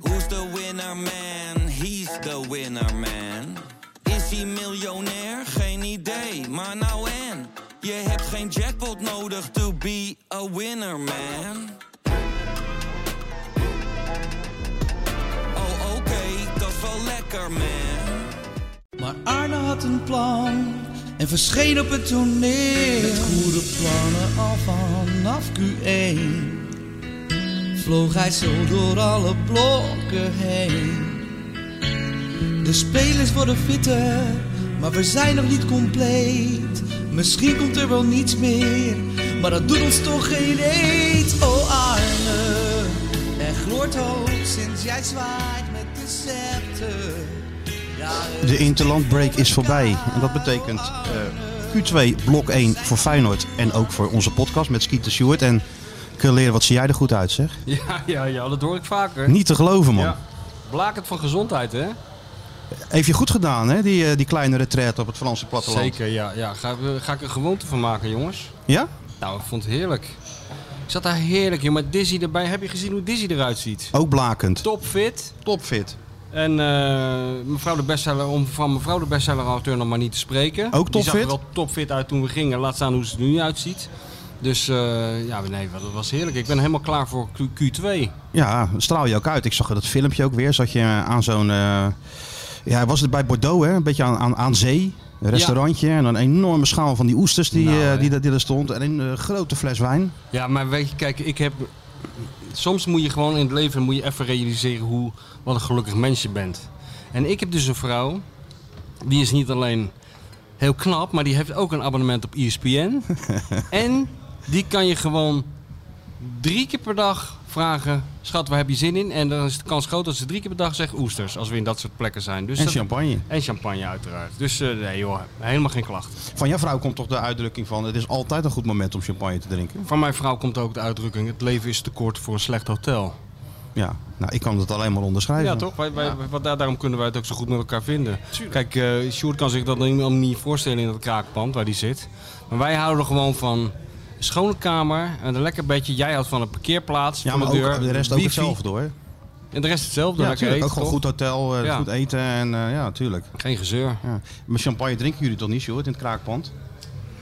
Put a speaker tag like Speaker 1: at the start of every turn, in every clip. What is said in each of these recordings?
Speaker 1: Who's the winner man? He's the winner man. Is hij miljonair? Geen idee, maar nou en. Je hebt geen jackpot nodig to be a winner man. Oh oké, dat is wel lekker man.
Speaker 2: Maar Arne had een plan en verscheen op het toneel. Met goede plannen al vanaf Q1 vloog hij zo door alle blokken heen. De spelers worden fitter, maar we zijn nog niet compleet. Misschien komt er wel niets meer, maar dat doet ons toch geen eet. Oh Arne, er gloort hoop sinds jij zwaait met de scepter. Ja, het
Speaker 3: De Interlandbreak is voorbij. En dat betekent eh, Q2 blok 1 voor Feyenoord. En ook voor onze podcast met Skeeter Stewart. En leren wat zie jij er goed uit zeg.
Speaker 4: Ja, ja, ja, dat hoor ik vaker.
Speaker 3: Niet te geloven man.
Speaker 4: Ja. Blakend van gezondheid, hè?
Speaker 3: Heeft je goed gedaan hè, die, eh, die kleine retraite op het Franse platteland.
Speaker 4: Zeker, ja. ja. Ga, ga ik er gewoonte van maken, jongens.
Speaker 3: Ja?
Speaker 4: Nou, ik vond het heerlijk. Ik zat daar heerlijk in, maar Dizzy erbij. Heb je gezien hoe Dizzy eruit ziet?
Speaker 3: Ook blakend.
Speaker 4: Topfit.
Speaker 3: Topfit.
Speaker 4: En eh, mevrouw de bestseller, om van mevrouw de bestseller-auteur nog maar niet te spreken.
Speaker 3: Ook
Speaker 4: Die zag er
Speaker 3: topfit?
Speaker 4: wel topfit uit toen we gingen. Laat staan hoe ze er nu uitziet. Dus eh, ja, nee, dat was heerlijk. Ik ben helemaal klaar voor Q- Q2.
Speaker 3: Ja, straal je ook uit. Ik zag dat filmpje ook weer. Zat je aan zo'n... eh, ja, was het bij Bordeaux hè? Een beetje aan, aan, aan zee. Een restaurantje. En een enorme schaal van die oesters die,
Speaker 4: Nou,
Speaker 3: eh,
Speaker 4: hè.
Speaker 3: die, daar- die er stond. En een eh, grote fles wijn.
Speaker 4: Ja, maar weet je, kijk, ik heb. Soms moet je gewoon in het leven moet je even realiseren hoe, wat een gelukkig mens je bent. En ik heb dus een vrouw, die is niet alleen heel knap, maar die heeft ook een abonnement op E ESPN. en die kan je gewoon drie keer per dag vragen: Schat, waar heb je zin in? En dan is de kans groot dat ze drie keer per dag zegt oesters, als we in dat soort plekken zijn. Dus
Speaker 3: En
Speaker 4: dat-
Speaker 3: champagne.
Speaker 4: en champagne, uiteraard. Dus eh, nee, joh, helemaal geen klachten.
Speaker 3: Van jouw vrouw komt toch de uitdrukking van: het is altijd een goed moment om champagne te drinken.
Speaker 4: Van mijn vrouw komt ook de uitdrukking: Het leven is te kort voor een slecht hotel.
Speaker 3: Ja, nou, ik kan dat alleen maar onderschrijven.
Speaker 4: Ja, toch? Wij, wij, wat daar, daarom kunnen wij het ook zo goed met elkaar vinden. Kijk, eh Sjoerd kan zich dat helemaal niet voorstellen in dat kraakpand waar die zit. Maar wij houden er gewoon van een schone kamer en een lekker bedje. Jij houdt van een parkeerplaats,
Speaker 3: Ja,
Speaker 4: van
Speaker 3: maar
Speaker 4: de deur,
Speaker 3: ook, de rest ook
Speaker 4: wifi.
Speaker 3: hetzelfde hoor.
Speaker 4: En de rest hetzelfde.
Speaker 3: Ja,
Speaker 4: lekker
Speaker 3: natuurlijk. Ook
Speaker 4: eten,
Speaker 3: gewoon
Speaker 4: toch?
Speaker 3: goed hotel, eh,
Speaker 4: Ja.
Speaker 3: goed eten en eh, ja, natuurlijk.
Speaker 4: Geen gezeur.
Speaker 3: Ja. Maar champagne drinken jullie toch niet, Sjoerd, in het kraakpand?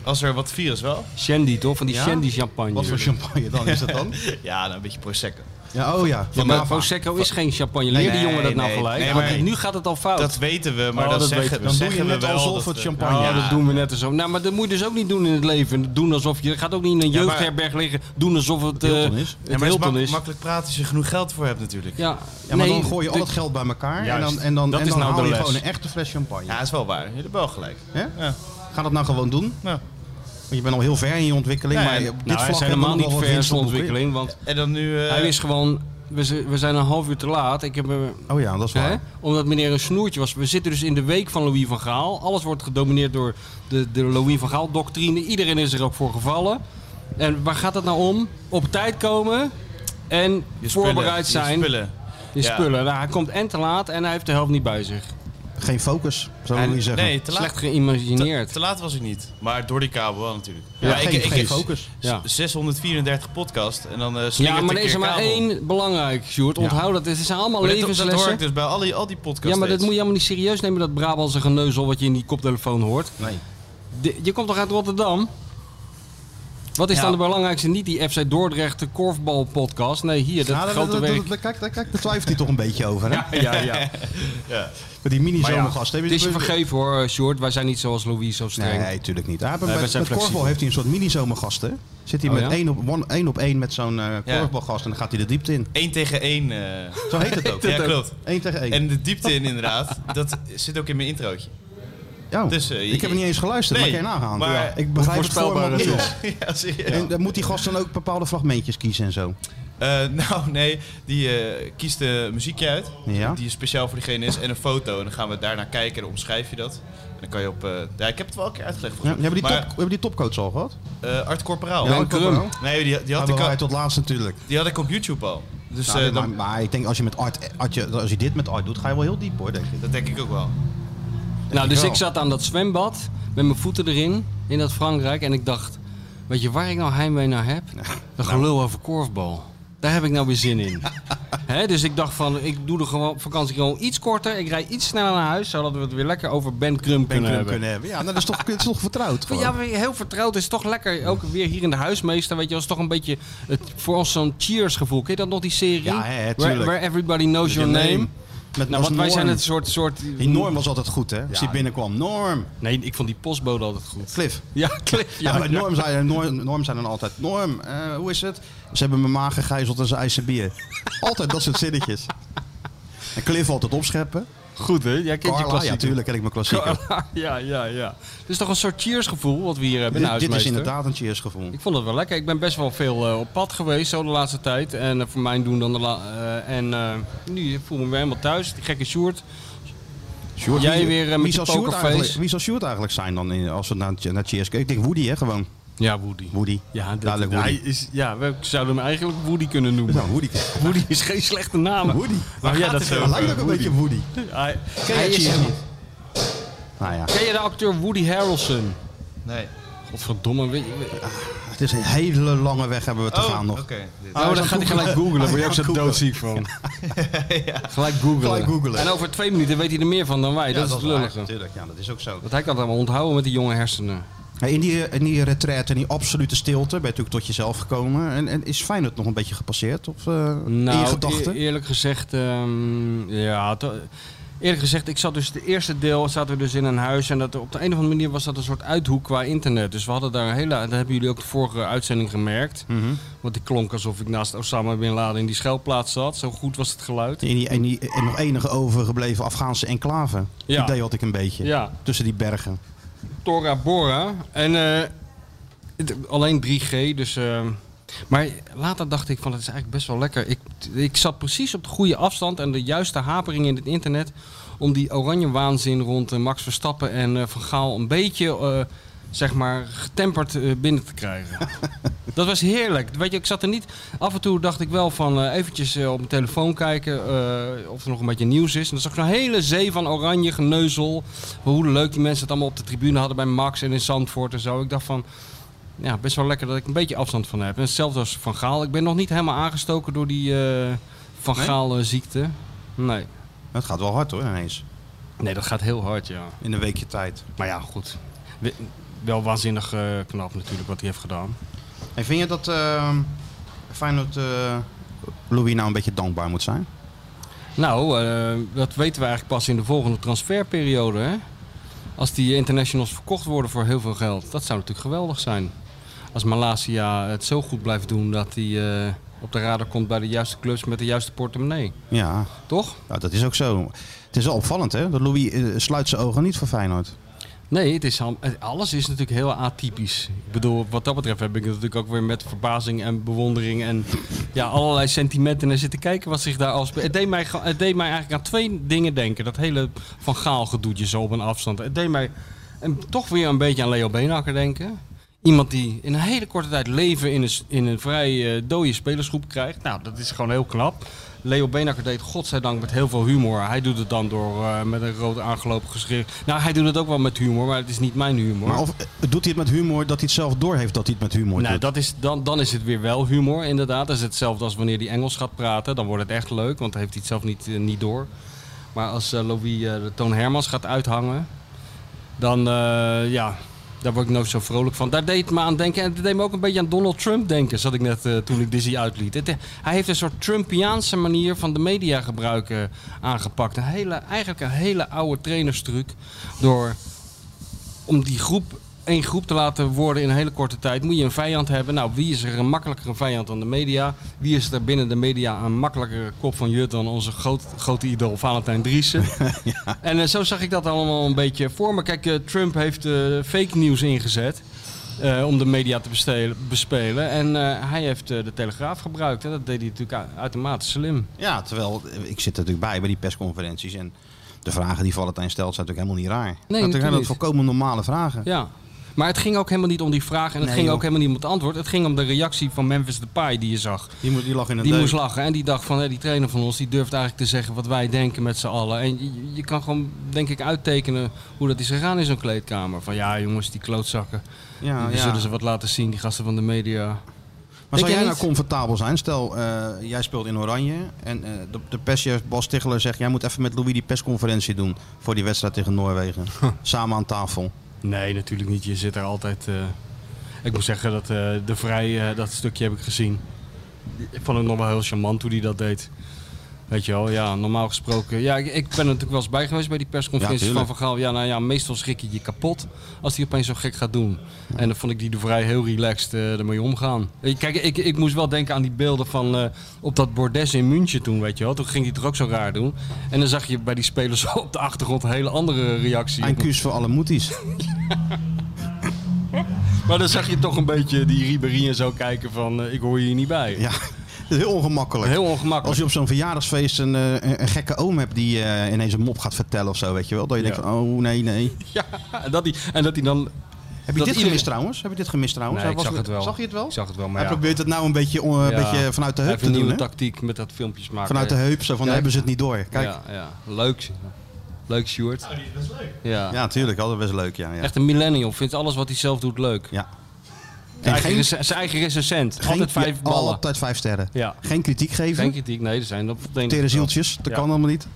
Speaker 5: Als er wat virus wel?
Speaker 4: Shandy, toch? Van die
Speaker 5: Ja?
Speaker 4: Shandy champagne.
Speaker 3: Wat voor champagne dan is dat dan?
Speaker 5: Ja, dan een beetje prosecco.
Speaker 3: Ja, oh ja.
Speaker 4: ja,
Speaker 3: Van
Speaker 4: maar
Speaker 3: Nava.
Speaker 4: Prosecco is geen champagne. Leer die
Speaker 5: nee,
Speaker 4: jongen dat nou
Speaker 5: nee.
Speaker 4: gelijk.
Speaker 5: Nee,
Speaker 4: Want
Speaker 5: maar-
Speaker 4: nu gaat het al fout.
Speaker 5: Dat weten we, maar
Speaker 4: Oh,
Speaker 5: dat,
Speaker 4: dat
Speaker 5: zeggen,
Speaker 4: weten
Speaker 5: dan
Speaker 3: Dan doe
Speaker 5: zeggen
Speaker 3: je net
Speaker 5: we wel.
Speaker 3: alsof
Speaker 5: dat
Speaker 3: het
Speaker 5: we-
Speaker 3: champagne
Speaker 4: Ja,
Speaker 3: is.
Speaker 4: dat doen we net zo. Nou, maar dat moet je dus ook niet doen in het leven. Doen alsof je gaat ook niet in een
Speaker 5: maar-
Speaker 4: jeugdherberg liggen. Doen alsof het eh,
Speaker 3: Hilton is.
Speaker 5: Ja,
Speaker 4: het
Speaker 5: maar het is
Speaker 4: Hilton
Speaker 5: mak-
Speaker 4: is.
Speaker 5: makkelijk praten als je genoeg geld voor hebt natuurlijk. Ja,
Speaker 4: Ja,
Speaker 3: Ja, maar
Speaker 4: nee,
Speaker 3: dan gooi je al
Speaker 4: de-
Speaker 3: het geld bij elkaar en
Speaker 5: Juist.
Speaker 3: dan, en dan,
Speaker 5: Dat
Speaker 3: en
Speaker 5: is
Speaker 3: dan
Speaker 5: nou de
Speaker 3: haal je
Speaker 5: les.
Speaker 3: gewoon een echte fles champagne.
Speaker 5: dat is wel waar. Je hebt wel gelijk.
Speaker 3: Hè?
Speaker 5: Ja.
Speaker 3: Ga dat nou gewoon doen.
Speaker 5: Nou.
Speaker 3: Want je bent al heel ver in je ontwikkeling.
Speaker 5: Ja,
Speaker 3: maar
Speaker 5: en-
Speaker 3: op dit
Speaker 4: Nou, hij
Speaker 3: vlak
Speaker 4: is
Speaker 3: hebben we
Speaker 4: helemaal
Speaker 3: nog wel
Speaker 4: niet ver in
Speaker 3: winst te
Speaker 4: zijn
Speaker 3: boeken.
Speaker 4: ontwikkeling. Want
Speaker 5: En dan nu... eh,
Speaker 4: hij is gewoon... We, z- we zijn een half uur te laat. Ik heb, eh,
Speaker 3: Oh ja, dat is waar.
Speaker 4: hè, omdat meneer een snoertje was. We zitten dus in de week van Louis van Gaal. Alles wordt gedomineerd door de, de Louis van Gaal-doctrine. Iedereen is er ook voor gevallen. En waar gaat het nou om? Op tijd komen en
Speaker 5: je spullen,
Speaker 4: voorbereid zijn.
Speaker 5: Je spullen.
Speaker 4: Je
Speaker 5: Ja.
Speaker 4: spullen. Nou, hij komt en te laat en hij heeft de helft niet bij zich.
Speaker 3: Geen focus, zou
Speaker 5: En-
Speaker 3: je zeggen.
Speaker 5: Nee, te
Speaker 4: Slecht
Speaker 5: laat, te,
Speaker 4: geïmagineerd.
Speaker 5: te laat was ik niet. Maar door die kabel wel natuurlijk.
Speaker 3: Ja,
Speaker 5: Maar
Speaker 3: geen,
Speaker 5: ik, ik
Speaker 3: geen
Speaker 5: heb
Speaker 3: focus.
Speaker 4: ja.
Speaker 5: 634 podcast en dan eh slingert
Speaker 4: ja, maar
Speaker 5: een
Speaker 4: er is
Speaker 5: keer
Speaker 4: er maar
Speaker 5: kabel.
Speaker 4: één belangrijk, Sjoerd. Onthoud dat. Het zijn allemaal
Speaker 5: Maar dat- dat, hoor
Speaker 4: levenslessen.
Speaker 5: ik dus bij al die, al die podcasts
Speaker 4: Ja, maar dat
Speaker 5: steeds.
Speaker 4: moet je helemaal niet serieus nemen, dat Brabantse geneuzel wat je in die koptelefoon hoort.
Speaker 3: Nee.
Speaker 4: De- je komt toch uit Rotterdam? Wat is
Speaker 5: Ja.
Speaker 4: dan de belangrijkste? Niet die FC Dordrecht, de korfbalpodcast. Nee, hier, dat
Speaker 3: Ja, Nou, dat-
Speaker 4: grote
Speaker 3: dat- dat-
Speaker 4: werk.
Speaker 3: dat- kijk, daar- kijk, daar twijfelt hij toch een beetje over, hè?
Speaker 4: ja, ja.
Speaker 3: Met die mini-zomergast.
Speaker 4: Het
Speaker 3: Heb
Speaker 4: is je
Speaker 3: heb
Speaker 4: vergeven hoor, eh, Sjoerd. Wij zijn niet zoals Louis zo streng.
Speaker 3: Nee, tuurlijk niet. Hij heeft-
Speaker 4: wij
Speaker 3: met
Speaker 4: zijn
Speaker 3: met korfbal
Speaker 4: flexibel.
Speaker 3: heeft hij een soort mini-zomergast, hè? Zit hij
Speaker 4: Oh,
Speaker 3: met
Speaker 4: ja?
Speaker 3: één, op, one- één op één met zo'n eh, korfbalgast en dan gaat hij de diepte in.
Speaker 5: Eén tegen één. eh,
Speaker 3: Zo heet het ook.
Speaker 5: ja, klopt.
Speaker 3: Eén tegen één.
Speaker 5: En de diepte in inderdaad, dat zit ook in mijn introotje.
Speaker 3: ja.
Speaker 5: dus, eh,
Speaker 3: ik heb hem niet eens geluisterd,
Speaker 5: nee,
Speaker 3: maar ik kan je nagaan.
Speaker 5: maar-
Speaker 3: Ja, ik begrijp het voor
Speaker 4: Onvoorspelbaar
Speaker 3: me niet.
Speaker 4: natuurlijk.
Speaker 5: ja, serieus.
Speaker 3: En dan moet die gast dan ook bepaalde fragmentjes kiezen en zo.
Speaker 5: Eh, nou, nee, die eh, kiest de muziekje uit.
Speaker 3: Ja.
Speaker 5: Die speciaal voor diegene is. En een foto. En dan gaan we daarnaar kijken en dan omschrijf je dat. En dan kan je op. eh, ja, ik heb het wel een keer uitgelegd.
Speaker 3: Ja,
Speaker 5: volgens
Speaker 3: hebben, die
Speaker 5: mij.
Speaker 3: top, hebben die topcoach al gehad?
Speaker 5: Maar, eh, Art Corporaal.
Speaker 4: Ja, Krum.
Speaker 3: Corporaal.
Speaker 5: Nee, die, die, had
Speaker 3: Maar
Speaker 5: ik,
Speaker 3: hij
Speaker 5: al-
Speaker 3: tot laatst natuurlijk.
Speaker 5: die had ik op YouTube al. Dus
Speaker 3: Nou, maar,
Speaker 5: eh, dan,
Speaker 3: maar ik denk als je, met art, als, je, als je dit met art doet, ga je wel heel diep hoor, denk ik.
Speaker 5: dat denk ik ook wel.
Speaker 4: Nou,
Speaker 3: ik
Speaker 4: dus
Speaker 3: wel.
Speaker 4: ik zat aan dat zwembad met mijn voeten erin, in dat Frankrijk. En ik dacht, weet je waar ik nou heimwee naar heb? Dat gelul over korfbal. Daar heb ik nou weer nou zin in. Hè, dus ik dacht van, ik doe de gewoon, vakantie gewoon iets korter. Ik rijd iets sneller naar huis, zodat we het weer lekker over Ben Crum
Speaker 3: Ben
Speaker 4: kunnen
Speaker 3: Crum
Speaker 4: hebben.
Speaker 3: kunnen hebben. Ja, nou, dat is toch, het is toch vertrouwd.
Speaker 4: Maar
Speaker 3: gewoon.
Speaker 4: Ja, maar heel vertrouwd is toch lekker. Ook weer hier in de huismeester, weet je, was toch een beetje het, voor ons zo'n Cheers gevoel. Ken je dat nog, die serie?
Speaker 3: Ja, hè, hè,
Speaker 4: where,
Speaker 3: tuurlijk.
Speaker 4: where everybody knows your name.
Speaker 3: Met
Speaker 4: Nou,
Speaker 3: was
Speaker 4: want wij
Speaker 3: Norm.
Speaker 4: zijn het soort, soort...
Speaker 3: Die Norm was altijd goed, hè? Als die
Speaker 4: Ja.
Speaker 3: binnenkwam. Norm.
Speaker 4: Nee, ik vond die postbode altijd goed.
Speaker 3: Cliff.
Speaker 4: Ja, Cliff.
Speaker 3: Ja,
Speaker 4: Ja,
Speaker 3: maar Norm zei, Norm, Norm zei dan altijd... Norm, eh, hoe is het? Ze hebben mijn maag gegijzeld en ze eisen bier. Altijd dat soort zinnetjes. En Cliff altijd opscheppen.
Speaker 4: Goed, hè? Jij kent je
Speaker 3: Carla, ja,
Speaker 4: klassieker.
Speaker 3: natuurlijk ken ik mijn klassieker.
Speaker 4: Carla, ja, ja, ja. Het is toch een soort cheersgevoel wat we hier hebben in de
Speaker 3: Dit, dit is
Speaker 4: huismeester.
Speaker 3: inderdaad een cheersgevoel.
Speaker 4: nou Ik vond het wel lekker. Ik ben best wel veel eh, op pad geweest zo de laatste tijd. En eh, voor mijn doen dan de la- eh, En eh, nu voel ik me weer helemaal thuis. Die gekke Sjoerd.
Speaker 3: Sjoerd,
Speaker 4: Jij
Speaker 3: wie-
Speaker 4: weer, eh, met
Speaker 3: wie
Speaker 4: je
Speaker 3: zou Sjoerd
Speaker 4: pokerface.
Speaker 3: eigenlijk- Wie zou Sjoerd eigenlijk zijn dan in, als we naar, naar Cheers kijken? Ik denk Woody, hè, gewoon.
Speaker 4: Ja, Woody.
Speaker 3: Woody.
Speaker 4: Ja, dat-
Speaker 3: Duidelijk Woody.
Speaker 4: Hij is, ja, we zouden hem eigenlijk Woody kunnen noemen.
Speaker 3: Nou, Woody.
Speaker 4: Woody is geen slechte naam.
Speaker 3: Woody.
Speaker 4: Maar Oh ja, dat eh,
Speaker 3: Hij lijkt ook een beetje Woody.
Speaker 4: Hij,
Speaker 3: Ken
Speaker 4: hij
Speaker 3: je
Speaker 4: is,
Speaker 3: Cheers niet? Nou ja,
Speaker 4: ken je de acteur Woody Harrelson?
Speaker 5: Nee.
Speaker 4: Godverdomme. Weet
Speaker 3: Ah,
Speaker 4: je, Nou, weet-
Speaker 3: het is een hele lange weg hebben we te gaan
Speaker 5: Oh,
Speaker 3: nog.
Speaker 5: oké. Dit-
Speaker 4: oh, dan gaat hij gelijk googlen. Word je ook zo doodziek van. Gelijk googlen.
Speaker 3: Gelijk googlen.
Speaker 4: En over twee minuten weet hij er meer van dan wij. dat is het lullige.
Speaker 3: Natuurlijk, ja, dat is ook zo.
Speaker 4: Want hij kan het allemaal onthouden met die jonge hersenen.
Speaker 3: In die, in die retraite, in die absolute stilte, ben je natuurlijk tot jezelf gekomen. En, en is Feyenoord nog een beetje gepasseerd? Of eh, in je gedachten?
Speaker 4: e- eerlijk gezegd, ehm, ja, to- eerlijk gezegd, ik zat dus het eerste deel zaten we dus in een huis en dat op de een of andere manier was dat een soort uithoek qua internet. Dus we hadden daar een hele, dat hebben jullie ook de vorige uitzending gemerkt, want ik klonk alsof ik naast Osama bin Laden in die schuilplaats zat. Zo goed was het geluid.
Speaker 3: In die, in die en nog enige overgebleven Afghaanse enclave.
Speaker 4: Ja.
Speaker 3: Idee had ik een beetje.
Speaker 4: Ja.
Speaker 3: Tussen die bergen.
Speaker 4: Tora Bora. En eh, het- alleen 3G, dus... eh, maar later dacht ik van, het is eigenlijk best wel lekker. Ik, ik zat precies op de goede afstand en de juiste hapering in het internet... om die oranje waanzin rond eh, Max Verstappen en eh, Van Gaal een beetje... eh, zeg maar, getemperd eh, binnen te krijgen. dat was heerlijk. Weet je, ik zat er niet... Af en toe dacht ik wel van, eh, eventjes eh, op mijn telefoon kijken... eh, of er nog een beetje nieuws is. En dan zag ik zo'n hele zee van oranje geneuzel. Hoe leuk die mensen het allemaal op de tribune hadden bij Max en in Zandvoort en zo. Ik dacht van... Ja, best wel lekker dat ik een beetje afstand van heb. En hetzelfde als Van Gaal. Ik ben nog niet helemaal aangestoken door die eh, Van
Speaker 3: Nee?
Speaker 4: Gaal eh, ziekte. Nee.
Speaker 3: Het gaat wel hard hoor, ineens.
Speaker 4: Nee, dat gaat heel hard, ja.
Speaker 3: In een weekje tijd.
Speaker 4: Maar ja, goed. We- Wel waanzinnig eh, knap natuurlijk wat hij heeft gedaan.
Speaker 3: En vind je dat eh, Feyenoord eh, Louis nou een beetje dankbaar moet zijn?
Speaker 4: Nou, eh, dat weten we eigenlijk pas in de volgende transferperiode. Hè? Als die internationals verkocht worden voor heel veel geld. Dat zou natuurlijk geweldig zijn. Als Malasia het zo goed blijft doen dat hij eh, op de radar komt bij de juiste clubs met de juiste portemonnee.
Speaker 3: Ja,
Speaker 4: Toch?
Speaker 3: nou, dat is ook zo. Het is wel opvallend hè, dat Louis eh, sluit zijn ogen niet voor Feyenoord.
Speaker 4: Nee, het is, al- het- alles is natuurlijk heel atypisch. Ik bedoel, wat dat betreft heb ik het natuurlijk ook weer met verbazing en bewondering en ja, allerlei sentimenten naar zitten kijken wat zich daar afspeelt. Het, deed mij ge- het deed mij eigenlijk aan twee dingen denken. Dat hele Van Gaal gedoetje zo op een afstand. Het deed mij en toch weer een beetje aan Leo Beenhakker denken. Iemand die in een hele korte tijd leven in een, s- in een vrij eh, dode spelersgroep krijgt. Nou, dat is gewoon heel knap. Leo Beenhakker deed godzijdank met heel veel humor. Hij doet het dan door eh, met een rood aangelopen geschrift. Nou, hij doet het ook wel met humor, maar het is niet mijn humor.
Speaker 3: Maar of eh, doet hij het met humor dat hij het zelf doorheeft dat hij het met humor
Speaker 4: Nou,
Speaker 3: doet?
Speaker 4: dat is, dan, dan is het weer wel humor, inderdaad. Dat is hetzelfde als wanneer hij Engels gaat praten. Dan wordt het echt leuk, want dan heeft hij het zelf niet, eh, niet door. Maar als eh, Louis eh, de Toon Hermans gaat uithangen, dan eh, ja, daar word ik nooit zo vrolijk van. Daar deed het me aan denken. En het deed me ook een beetje aan Donald Trump denken, zat ik net eh, toen ik Dizzy uitliet. Het, eh, hij heeft een soort Trumpiaanse manier van de media gebruiken eh, aangepakt. Een hele, eigenlijk een hele oude trainerstruc. Door om die groep één groep te laten worden in een hele korte tijd, moet je een vijand hebben. Nou, wie is er een makkelijkere vijand dan de media? Wie is er binnen de media een makkelijkere kop van jut dan onze groot, grote idool Valentijn Driessen? En eh, zo zag ik dat allemaal een beetje voor me. Kijk, eh, Trump heeft eh, fake nieuws ingezet. eh, om de media te bestelen- bespelen. En eh, hij heeft eh, de Telegraaf gebruikt. En dat deed hij natuurlijk u- uitermate slim.
Speaker 3: Ja, terwijl eh, ik zit er natuurlijk bij bij die persconferenties en de vragen die Valentijn stelt zijn natuurlijk helemaal niet raar. dat zijn
Speaker 4: natuurlijk
Speaker 3: dat
Speaker 4: niet.
Speaker 3: volkomen normale vragen.
Speaker 4: Ja. Maar het ging ook helemaal niet om die vraag. En het
Speaker 3: Nee,
Speaker 4: ging
Speaker 3: joh.
Speaker 4: ook helemaal niet om het antwoord. Het ging om de reactie van Memphis Depay die je zag.
Speaker 3: Die, moet, die lag in een
Speaker 4: Die
Speaker 3: deuk.
Speaker 4: moest lachen en die dacht van hé, die trainer van ons die durft eigenlijk te zeggen wat wij denken met z'n allen. En je, je kan gewoon denk ik uittekenen hoe dat is gegaan in zo'n kleedkamer. Van ja jongens, die klootzakken,
Speaker 3: Ja,
Speaker 4: die
Speaker 3: ja.
Speaker 4: zullen ze wat laten zien, die gasten van de media.
Speaker 3: Maar zou
Speaker 4: je
Speaker 3: jij nou
Speaker 4: niet?
Speaker 3: comfortabel zijn? Stel, eh, jij speelt in Oranje en eh, de, de perschef Bas Tichler zegt... jij moet even met Louis die persconferentie doen voor die wedstrijd tegen Noorwegen. Samen aan tafel.
Speaker 4: Nee, natuurlijk niet. Je zit er altijd. eh, ik moet zeggen dat eh, de vrij eh, dat stukje heb ik gezien. Ik vond het nog wel heel charmant hoe hij dat deed. Weet je wel, ja, normaal gesproken. Ja, ik, ik ben er natuurlijk wel eens bij geweest bij die persconferentie
Speaker 3: Ja,
Speaker 4: van
Speaker 3: tuurlijk.
Speaker 4: Van Gaal. Ja, nou ja, meestal schrik je je kapot als hij opeens zo gek gaat doen. En dan vond ik die de Vrij heel relaxed eh, ermee omgaan. Ik- Kijk, ik, ik moest wel denken aan die beelden van eh, op dat bordes in München toen, weet je wel. Toen ging hij het er ook zo raar doen. En dan zag je bij die spelers op de achtergrond een hele andere reactie.
Speaker 3: En kuus voor alle moeties.
Speaker 4: Maar dan zag je toch een beetje die Ribéry en zo kijken van, eh, ik hoor je hier niet bij.
Speaker 3: Ja, dat is heel ongemakkelijk.
Speaker 4: Heel
Speaker 3: Als
Speaker 4: ongemakkelijk.
Speaker 3: je op zo'n verjaardagsfeest een, eh, een, een gekke oom hebt die eh, ineens een mop gaat vertellen of zo, weet je wel. Dat je
Speaker 4: Ja.
Speaker 3: denkt van, oh nee, nee.
Speaker 4: Ja, en dat hij, en dat hij dan...
Speaker 3: Heb je dit
Speaker 4: iedereen-
Speaker 3: gemist trouwens? Heb je dit gemist trouwens?
Speaker 4: Nee,
Speaker 3: Hij
Speaker 4: ik
Speaker 3: was
Speaker 4: zag
Speaker 3: met-
Speaker 4: het wel.
Speaker 3: Oh, Zag je het wel?
Speaker 4: Ik zag het wel, maar
Speaker 3: Hij
Speaker 4: ja.
Speaker 3: probeert het nou een beetje, on- een
Speaker 4: Ja.
Speaker 3: beetje vanuit de
Speaker 4: Hij
Speaker 3: heup
Speaker 4: heeft
Speaker 3: te doen,
Speaker 4: een nieuwe
Speaker 3: hè?
Speaker 4: tactiek met dat filmpjes maken.
Speaker 3: Vanuit de heup, zo van,
Speaker 4: Ja.
Speaker 3: hebben ze het niet door. Kijk, ja,
Speaker 4: Ja, ja. Leuk. Leuk, Sjoerd.
Speaker 5: Nou, die is best leuk.
Speaker 4: Ja.
Speaker 3: natuurlijk, altijd best leuk, ja. ja.
Speaker 4: Echt een millennial. Vindt alles wat hij zelf doet leuk.
Speaker 3: ja.
Speaker 4: Zijn
Speaker 3: En
Speaker 4: eigen,
Speaker 3: geen,
Speaker 4: rec- zijn eigen recensent. altijd
Speaker 3: geen-
Speaker 4: vijf
Speaker 3: ja,
Speaker 4: ballen.
Speaker 3: Altijd vijf sterren.
Speaker 4: Ja.
Speaker 3: Geen kritiek geven.
Speaker 4: Geen kritiek. Nee, er zijn dat denk ik
Speaker 3: Tere
Speaker 4: wel.
Speaker 3: zieltjes, dat
Speaker 4: Ja.
Speaker 3: kan allemaal niet.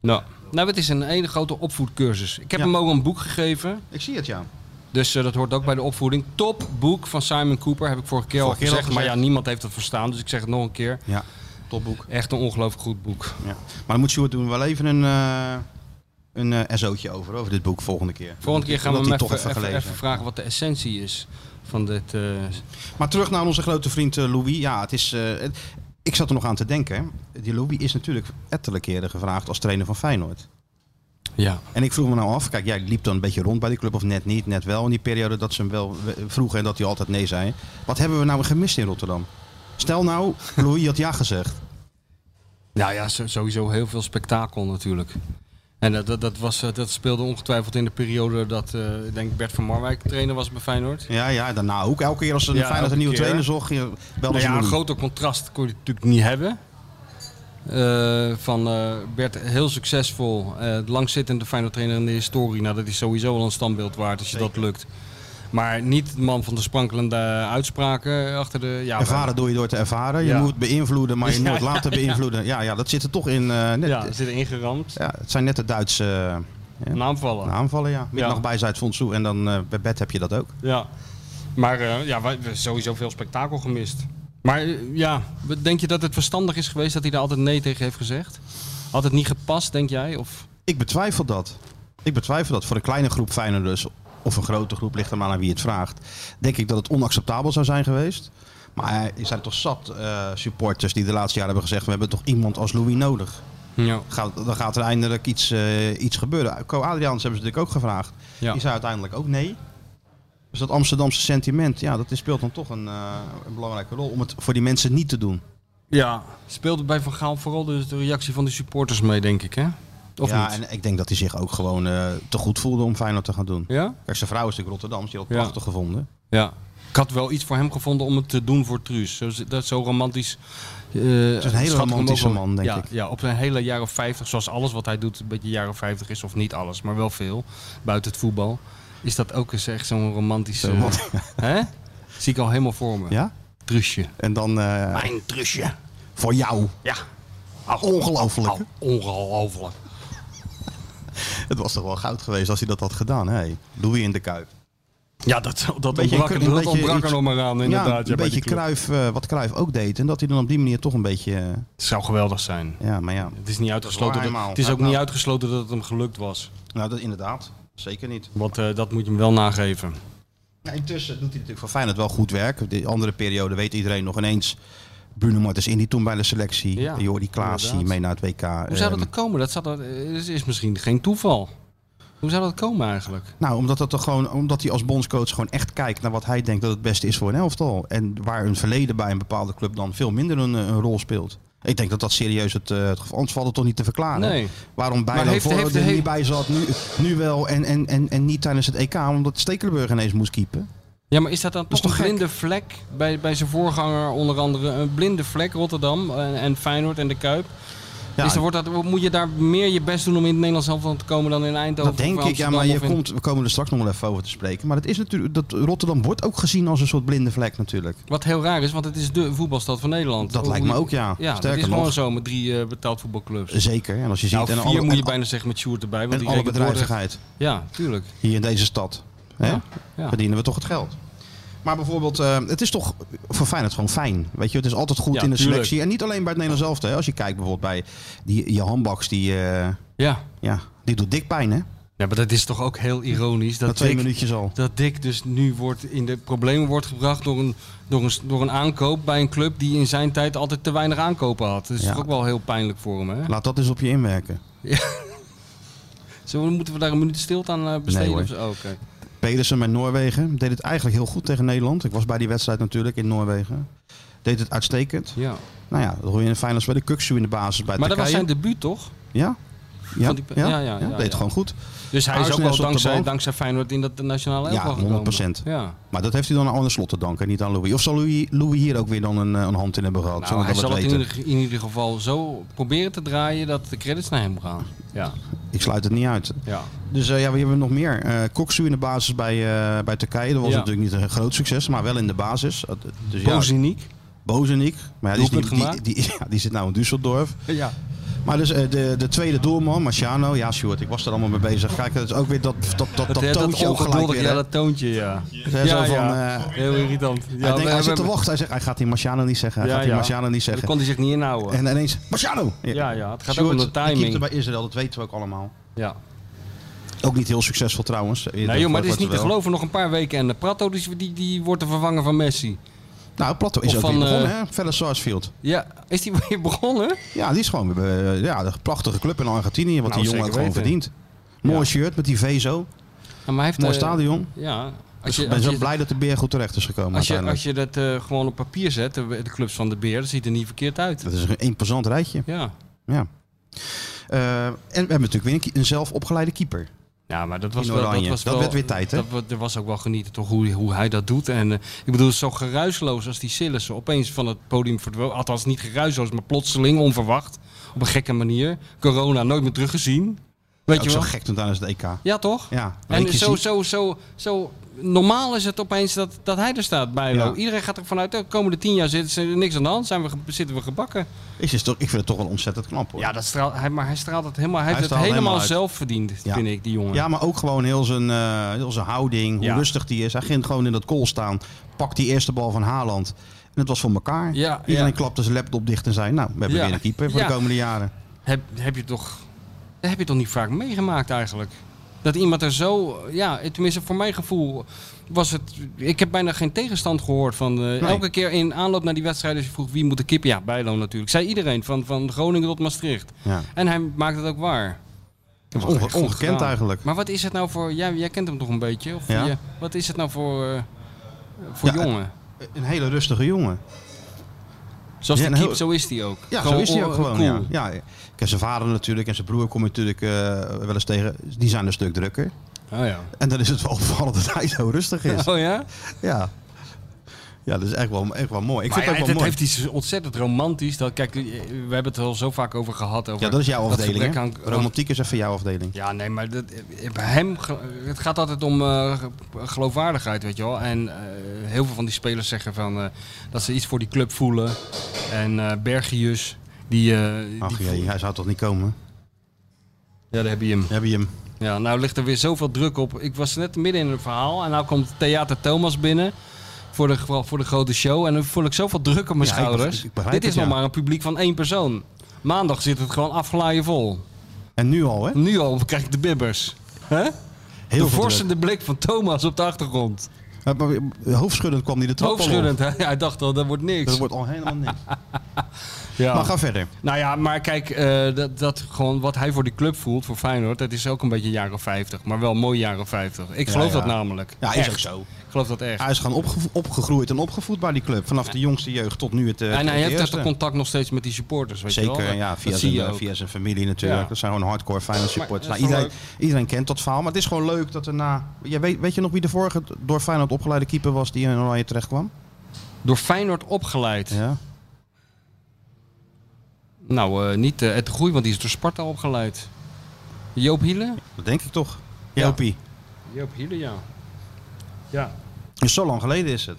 Speaker 4: Nou, nou, het is een hele grote opvoedcursus. Ik heb
Speaker 3: Ja.
Speaker 4: hem ook een boek gegeven.
Speaker 3: Ik zie het, ja.
Speaker 4: Dus eh, dat hoort ook bij de opvoeding. Top boek van Simon Cooper, heb ik vorige keer al
Speaker 3: Vorige keer
Speaker 4: gezegd.
Speaker 3: al
Speaker 4: Maar ja,
Speaker 3: gezegd.
Speaker 4: niemand heeft het verstaan, dus ik zeg het nog een keer.
Speaker 3: Ja, topboek.
Speaker 4: Echt een ongelooflijk goed boek.
Speaker 3: Ja. Maar dan moet Sjoerd doen we wel even een, eh een eh, SO'tje over, over dit boek volgende keer.
Speaker 4: Volgende keer gaan we
Speaker 3: Dat hij
Speaker 4: hem even,
Speaker 3: toch even
Speaker 4: even,
Speaker 3: gelezen
Speaker 4: even
Speaker 3: heeft.
Speaker 4: vragen wat de essentie is van dit. eh,
Speaker 3: Maar terug naar onze grote vriend eh, Louis. Ja, het is. eh, het- ik zat er nog aan te denken. hè. Die Louis is natuurlijk ettelijke keren gevraagd als trainer van Feyenoord.
Speaker 4: ja.
Speaker 3: En ik vroeg me nou af, kijk, jij liep dan een beetje rond bij die club of net niet, net wel in die periode dat ze hem wel we- vroegen en dat hij altijd nee zei. Wat hebben we nou gemist in Rotterdam? Stel nou, Louis had ja gezegd.
Speaker 4: Nou ja, zo- sowieso heel veel spektakel natuurlijk. En dat, dat, dat, was, eh, dat speelde ongetwijfeld in de periode dat eh, ik denk Bert van Marwijk trainer was bij Feyenoord.
Speaker 3: Ja, ja, daarna ook. Elke keer als een
Speaker 4: Ja,
Speaker 3: Feyenoord
Speaker 4: elke
Speaker 3: een nieuwe
Speaker 4: keer.
Speaker 3: trainer zocht, je belde
Speaker 4: Nou
Speaker 3: ze
Speaker 4: ja, een
Speaker 3: Louis.
Speaker 4: groter contrast kon je natuurlijk niet hebben. Eh, van eh, Bert heel succesvol, eh langzittende Feyenoord trainer in de historie. Nou, dat is sowieso al een standbeeld waard als je dat lukt. Maar niet de man van de sprankelende uitspraken achter de... Ja,
Speaker 3: Ervaren doe je door te ervaren. Je
Speaker 4: Ja.
Speaker 3: moet beïnvloeden, maar je
Speaker 4: Ja,
Speaker 3: nooit laten beïnvloeden. Ja, ja, dat zit er toch in. eh, net,
Speaker 4: Ja, Nou.
Speaker 3: ja.
Speaker 4: er zit ingeramd.
Speaker 3: het zijn net de Duitse eh,
Speaker 4: Naamvallen.
Speaker 3: aanvallen, ja. Middag bij Zuid-Fondsoe en dan eh, bij bed heb je dat ook.
Speaker 4: Ja. Maar eh, ja, wij, we hebben sowieso veel spektakel gemist. Maar eh, ja, denk je dat het verstandig is geweest dat hij daar altijd nee tegen heeft gezegd? Had het niet gepast, denk jij? Of...
Speaker 3: Ik betwijfel dat. Ik betwijfel dat. Voor een kleine groep Feyenoorders of een grote groep, ligt er maar aan wie het vraagt, denk ik dat het onacceptabel zou zijn geweest. Maar er zijn toch zat eh, supporters die de laatste jaren hebben gezegd, we hebben toch iemand als Louis nodig.
Speaker 4: Ja.
Speaker 3: Gaat, dan gaat er eindelijk iets, eh, iets gebeuren. Co Adriaans hebben ze natuurlijk ook gevraagd.
Speaker 4: Ja.
Speaker 3: Die zei uiteindelijk ook nee. Dus dat Amsterdamse sentiment, ja, dat is- speelt dan toch een, eh, een belangrijke rol om het voor die mensen niet te doen.
Speaker 4: Ja. Speelde bij Van Gaal vooral de, de reactie van de supporters mee, denk ik, hè? Of
Speaker 3: ja,
Speaker 4: niet?
Speaker 3: en ik denk dat hij zich ook gewoon eh, te goed voelde om Feyenoord te gaan doen.
Speaker 4: Ja?
Speaker 3: Kijk, zijn vrouw is natuurlijk Rotterdams, die had het
Speaker 4: Ja.
Speaker 3: prachtig gevonden.
Speaker 4: Ja. Ik had wel iets voor hem gevonden om het te doen voor Truus. Zo, dat is zo romantisch. eh,
Speaker 3: is een hele
Speaker 4: schat ik hem
Speaker 3: romantische
Speaker 4: ook wel-
Speaker 3: man, denk
Speaker 4: ja,
Speaker 3: ik.
Speaker 4: Ja, op een hele jaren 50, zoals alles wat hij doet, een beetje jaren 50 is, of niet alles, maar wel veel, buiten het voetbal. Is dat ook eens echt zo'n romantische.
Speaker 3: Wat?
Speaker 4: hè? Zie ik al helemaal voor me.
Speaker 3: Ja?
Speaker 4: Truusje.
Speaker 3: En dan eh,
Speaker 4: Mijn Truusje.
Speaker 3: voor jou.
Speaker 4: Ja.
Speaker 3: Ongelooflijk.
Speaker 4: Au, Ongelooflijk.
Speaker 3: Het was toch wel goud geweest als hij dat had gedaan. Hè? Louis in de Kuip.
Speaker 4: Ja, dat, dat
Speaker 3: Beetje
Speaker 4: ontbrak,
Speaker 3: een-
Speaker 4: er-
Speaker 3: een
Speaker 4: dat
Speaker 3: beetje
Speaker 4: ontbrak er
Speaker 3: iets-
Speaker 4: nog maar aan, inderdaad.
Speaker 3: ja,
Speaker 4: ja,
Speaker 3: een
Speaker 4: bij die
Speaker 3: beetje
Speaker 4: club.
Speaker 3: Cruijff, eh, wat Cruijff ook deed. En dat hij dan op die manier toch een beetje... eh,
Speaker 4: Het zou geweldig zijn.
Speaker 3: ja, maar ja.
Speaker 4: Het is, niet uitgesloten dat,
Speaker 3: eenmaal.
Speaker 4: het is ook
Speaker 3: Nou.
Speaker 4: niet uitgesloten dat het hem gelukt was.
Speaker 3: Nou, dat inderdaad. Zeker niet.
Speaker 4: Want eh, dat moet je hem wel nageven.
Speaker 3: Ja, Nou, intussen doet hij natuurlijk voor Feyenoord wel goed werk. De andere periode weet iedereen nog ineens... Bruno Martens in die toen bij de selectie.
Speaker 4: Ja,
Speaker 3: Jordi Klaas die
Speaker 4: inderdaad.
Speaker 3: mee naar het WK.
Speaker 4: Hoe zou dat
Speaker 3: Ehm,
Speaker 4: er komen? Dat, zou dat eh, is- is misschien geen toeval. Hoe zou dat komen eigenlijk?
Speaker 3: Nou, omdat, dat er gewoon, omdat hij als bondscoach gewoon echt kijkt naar wat hij denkt dat het beste is voor een elftal. En waar een verleden bij een bepaalde club dan veel minder een, eh, een rol speelt. Ik denk dat dat serieus het, eh, het geval Anders valt het toch niet te verklaren.
Speaker 4: Nee.
Speaker 3: Waarom
Speaker 4: Maar
Speaker 3: Bijlo
Speaker 4: heeft-
Speaker 3: voor
Speaker 4: heeft-
Speaker 3: er niet
Speaker 4: heeft-
Speaker 3: bij zat, nu, nu wel en, en, en, en niet tijdens het EK. Omdat Stekelenburg ineens moest keepen.
Speaker 4: Ja, maar is dat dan
Speaker 3: is
Speaker 4: toch een
Speaker 3: toch gek?
Speaker 4: blinde vlek bij, bij zijn voorganger onder andere? Een blinde vlek Rotterdam en, en Feyenoord en de Kuip.
Speaker 3: Ja,
Speaker 4: dus dan wordt dat, moet je daar meer je best doen om in het Nederlands elftal te komen dan in Eindhoven?
Speaker 3: dat denk
Speaker 4: of
Speaker 3: ik, ja,
Speaker 4: Amsterdam
Speaker 3: maar je
Speaker 4: of in-
Speaker 3: komt, we komen er straks nog wel even over te spreken. Maar het is natuurlijk, dat Rotterdam wordt ook gezien als een soort blinde vlek natuurlijk.
Speaker 4: Wat heel raar is, want het is de voetbalstad van Nederland.
Speaker 3: Dat
Speaker 4: Hoe-
Speaker 3: lijkt me
Speaker 4: hoe-
Speaker 3: ook, ja.
Speaker 4: Ja, dat
Speaker 3: Sterker
Speaker 4: is gewoon
Speaker 3: nog.
Speaker 4: zo met drie eh, betaald voetbalclubs.
Speaker 3: Zeker. En als je ziet,
Speaker 4: Nou,
Speaker 3: en
Speaker 4: vier
Speaker 3: alle,
Speaker 4: moet je
Speaker 3: en-
Speaker 4: bijna zeggen met Sjoerd erbij. Want
Speaker 3: en
Speaker 4: die
Speaker 3: alle
Speaker 4: rekent woorden-
Speaker 3: bedrijvigheid
Speaker 4: Ja, tuurlijk.
Speaker 3: hier in deze stad. Hè?
Speaker 4: Ja, ja.
Speaker 3: verdienen we toch het geld. Maar bijvoorbeeld, eh, het is toch voor Feyenoord gewoon fijn. Weet je, het is altijd goed
Speaker 4: Ja,
Speaker 3: in de
Speaker 4: tuurlijk.
Speaker 3: selectie. En niet alleen bij het Nederlands elftal. hè. Als je kijkt bijvoorbeeld bij die, je handbaks, die, eh,
Speaker 4: Ja.
Speaker 3: ja, die doet dik pijn hè.
Speaker 4: ja, maar dat is toch ook heel ironisch.
Speaker 3: Na
Speaker 4: Dat
Speaker 3: twee
Speaker 4: Dick-
Speaker 3: minuutjes al.
Speaker 4: dat Dick dus nu wordt in de problemen wordt gebracht door een, door, een, door een aankoop bij een club die in zijn tijd altijd te weinig aankopen had. Dat is
Speaker 3: Ja.
Speaker 4: toch ook wel heel pijnlijk voor hem, hè?
Speaker 3: Laat dat eens op je inwerken.
Speaker 4: Zullen we- moeten we daar een minuut stilte aan eh, besteden?
Speaker 3: Nee,
Speaker 4: of zo? Oké.
Speaker 3: Pedersen met Noorwegen deed het eigenlijk heel goed tegen Nederland. Ik was bij die wedstrijd natuurlijk in Noorwegen. Deed het uitstekend.
Speaker 4: Ja.
Speaker 3: Nou ja, dan hoor je in de finals bij de Kuksu in de basis bij
Speaker 4: Maar dat was
Speaker 3: Turkije.
Speaker 4: zijn debuut, toch?
Speaker 3: Ja? Ja?
Speaker 4: Vond ik-
Speaker 3: Ja?
Speaker 4: ja, ja, ja,
Speaker 3: deed het
Speaker 4: ja.
Speaker 3: gewoon goed.
Speaker 4: Dus hij is
Speaker 3: Huisnes
Speaker 4: ook wel
Speaker 3: op de
Speaker 4: dankzij,
Speaker 3: bank.
Speaker 4: dankzij Feyenoord in dat nationale
Speaker 3: Ja,
Speaker 4: elftal gekomen.
Speaker 3: 100%.
Speaker 4: Ja,
Speaker 3: Maar dat heeft hij dan aan Arne Slot te danken, niet aan Louis. Of zal Louis, Louis hier ook weer dan een, eh, een hand in hebben gehad?
Speaker 4: Nou,
Speaker 3: zonder
Speaker 4: hij
Speaker 3: dat we
Speaker 4: zal het in
Speaker 3: weten?
Speaker 4: ieder, in ieder geval zo proberen te draaien dat de credits naar hem gaan. Ja,
Speaker 3: Ik sluit het niet uit.
Speaker 4: ja.
Speaker 3: Dus eh, ja, we hebben nog meer. Eh Koksu in de basis bij, eh, bij Turkije. Dat was
Speaker 4: Ja.
Speaker 3: natuurlijk niet een groot succes, maar wel in de basis. Eh, Dus ja,
Speaker 4: Boziniek.
Speaker 3: Bozenik. Maar ja, die, is
Speaker 4: Doelpunt
Speaker 3: niet- die, die,
Speaker 4: gemaakt.
Speaker 3: ja, die zit nou in Düsseldorf.
Speaker 4: Ja.
Speaker 3: Maar dus eh, de, de tweede doelman, Marciano. Ja, Sjoerd, ik was er allemaal mee bezig. Kijk, dat is ook weer dat, dat, dat, eh, dat,
Speaker 4: hè,
Speaker 3: toontje ongelijk
Speaker 4: ongeduldige-
Speaker 3: weer.
Speaker 4: Ja,
Speaker 3: hè.
Speaker 4: dat toontje, eh, ja.
Speaker 3: Hè, zo van, eh,
Speaker 4: Heel irritant. Ja,
Speaker 3: hij, denkt,
Speaker 4: we-
Speaker 3: hij zit
Speaker 4: we-
Speaker 3: te wachten. Hij zegt, hij gaat die Marciano niet zeggen. Hij
Speaker 4: Ja,
Speaker 3: gaat die
Speaker 4: ja.
Speaker 3: Marciano niet
Speaker 4: Dat
Speaker 3: zeggen.
Speaker 4: kon hij zich niet inhouden.
Speaker 3: En ineens, Marciano!
Speaker 4: ja, ja, het gaat
Speaker 3: Sjoerd,
Speaker 4: ook om de
Speaker 3: die keepte
Speaker 4: timing.
Speaker 3: bij Israël, dat weten we ook allemaal.
Speaker 4: Ja.
Speaker 3: Ook niet heel succesvol trouwens. Eh,
Speaker 4: Nee, joh, maar
Speaker 3: dat
Speaker 4: het is niet te
Speaker 3: wel.
Speaker 4: geloven. Nog een paar weken en de Prato die, die, die wordt de vervanger van Messi.
Speaker 3: Nou, Plato is
Speaker 4: Of
Speaker 3: ook
Speaker 4: van,
Speaker 3: weer begonnen,
Speaker 4: eh,
Speaker 3: hè? Felle Sarsfield.
Speaker 4: Ja, is die weer begonnen?
Speaker 3: Ja, die is gewoon eh, ja, een prachtige club in Argentinië, wat
Speaker 4: Nou,
Speaker 3: die jongen ook
Speaker 4: zeker
Speaker 3: gewoon verdient.
Speaker 4: weten.
Speaker 3: Mooi
Speaker 4: Ja.
Speaker 3: shirt met die vezo.
Speaker 4: Ja, maar hij heeft,
Speaker 3: Mooi
Speaker 4: eh,
Speaker 3: stadion.
Speaker 4: Ja.
Speaker 3: Dus
Speaker 4: Als
Speaker 3: ik
Speaker 4: je,
Speaker 3: ben
Speaker 4: als
Speaker 3: zo
Speaker 4: je-
Speaker 3: blij dat de beer goed terecht is gekomen
Speaker 4: Als je,
Speaker 3: uiteindelijk.
Speaker 4: als je dat eh, gewoon op papier zet, de, de clubs van de beer, dat ziet er niet verkeerd uit.
Speaker 3: Dat is een imposant rijtje.
Speaker 4: Ja.
Speaker 3: Ja. Eh, en we hebben natuurlijk weer een, ki- een zelf opgeleide keeper.
Speaker 4: Ja, maar dat was
Speaker 3: In
Speaker 4: wel... Dat,
Speaker 3: oranje.
Speaker 4: was
Speaker 3: Dat
Speaker 4: wel,
Speaker 3: werd weer tijd, hè?
Speaker 4: Dat, wa- er was ook wel genieten toch hoe, hoe hij dat doet. En eh, ik bedoel, zo geruisloos als die Sillissen opeens van het podium verdween. Althans, niet geruisloos, maar plotseling, onverwacht. Op een gekke manier. Corona, nooit meer teruggezien. Weet
Speaker 3: Ook
Speaker 4: je
Speaker 3: zo
Speaker 4: wel?
Speaker 3: gek toen tijdens het EK. Ja,
Speaker 4: Ja, toch?
Speaker 3: in één
Speaker 4: En
Speaker 3: keer
Speaker 4: zo,
Speaker 3: zie-
Speaker 4: zo, zo, zo normaal is het opeens dat, dat hij er staat bij.
Speaker 3: Ja.
Speaker 4: Iedereen gaat er vanuit, de komende tien jaar zit er niks aan de hand, zijn we, ge- zitten we gebakken.
Speaker 3: is het toch, ik vind het toch wel ontzettend knap hoor.
Speaker 4: Ja, dat straalt, hij, maar hij straalt het helemaal. Hij, heeft het
Speaker 3: straalt
Speaker 4: helemaal,
Speaker 3: helemaal uit.
Speaker 4: zelf verdiend,
Speaker 3: Ja.
Speaker 4: vind ik, die jongen.
Speaker 3: Ja, maar ook gewoon heel zijn, eh, heel zijn houding, hoe
Speaker 4: Ja.
Speaker 3: rustig die is. Hij ging gewoon in dat kool staan, pakt die eerste bal van Haaland. En het was voor elkaar.
Speaker 4: Ja,
Speaker 3: Iedereen
Speaker 4: ja.
Speaker 3: klapte zijn laptop dicht en zei, nou, we hebben
Speaker 4: Ja.
Speaker 3: weer een keeper voor
Speaker 4: Ja.
Speaker 3: de komende jaren.
Speaker 4: Heb, heb je toch, dat heb je toch niet vaak meegemaakt eigenlijk? Dat iemand er zo, ja, tenminste voor mijn gevoel was het. Ik heb bijna geen tegenstand gehoord van eh, elke keer in aanloop naar die wedstrijd. Als je vroeg wie moet de kip, ja, Bijlo natuurlijk. Zei iedereen van, van Groningen tot Maastricht.
Speaker 3: Ja.
Speaker 4: En hij maakt het ook waar.
Speaker 3: Dat was
Speaker 4: Onge-
Speaker 3: onge-
Speaker 4: goed
Speaker 3: ongekend
Speaker 4: gedaan.
Speaker 3: eigenlijk.
Speaker 4: Maar wat is het nou voor, jij, jij kent hem toch een beetje? Of
Speaker 3: Ja.
Speaker 4: je- wat is het nou voor, eh, voor
Speaker 3: Ja,
Speaker 4: jongen?
Speaker 3: Een hele rustige jongen.
Speaker 4: Zoals
Speaker 3: Ja,
Speaker 4: de
Speaker 3: een
Speaker 4: keep,
Speaker 3: heel-
Speaker 4: zo is hij ook.
Speaker 3: Ja, zo is hij ook
Speaker 4: oh,
Speaker 3: gewoon.
Speaker 4: cool.
Speaker 3: Ja. Ja, ik ken zijn vader natuurlijk en zijn broer kom je natuurlijk eh, wel eens tegen. Die zijn een stuk drukker.
Speaker 4: Oh ja.
Speaker 3: En dan is het wel opvallend dat hij zo rustig is.
Speaker 4: Oh ja?
Speaker 3: Ja. Ja, dat is echt wel, echt wel mooi. Ik
Speaker 4: Maar
Speaker 3: vind het
Speaker 4: ja,
Speaker 3: ook
Speaker 4: het
Speaker 3: wel mooi.
Speaker 4: heeft iets ontzettend romantisch. Dat, kijk, eh, we hebben het er al zo vaak over gehad. Over
Speaker 3: Ja, dat is jouw afdeling.
Speaker 4: gebrek
Speaker 3: hè?
Speaker 4: aan-
Speaker 3: Romantiek is even jouw afdeling.
Speaker 4: Ja, nee, maar dat, eh, bij hem, ge- het gaat altijd om eh, geloofwaardigheid, weet je wel. En eh, heel veel van die spelers zeggen van, eh, dat ze iets voor die club voelen. En eh Bergius, die... eh,
Speaker 3: Ach
Speaker 4: die
Speaker 3: jee, hij zou toch niet komen?
Speaker 4: Ja, daar heb je hem.
Speaker 3: Dan heb je hem.
Speaker 4: Ja, nou ligt er weer zoveel druk op. Ik was net midden in een verhaal en nou komt Theater Thomas binnen. Voor de, voor de grote show. En dan voel ik zoveel druk op mijn
Speaker 3: Ja, ik
Speaker 4: schouders.
Speaker 3: begrijp- ik begrijp
Speaker 4: Dit
Speaker 3: het,
Speaker 4: is nog
Speaker 3: ja.
Speaker 4: maar een publiek van één persoon. Maandag zit het gewoon afgeladen vol.
Speaker 3: En nu al, hè?
Speaker 4: Nu al krijg ik de bibbers. hè
Speaker 3: Heel
Speaker 4: de
Speaker 3: veel
Speaker 4: vorsende blik van Thomas op de achtergrond.
Speaker 3: druk. Maar- maar Hoofdschuddend kwam hij de trap al op.
Speaker 4: Hoofdschuddend. hè? Ja, hij dacht al, dat wordt niks.
Speaker 3: Dat wordt al helemaal niks.
Speaker 4: ja.
Speaker 3: Maar ga verder.
Speaker 4: Nou ja, maar kijk, eh, dat, dat gewoon wat hij voor die club voelt, voor Feyenoord, dat is ook een beetje jaren 50. Maar wel mooi jaren 50. Ik
Speaker 3: Ja,
Speaker 4: geloof
Speaker 3: ja.
Speaker 4: dat namelijk.
Speaker 3: Ja, is
Speaker 4: echt.
Speaker 3: ook zo.
Speaker 4: Ik geloof dat echt.
Speaker 3: Hij is gaan opge- opgegroeid en opgevoed bij die club. Vanaf de jongste jeugd tot nu het eh,
Speaker 4: En hij
Speaker 3: het
Speaker 4: heeft echt
Speaker 3: eerste.
Speaker 4: een contact nog steeds met die supporters, weet je wel.
Speaker 3: Zeker, ja,
Speaker 4: Dat
Speaker 3: via,
Speaker 4: zie je
Speaker 3: zijn,
Speaker 4: ook.
Speaker 3: via zijn familie natuurlijk.
Speaker 4: Ja.
Speaker 3: Dat zijn gewoon hardcore Feyenoord supporters.
Speaker 4: Maar
Speaker 3: Nou,
Speaker 4: dat is wel
Speaker 3: iedereen, iedereen kent dat verhaal, maar het is gewoon leuk dat er na... Ja, weet, weet je nog wie de vorige door Feyenoord opgeleide keeper was die in Oranje terecht kwam?
Speaker 4: Door Feyenoord opgeleid.
Speaker 3: Ja.
Speaker 4: Nou, eh, niet eh Ed de Groei, want die is door Sparta opgeleid. Joop Hiele?
Speaker 3: Dat denk ik toch.
Speaker 4: Ja.
Speaker 3: Jopie.
Speaker 4: Joop Hiele, ja. Ja.
Speaker 3: Dus zo lang geleden is het.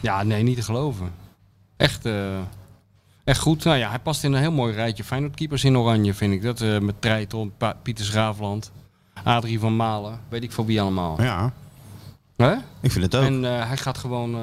Speaker 4: Ja, nee, niet te geloven. Echt, eh, echt goed. Nou ja, hij past in een heel mooi rijtje Feyenoordkeepers in oranje, vind ik. Dat eh, met Treiton, Pa- Pieter Schraafland, Adrie van Malen, weet ik van wie allemaal.
Speaker 3: Ja,
Speaker 4: Hè?
Speaker 3: ik vind het ook.
Speaker 4: En eh, hij gaat gewoon... eh,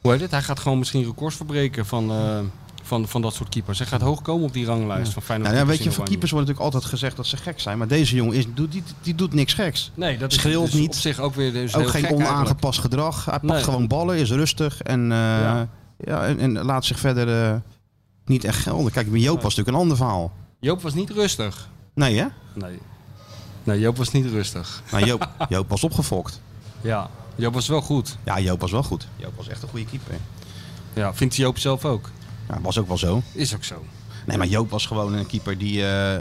Speaker 4: hoe heet het? Hij gaat gewoon misschien records verbreken van, eh, van, van dat soort keepers. Hij gaat hoog komen op die ranglijst van Feyenoord
Speaker 3: nou, ja, weet je, van keepers wordt natuurlijk altijd gezegd dat ze gek zijn. Maar deze jongen is, doet, die, die doet niks geks.
Speaker 4: Nee, dat is
Speaker 3: schreeuwt
Speaker 4: dus
Speaker 3: niet.
Speaker 4: op zich ook weer dus
Speaker 3: ook
Speaker 4: heel
Speaker 3: geen
Speaker 4: gek eigenlijk.
Speaker 3: onaangepast gedrag. Hij pakt
Speaker 4: Nee.
Speaker 3: gewoon ballen, is rustig en, eh, ja.
Speaker 4: Ja.
Speaker 3: en, en laat zich verder eh, niet echt gelden. Kijk, bij Joop was natuurlijk een ander verhaal.
Speaker 4: Joop was niet rustig.
Speaker 3: Nee, hè?
Speaker 4: Nee. Nee, Joop was niet rustig.
Speaker 3: Nou, Joop, Joop was opgefokt.
Speaker 4: Ja. Joop was wel goed.
Speaker 3: Ja, Joop was wel goed. Joop was echt een goede keeper.
Speaker 4: Ja, vindt Joop zelf ook.
Speaker 3: Ja, was ook wel zo.
Speaker 4: Is ook zo.
Speaker 3: Nee, maar Joop was gewoon een keeper die. eh,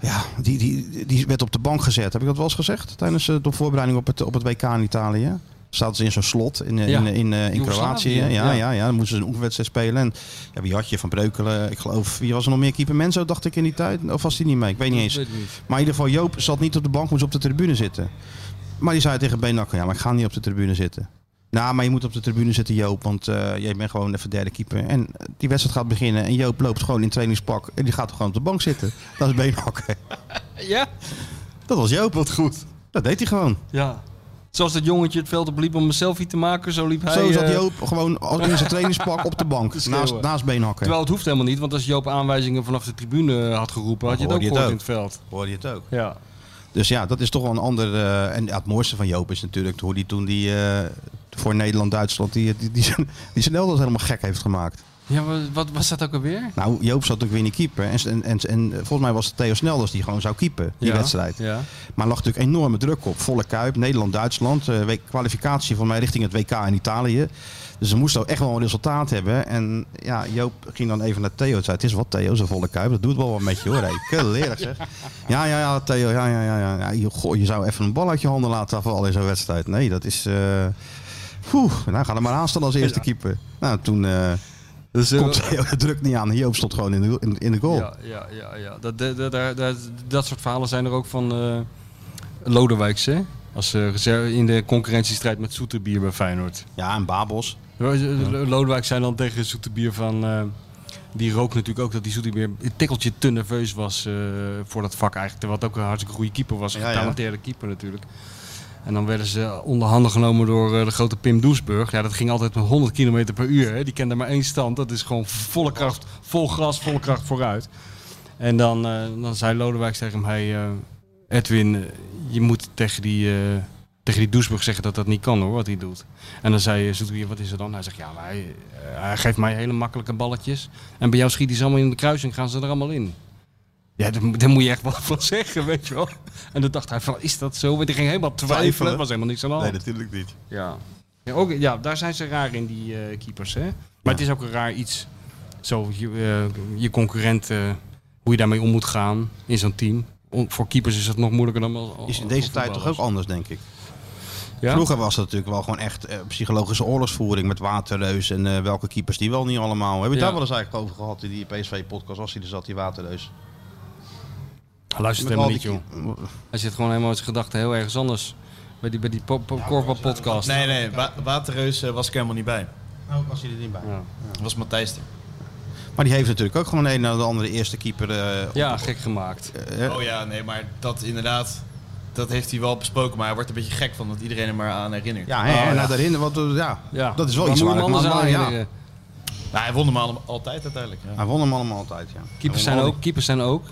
Speaker 3: ja, die, die, die werd op de bank gezet. Heb ik dat wel eens gezegd? Tijdens eh, de voorbereiding op het, op het WK in Italië. Zaten ze in zo'n slot in, eh,
Speaker 4: Ja.
Speaker 3: in, eh, in, eh, in
Speaker 4: Joegoslavië,
Speaker 3: Kroatië. Ja, ja.
Speaker 4: ja.
Speaker 3: Ja, dan moesten ze een oefenwedstrijd spelen. En ja, wie had je? Van Breukelen. Ik geloof, wie was er nog meer? Keeper Menzo, dacht ik in die tijd. Of was die niet mee? Ik weet niet eens.
Speaker 4: Weet ik niet.
Speaker 3: Maar in ieder geval, Joop zat niet op de bank, moest op de tribune zitten. Maar die zei tegen Benak, ja, maar ik ga niet op de tribune zitten. Nou, maar je moet op de tribune zitten, Joop, want eh, jij bent gewoon even derde keeper. En eh, die wedstrijd gaat beginnen en Joop loopt gewoon in trainingspak en die gaat gewoon op de bank zitten. Dat is Benak.
Speaker 4: Ja?
Speaker 3: Dat was Joop. Wat goed. Dat deed hij gewoon.
Speaker 4: Ja. Zoals dat jongetje het veld op liep om een selfie te maken, zo liep hij.
Speaker 3: Zo zat
Speaker 4: eh,
Speaker 3: Joop gewoon als- in zijn trainingspak op de bank,
Speaker 4: schreeuwen.
Speaker 3: naast, naast Beenhakker.
Speaker 4: Terwijl het hoeft helemaal niet, want als Joop aanwijzingen vanaf de tribune had geroepen, had je het
Speaker 3: Dan
Speaker 4: ook
Speaker 3: hoorde je
Speaker 4: gehoord in
Speaker 3: het
Speaker 4: het veld.
Speaker 3: Hoorde je het ook?
Speaker 4: Ja.
Speaker 3: Dus ja, dat is toch wel een ander... eh, en ja, het mooiste van Joop is natuurlijk hoe die toen die, eh, voor Nederland-Duitsland die, die, die, zijn- die zijn elders helemaal gek heeft gemaakt.
Speaker 4: Ja, maar wat was dat ook alweer?
Speaker 3: Nou, Joop zat natuurlijk weer in de keeper. En, en, en, en volgens mij was het Theo Snelders die gewoon zou keepen, die
Speaker 4: Ja.
Speaker 3: wedstrijd.
Speaker 4: Ja.
Speaker 3: Maar er lag natuurlijk enorme druk op. Volle kuip, Nederland-Duitsland. eh, week- kwalificatie van mij richting het WK in Italië. Dus ze moesten ook echt wel een resultaat hebben. En ja, Joop ging dan even naar Theo. en zei, het is wat Theo, zo'n volle kuip. Dat doet wel wat met je hoor. Hey, Keurig zeg. Ja, ja, ja, Theo. Ja, ja, ja. ja. ja je- goh, je zou even een bal uit je handen laten vallen in zo'n wedstrijd. Nee, dat is... eh Poeh, nou ga er maar aan staan als eerste keeper. Nou, toen... eh,
Speaker 4: Dus, eh,
Speaker 3: komt Theo de druk niet aan. Joop stond gewoon in de, in, in de goal.
Speaker 4: ja, ja, ja, ja. Dat, dat, dat, dat, dat, dat soort verhalen zijn er ook van eh Lodewijks, hè? Als eh, reserve- in de concurrentiestrijd met Soeterbier bij Feyenoord.
Speaker 3: Ja, en Babos.
Speaker 4: Lodewijk zei dan tegen Zoeterbier van... eh, die rook natuurlijk ook dat die Zoeterbier een tikkeltje te nerveus was eh, voor dat vak eigenlijk. Terwijl het ook een hartstikke goede keeper was. Een
Speaker 3: Ja, ja.
Speaker 4: getalenteerde keeper natuurlijk. En dan werden ze onder handen genomen door eh, de grote Pim Doesburg. Ja, dat ging altijd met 100 km per uur. Hè. Die kende maar één stand. Dat is gewoon volle kracht, vol gras, volle kracht vooruit. En dan, eh, dan zei Lodewijk tegen hem... Hey, eh, Edwin, eh, je moet tegen die, eh, tegen die Doesburg zeggen dat dat niet kan hoor, wat hij doet. En dan zei Zoetbier, wat is er dan? Hij zegt, ja, maar hij, eh, hij geeft mij hele makkelijke balletjes. En bij jou schiet hij ze allemaal in de kruising, gaan ze er allemaal in. Ja, daar, moet- daar moet je echt wat van zeggen, weet je wel. En dan dacht hij van, is dat zo? Want hij ging helemaal twijfelen.
Speaker 3: Twijfelen.
Speaker 4: Er was helemaal niks aan de hand.
Speaker 3: natuurlijk niet.
Speaker 4: Ja. Ja, ook, ja, daar zijn ze raar in, die eh, keepers. Hè? Maar het is ook een raar iets. Zo, je, eh, je concurrent, eh, hoe je daarmee om moet gaan in zo'n team. Om- voor keepers is dat nog moeilijker dan als,
Speaker 3: Is in
Speaker 4: als
Speaker 3: deze tijd toch ook
Speaker 4: voetballers.
Speaker 3: anders, denk ik.
Speaker 4: Ja?
Speaker 3: Vroeger was het natuurlijk wel gewoon echt eh, psychologische oorlogsvoering met Waterreus en eh, welke keepers die wel niet allemaal. Hebben we het
Speaker 4: Ja.
Speaker 3: daar wel eens eigenlijk over gehad in die PSV-podcast als hij er zat, die Waterreus?
Speaker 4: Hij luistert
Speaker 3: Met al
Speaker 4: helemaal niet,
Speaker 3: die
Speaker 4: joh.
Speaker 3: keep-
Speaker 4: Hij zit gewoon helemaal met zijn gedachten heel ergens anders. Bij die, bij die po- po- korfbalpodcast.
Speaker 5: Nee, nee, Wa- Waterreus eh, was ik helemaal niet bij.
Speaker 3: Nou, was hij er niet bij.
Speaker 4: Ja,
Speaker 5: Dat was Matthijs er.
Speaker 3: Maar die heeft natuurlijk ook gewoon een na de andere eerste keeper. eh, op-
Speaker 4: ja gek gemaakt.
Speaker 3: eh,
Speaker 5: Oh ja, nee, maar dat inderdaad, dat heeft hij wel besproken. Maar hij wordt er een beetje gek van dat iedereen er maar aan herinnert.
Speaker 3: ja, hè,
Speaker 4: Oh,
Speaker 3: en
Speaker 4: ja.
Speaker 3: daarin, want eh, ja,
Speaker 4: Ja.
Speaker 3: dat is wel
Speaker 4: Waar
Speaker 3: iets
Speaker 4: moet je
Speaker 3: waar
Speaker 4: hem
Speaker 3: ik me
Speaker 4: anders
Speaker 3: aan-
Speaker 4: aan
Speaker 3: ja.
Speaker 4: herinneren?
Speaker 5: Nou, hij won hem al- altijd uiteindelijk. Ja.
Speaker 3: Hij won hem allemaal altijd, ja. Hij won
Speaker 4: Keepers zijn
Speaker 3: al die-
Speaker 4: ook, keepers zijn ook.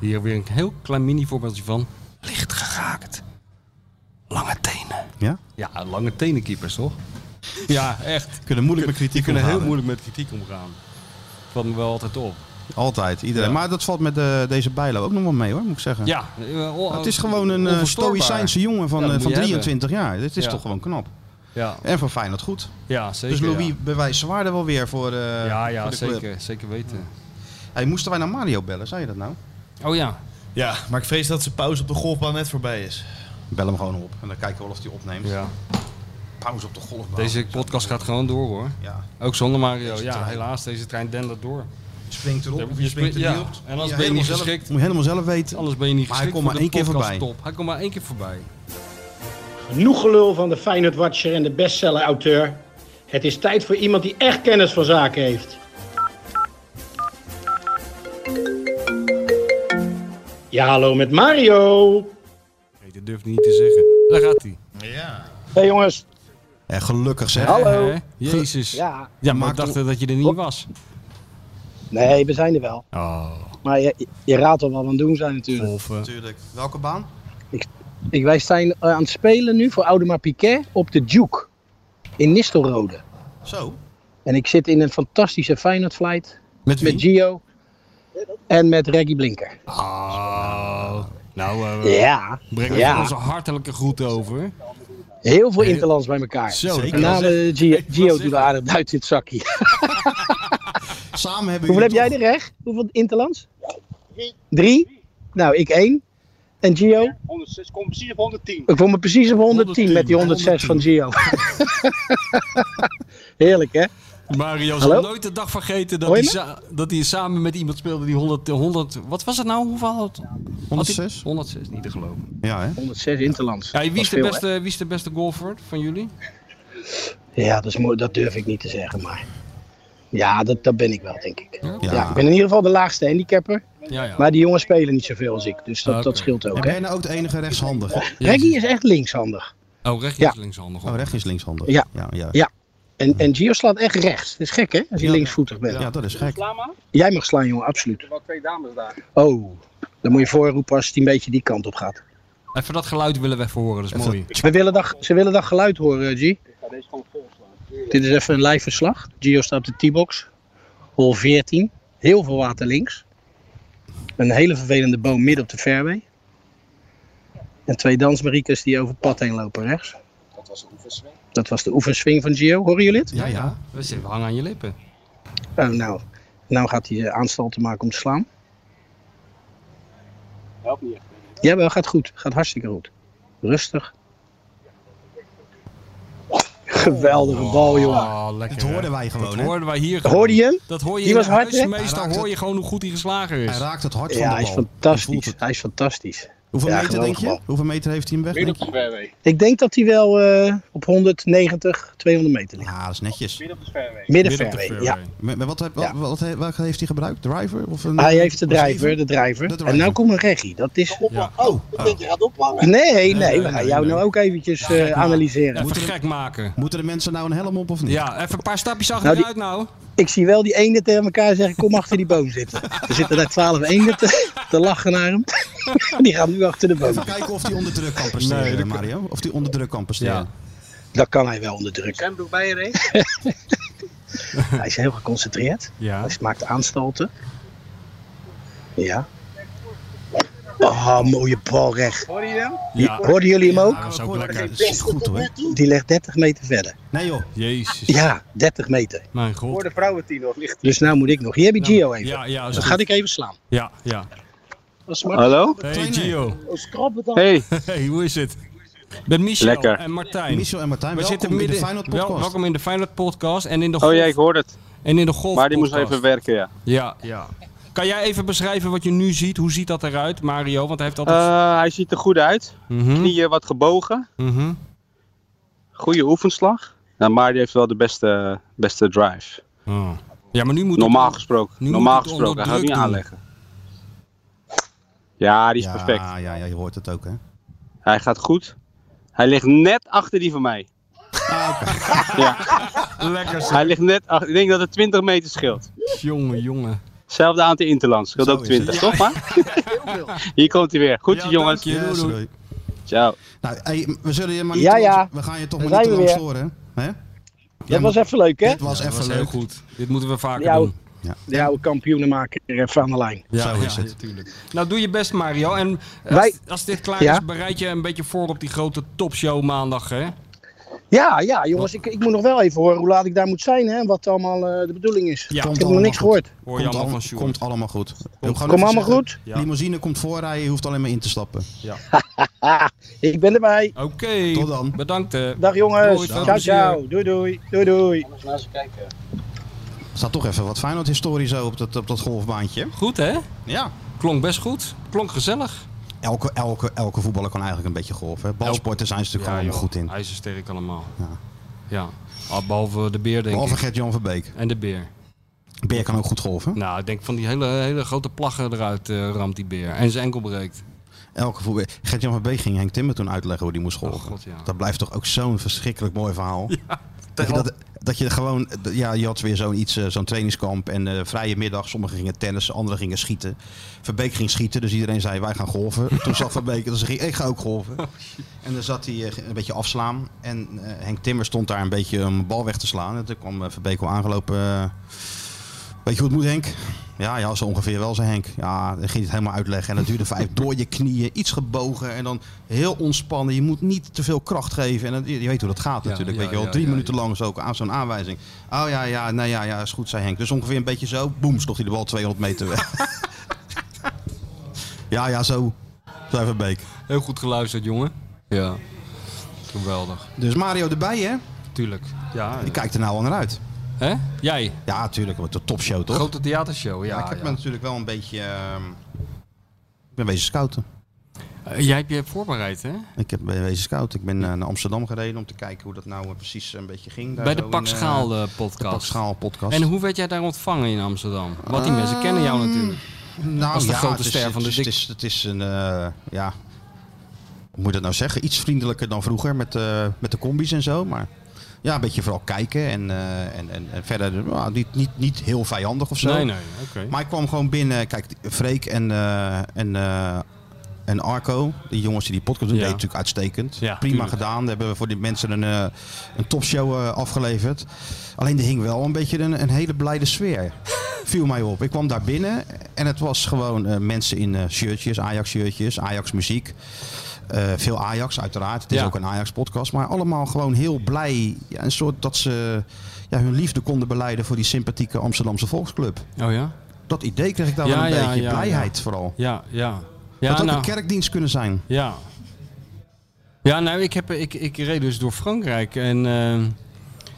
Speaker 4: Hier weer een heel klein mini voorbeeldje van. Licht geraakt. Lange tenen.
Speaker 3: Ja?
Speaker 4: Ja, lange tenenkeepers toch? Ja, echt.
Speaker 3: Kunnen moeilijk met kritiek
Speaker 4: Die kunnen heel
Speaker 3: omgaan, hè?
Speaker 4: moeilijk met kritiek omgaan. Valt me wel altijd op.
Speaker 3: Altijd, iedereen.
Speaker 4: Ja.
Speaker 3: Maar dat valt met eh, deze bijlo ook nog wel mee hoor, moet ik zeggen.
Speaker 4: Ja.
Speaker 3: Het is gewoon een eh, stoïcijnse jongen van,
Speaker 4: Ja, dat
Speaker 3: eh,
Speaker 4: moet
Speaker 3: van
Speaker 4: je
Speaker 3: 23 jaar. Dit is
Speaker 4: Ja.
Speaker 3: toch gewoon knap.
Speaker 4: Ja,
Speaker 3: En van Feyenoord goed.
Speaker 4: ja zeker.
Speaker 3: dus Louis
Speaker 4: ja.
Speaker 3: bewijst zwaarder wel weer voor, eh
Speaker 4: Ja, ja,
Speaker 3: voor de club.
Speaker 4: zeker, zeker weten.
Speaker 3: Hey, moesten wij naar Mario bellen, zei je dat nou?
Speaker 4: Oh ja.
Speaker 5: ja, maar ik vrees dat zijn pauze op de golfbaan net voorbij is.
Speaker 3: Bel hem gewoon op en dan kijken we wel of hij opneemt.
Speaker 4: ja.
Speaker 3: pauze op de golfbaan.
Speaker 4: Deze podcast gaat gewoon door hoor.
Speaker 3: Ja,
Speaker 4: Ook zonder Mario.
Speaker 3: Deze
Speaker 4: ja,
Speaker 3: trein.
Speaker 4: helaas, deze trein dendert door.
Speaker 3: je springt erop, je,
Speaker 4: Je
Speaker 3: springt er
Speaker 4: springt-
Speaker 3: niet
Speaker 4: ja.
Speaker 3: op.
Speaker 4: En
Speaker 3: Ja,
Speaker 4: als ben je niet
Speaker 3: helemaal zelf-
Speaker 4: geschikt.
Speaker 3: Moet je helemaal zelf weten.
Speaker 4: Anders ben je niet
Speaker 3: Maar
Speaker 4: geschikt
Speaker 3: hij komt
Speaker 4: voor
Speaker 3: maar
Speaker 4: de
Speaker 3: één keer
Speaker 4: podcast
Speaker 3: voorbij.
Speaker 4: Top. Hij komt maar één keer voorbij.
Speaker 6: Genoeg gelul van de Feyenoord Watcher en de bestseller-auteur. Het is tijd voor iemand die echt kennis van zaken heeft. Ja, hallo met Mario.
Speaker 4: Nee, dat durf ik niet te zeggen. Daar gaat hij.
Speaker 5: Ja.
Speaker 7: Hey jongens,
Speaker 3: En gelukkig zeg.
Speaker 7: Hallo.
Speaker 4: Hè? Jezus. Ja,
Speaker 7: ja.
Speaker 4: maar
Speaker 3: Maak
Speaker 4: ik dacht dat je er niet was.
Speaker 7: Nee, we zijn er wel.
Speaker 4: Oh,
Speaker 7: Maar je, je raadt al wat we aan het doen zijn natuurlijk.
Speaker 4: golven.
Speaker 3: Natuurlijk. Welke baan?
Speaker 7: Ik, wij zijn eh, aan het spelen nu voor Audemars Piquet op de Duke in Nistelrode.
Speaker 3: Zo.
Speaker 7: En ik zit in een fantastische Feyenoord flight
Speaker 3: Met wie?
Speaker 7: met Gio en met Reggie Blinker.
Speaker 4: Oh. Nou, eh, we
Speaker 7: Ja,
Speaker 4: brengen
Speaker 7: Ja.
Speaker 4: onze hartelijke groeten over.
Speaker 7: heel veel interlands bij elkaar.
Speaker 4: Zo,
Speaker 3: Zeker.
Speaker 7: En na de Gio, Gio doet aardig duit dit zakje.
Speaker 3: Samen hebben
Speaker 7: Hoeveel heb
Speaker 3: jullie
Speaker 7: jij er echt? Hoeveel interlands? Drie. Nou, ik één. En Gio? Ik kom precies op 110. Ik kom precies op 110 met die 106 van Gio. Heerlijk, hè?
Speaker 4: Mario
Speaker 7: Hallo?
Speaker 4: zal nooit de dag vergeten dat
Speaker 7: Hoor
Speaker 4: hij,
Speaker 7: je
Speaker 4: sa- dat hij samen met iemand speelde die 100... 100 wat was het nou? Hoeveel had had hij?
Speaker 3: 106?
Speaker 4: 106, niet te geloven.
Speaker 3: Ja, hè?
Speaker 7: 106 interlands.
Speaker 4: Ja, wie,
Speaker 7: Dat
Speaker 4: is de
Speaker 7: veel,
Speaker 4: beste, wie is de beste golfer van jullie?
Speaker 7: hè? Ja, dat, is mooi, dat durf ik niet te zeggen, maar... Ja, dat, dat ben ik wel, denk ik.
Speaker 3: Ja.
Speaker 7: Ja. ik ben in ieder geval de laagste handicapper.
Speaker 4: Ja, ja.
Speaker 7: Maar die jongens spelen niet zoveel als ik, dus dat,
Speaker 4: Ah, oké.
Speaker 7: dat scheelt ook,
Speaker 3: En
Speaker 7: hè?
Speaker 3: ben je nou ook de enige rechtshandige?
Speaker 7: Reggie is echt linkshandig.
Speaker 4: Oh, rechts
Speaker 7: Ja.
Speaker 4: is linkshandig.
Speaker 3: Oh,
Speaker 4: hoor.
Speaker 3: rechts is linkshandig.
Speaker 7: Ja.
Speaker 3: Ja, ja.
Speaker 7: Ja. En, en Gio slaat echt rechts. Dat is gek, hè? Als je
Speaker 3: Ja.
Speaker 7: linksvoetig bent.
Speaker 3: Ja, dat is gek.
Speaker 7: Jij mag slaan, jongen, absoluut. Er waren twee dames daar. Oh, dan moet je voorroepen als het een beetje die kant op gaat.
Speaker 4: Even dat geluid willen we even horen, dat is mooi.
Speaker 7: We willen dat, ze willen dat geluid horen, eh, G. Ik ga deze gewoon volslaan. Dit is even een live verslag. Gio staat op de T-box. Hol 14. Heel veel water links. Een hele vervelende boom midden op de fairway. En twee dansmariekes die over het pad heen lopen rechts. Dat was de oefenswing. Dat was de oefenswing van Gio. Horen jullie het?
Speaker 3: Ja, ja.
Speaker 4: We zitten- we hangen aan je lippen.
Speaker 7: Oh, nou. Nou gaat hij eh, aanstalten maken om te slaan.
Speaker 8: Helpt niet echt.
Speaker 7: Jawel, gaat goed. Gaat hartstikke goed. Rustig. Geweldige bal, jongen.
Speaker 4: Oh, lekker.
Speaker 3: Dat hoorden wij
Speaker 4: Dat
Speaker 3: gewoon, hè?
Speaker 4: hoorden wij hier
Speaker 7: Hoorde je hem?
Speaker 4: Dat hoor je
Speaker 7: Die
Speaker 4: in
Speaker 7: was
Speaker 4: de
Speaker 7: hard, hè?
Speaker 4: meestal
Speaker 3: Hij raakt
Speaker 4: hoor je gewoon hoe goed hij geslagen is.
Speaker 3: Hij raakt het hart
Speaker 7: Ja,
Speaker 3: van de
Speaker 7: hij is
Speaker 3: bal. Je voelt
Speaker 7: fantastisch.
Speaker 3: het.
Speaker 7: Hij is fantastisch.
Speaker 3: Hoeveel
Speaker 7: Ja,
Speaker 3: meter denk
Speaker 7: geweldig
Speaker 3: je?
Speaker 7: bal.
Speaker 3: Hoeveel meter heeft hij hem weg?
Speaker 8: Midden
Speaker 3: Denk
Speaker 8: op de
Speaker 3: je?
Speaker 8: fairway.
Speaker 7: Ik denk dat hij wel eh, op 190, 200 meter ligt.
Speaker 3: Ja, dat is netjes.
Speaker 8: Midden op de fairway.
Speaker 4: Midden op de
Speaker 7: Middenfairway, ja.
Speaker 4: fairway.
Speaker 3: Maar maar wat, heb- wat,
Speaker 7: Ja.
Speaker 3: wat, he- welke heeft hij gebruikt? Driver? Of een,
Speaker 7: Hij heeft de
Speaker 3: of een
Speaker 7: driver,
Speaker 3: even?
Speaker 7: de driver.
Speaker 3: De driver.
Speaker 7: En nou komt een regie. Dat is...
Speaker 4: Ja.
Speaker 8: Oh, ik denk je gaat ophangen.
Speaker 7: Nee, nee, we
Speaker 4: nee,
Speaker 7: gaan jou
Speaker 4: nee.
Speaker 7: nou ook eventjes eh, analyseren.
Speaker 4: Even gek maken.
Speaker 3: Moeten de mensen nou een helm op of niet?
Speaker 4: Ja, even een paar stapjes
Speaker 7: Nou, die-
Speaker 4: achteruit nou.
Speaker 7: Ik zie wel die ene tegen elkaar zeggen, kom achter die boom zitten. Er zitten daar 12 eenden te, te lachen naar hem. Die gaan nu achter de boom.
Speaker 3: Even kijken of hij onder druk kan presteren,
Speaker 4: Nee, dat kan-
Speaker 3: Mario. Of hij onder druk kan presteren.
Speaker 7: Dat kan hij wel onder druk.
Speaker 8: Zwembroek bij je reed.
Speaker 7: Hij is heel geconcentreerd.
Speaker 4: Ja.
Speaker 7: Hij maakt aanstalten. Ja. Oh, mooie bal recht.
Speaker 8: Hoor je hem?
Speaker 4: Ja.
Speaker 7: Hoorden jullie hem ook?
Speaker 4: dat is ook Nou, lekker.
Speaker 3: Dat is goed hoor.
Speaker 7: Die ligt 30 meter verder.
Speaker 3: Nee joh.
Speaker 4: Jezus.
Speaker 7: Ja, 30 meter.
Speaker 4: Mijn god.
Speaker 8: Voor de vrouwentien nog ligt.
Speaker 7: Dus nou moet ik nog. Hier heb je Gio even.
Speaker 4: Ja, ja, is
Speaker 7: Dan
Speaker 4: goed.
Speaker 7: ga ik even slaan.
Speaker 4: ja, ja.
Speaker 8: Hallo?
Speaker 4: Hey Gio.
Speaker 8: Hey,
Speaker 4: Hey, hoe is het? Met Michel
Speaker 8: Lekker.
Speaker 4: en Martijn.
Speaker 3: Michel en Martijn,
Speaker 4: We zitten
Speaker 3: welkom in de
Speaker 4: midden,
Speaker 3: Feyenoord
Speaker 4: wel-
Speaker 3: podcast.
Speaker 4: welkom in de Feyenoord podcast en in de golf,
Speaker 8: oh ja, ik hoor het.
Speaker 4: en in de golf
Speaker 8: Maar die moest
Speaker 4: podcast.
Speaker 8: even werken, ja.
Speaker 4: Ja, ja. Kan jij even beschrijven wat je nu ziet? Hoe ziet dat eruit, Mario? Want hij heeft altijd...
Speaker 8: Eh, hij ziet er goed uit.
Speaker 4: Mhm,
Speaker 8: Knieën wat gebogen.
Speaker 4: mhm.
Speaker 8: Goede oefenslag. Nou, maar die heeft wel de beste, beste drive.
Speaker 4: Oh. Ja, maar nu moet
Speaker 8: Normaal
Speaker 4: het-
Speaker 8: gesproken.
Speaker 4: nu moet
Speaker 8: Normaal
Speaker 4: het onder
Speaker 8: gesproken. Hij gaat
Speaker 4: druk
Speaker 8: niet
Speaker 4: doen.
Speaker 8: aanleggen. Ja, die is
Speaker 3: ja,
Speaker 8: perfect.
Speaker 3: Ja, ja, je hoort het ook hè.
Speaker 8: Hij gaat goed. Hij ligt net achter die van mij. ja.
Speaker 4: Ah, Lekker zo.
Speaker 8: Hij ligt net achter. Ik denk dat het 20 meter scheelt.
Speaker 4: Jongen, jongen.
Speaker 8: Hetzelfde aantal Interlands. Scheelt
Speaker 3: Zo
Speaker 8: ook
Speaker 3: is het.
Speaker 8: 20, toch? Maar? Hier komt hij weer. Goed,
Speaker 4: Ja,
Speaker 8: jongens.
Speaker 4: dank je. Doei,
Speaker 3: Yes,
Speaker 4: doei.
Speaker 3: doei.
Speaker 8: Ciao.
Speaker 3: Nou, hey, we zullen je maar niet
Speaker 7: Ja,
Speaker 3: te lang-
Speaker 7: ja.
Speaker 3: We gaan je toch
Speaker 7: Daar
Speaker 3: maar niet te
Speaker 7: zijn we
Speaker 3: lang
Speaker 7: weer.
Speaker 3: storen. Hè?
Speaker 7: Dat was even leuk, hè?
Speaker 3: Dit was
Speaker 4: Dat
Speaker 3: even
Speaker 4: was heel
Speaker 3: leuk.
Speaker 4: goed. Dit moeten we vaker
Speaker 7: Ja,
Speaker 4: doen.
Speaker 7: De oude kampioenenmaker even aan de lijn.
Speaker 4: Ja,
Speaker 3: Zo is
Speaker 4: ja,
Speaker 3: het.
Speaker 4: natuurlijk. Nou, doe je best, Mario. En als,
Speaker 7: Wij-
Speaker 4: als dit klaar
Speaker 7: Ja?
Speaker 4: is, bereid je een beetje voor op die grote topshow maandag, hè?
Speaker 7: Ja, ja, jongens, ik, ik moet nog wel even horen hoe laat ik daar moet zijn hè, en wat allemaal eh, de bedoeling is.
Speaker 4: Ja.
Speaker 7: ik
Speaker 3: Komt
Speaker 7: heb nog
Speaker 3: allemaal
Speaker 7: niks
Speaker 3: goed.
Speaker 7: gehoord.
Speaker 4: Hoor je
Speaker 3: komt,
Speaker 4: allemaal
Speaker 3: al-
Speaker 4: van Sjoerd.
Speaker 3: komt allemaal goed. Kom
Speaker 7: Kom allemaal goed?
Speaker 4: Ja.
Speaker 3: Limousine komt voorrijden, je hoeft alleen maar in te stappen.
Speaker 7: Ah, ik ben erbij.
Speaker 4: Oké,
Speaker 3: Tot dan.
Speaker 4: bedankt. eh. hè.
Speaker 7: Dag jongens.
Speaker 4: Doei, veel
Speaker 7: ciao,
Speaker 4: plezier.
Speaker 7: ciao. Doei, doei. Doei, doei.
Speaker 3: Er staat toch even wat Feyenoord-historie zo op dat, op dat golfbaantje.
Speaker 4: Goed hè?
Speaker 3: Ja.
Speaker 4: Klonk best goed. Klonk gezellig.
Speaker 3: Elke, elke, elke voetballer kan eigenlijk een beetje golven. hè. Balsporten zijn ze natuurlijk allemaal goed in.
Speaker 4: IJzersterk allemaal.
Speaker 3: Ja.
Speaker 4: Ja. Ah, behalve de beer denk
Speaker 3: Behalve
Speaker 4: ik.
Speaker 3: Gert-Jan van Beek.
Speaker 4: En de beer.
Speaker 3: Beer kan ook goed golven.
Speaker 4: Nou, ik denk van die hele, hele grote plaggen eruit eh, ramt die beer. En zijn enkel breekt.
Speaker 3: Elke voetbal. Gert-Jan van Beek ging Henk Timmer toen uitleggen hoe die moest golven.
Speaker 4: Oh, God, ja.
Speaker 3: Dat blijft toch ook zo'n verschrikkelijk mooi verhaal. dat, je dat, dat je gewoon, d- ja, je had weer zo'n iets, eh, zo'n trainingskamp en eh, vrije middag. Sommigen gingen tennissen, anderen gingen schieten. Van Beek ging schieten, dus iedereen zei wij gaan golven. toen zag Van Beek, dus ging, ik ga ook golven. en dan zat hij eh, een beetje afslaan en eh, Henk Timmer stond daar een beetje om een bal weg te slaan. En toen kwam eh, Van Beek al aangelopen. eh, Weet je hoe het moet, Henk? Ja, ja, zo ongeveer wel, zei Henk. Ja, dan ging hij het helemaal uitleggen. En dat duurde vijf door je knieën, iets gebogen en dan heel ontspannen. Je moet niet te veel kracht geven. En dan, je, je weet hoe dat gaat
Speaker 4: Ja,
Speaker 3: natuurlijk.
Speaker 4: ja,
Speaker 3: weet je wel,
Speaker 4: ja,
Speaker 3: drie
Speaker 4: ja,
Speaker 3: minuten lang zo aan zo'n aanwijzing. Oh ja, ja, nou ja, ja, is goed, zei Henk. Dus ongeveer een beetje zo, boem, sloeg hij de bal 200 meter weg. ja, ja, zo. Zei Van Beek.
Speaker 4: Heel goed geluisterd, jongen. Ja. Geweldig.
Speaker 3: Dus Mario erbij, hè?
Speaker 4: Tuurlijk. Ja.
Speaker 3: Die kijkt er nou al naar uit.
Speaker 4: Hè? Jij?
Speaker 3: Ja, natuurlijk, wat een topshow toch?
Speaker 4: Grote theatershow. Ja,
Speaker 3: Ja, ik heb
Speaker 4: ja.
Speaker 3: me natuurlijk wel een beetje... ehm, Ik ben bezig scouten.
Speaker 4: Eh, jij hebt je voorbereid, hè?
Speaker 3: Ik heb bij Wezen Scout. Ik ben eh, naar Amsterdam gereden om te kijken hoe dat nou eh, precies een beetje ging. Daar
Speaker 4: Bij de
Speaker 3: zo in, eh,
Speaker 4: Pakschaal eh,
Speaker 3: de
Speaker 4: podcast.
Speaker 3: Pakschaal Ah. podcast.
Speaker 4: En hoe werd jij daar ontvangen in Amsterdam? Want die mensen kennen jou natuurlijk.
Speaker 3: nou,
Speaker 4: was de grote
Speaker 3: het is-
Speaker 4: ster van de
Speaker 3: het is- Het
Speaker 4: dik-
Speaker 3: is, het is een, eh, ja, hoe moet je dat nou zeggen? Iets vriendelijker dan vroeger met, eh, met de combis en zo. Maar ja, een beetje vooral kijken en, eh, en, en, en verder nou, niet, niet, niet heel vijandig of zo.
Speaker 4: Nee, nee, oké.
Speaker 3: Maar ik kwam gewoon binnen. Kijk, Freek en, eh, en, eh, en Arco, die jongens die die podcast doen,
Speaker 4: Ja.
Speaker 3: deed natuurlijk uitstekend.
Speaker 4: Ja,
Speaker 3: Prima
Speaker 4: tuurlijk.
Speaker 3: gedaan. Daar hebben we voor die mensen een, eh, een topshow eh, afgeleverd. Alleen er hing wel een beetje een, een hele blijde sfeer. Viel mij op. Ik kwam daar binnen en het was gewoon eh, mensen in eh, shirtjes, Ajax-shirtjes, Ajax-muziek. Eh, veel Ajax, uiteraard. Het is
Speaker 4: Ja.
Speaker 3: ook een Ajax-podcast. Maar allemaal gewoon heel blij. Ja, een soort dat ze ja, hun liefde konden beleiden voor die sympathieke Amsterdamse volksclub.
Speaker 4: Oh ja?
Speaker 3: Dat idee kreeg ik daar
Speaker 4: Ja,
Speaker 3: wel een
Speaker 4: ja,
Speaker 3: beetje.
Speaker 4: ja,
Speaker 3: blijheid vooral.
Speaker 4: Ja, ja.
Speaker 3: Dat
Speaker 4: Ja,
Speaker 3: ook
Speaker 4: nou,
Speaker 3: een kerkdienst kunnen zijn.
Speaker 4: ja. Ja, nou, ik, heb, ik, ik reed dus door Frankrijk en eh,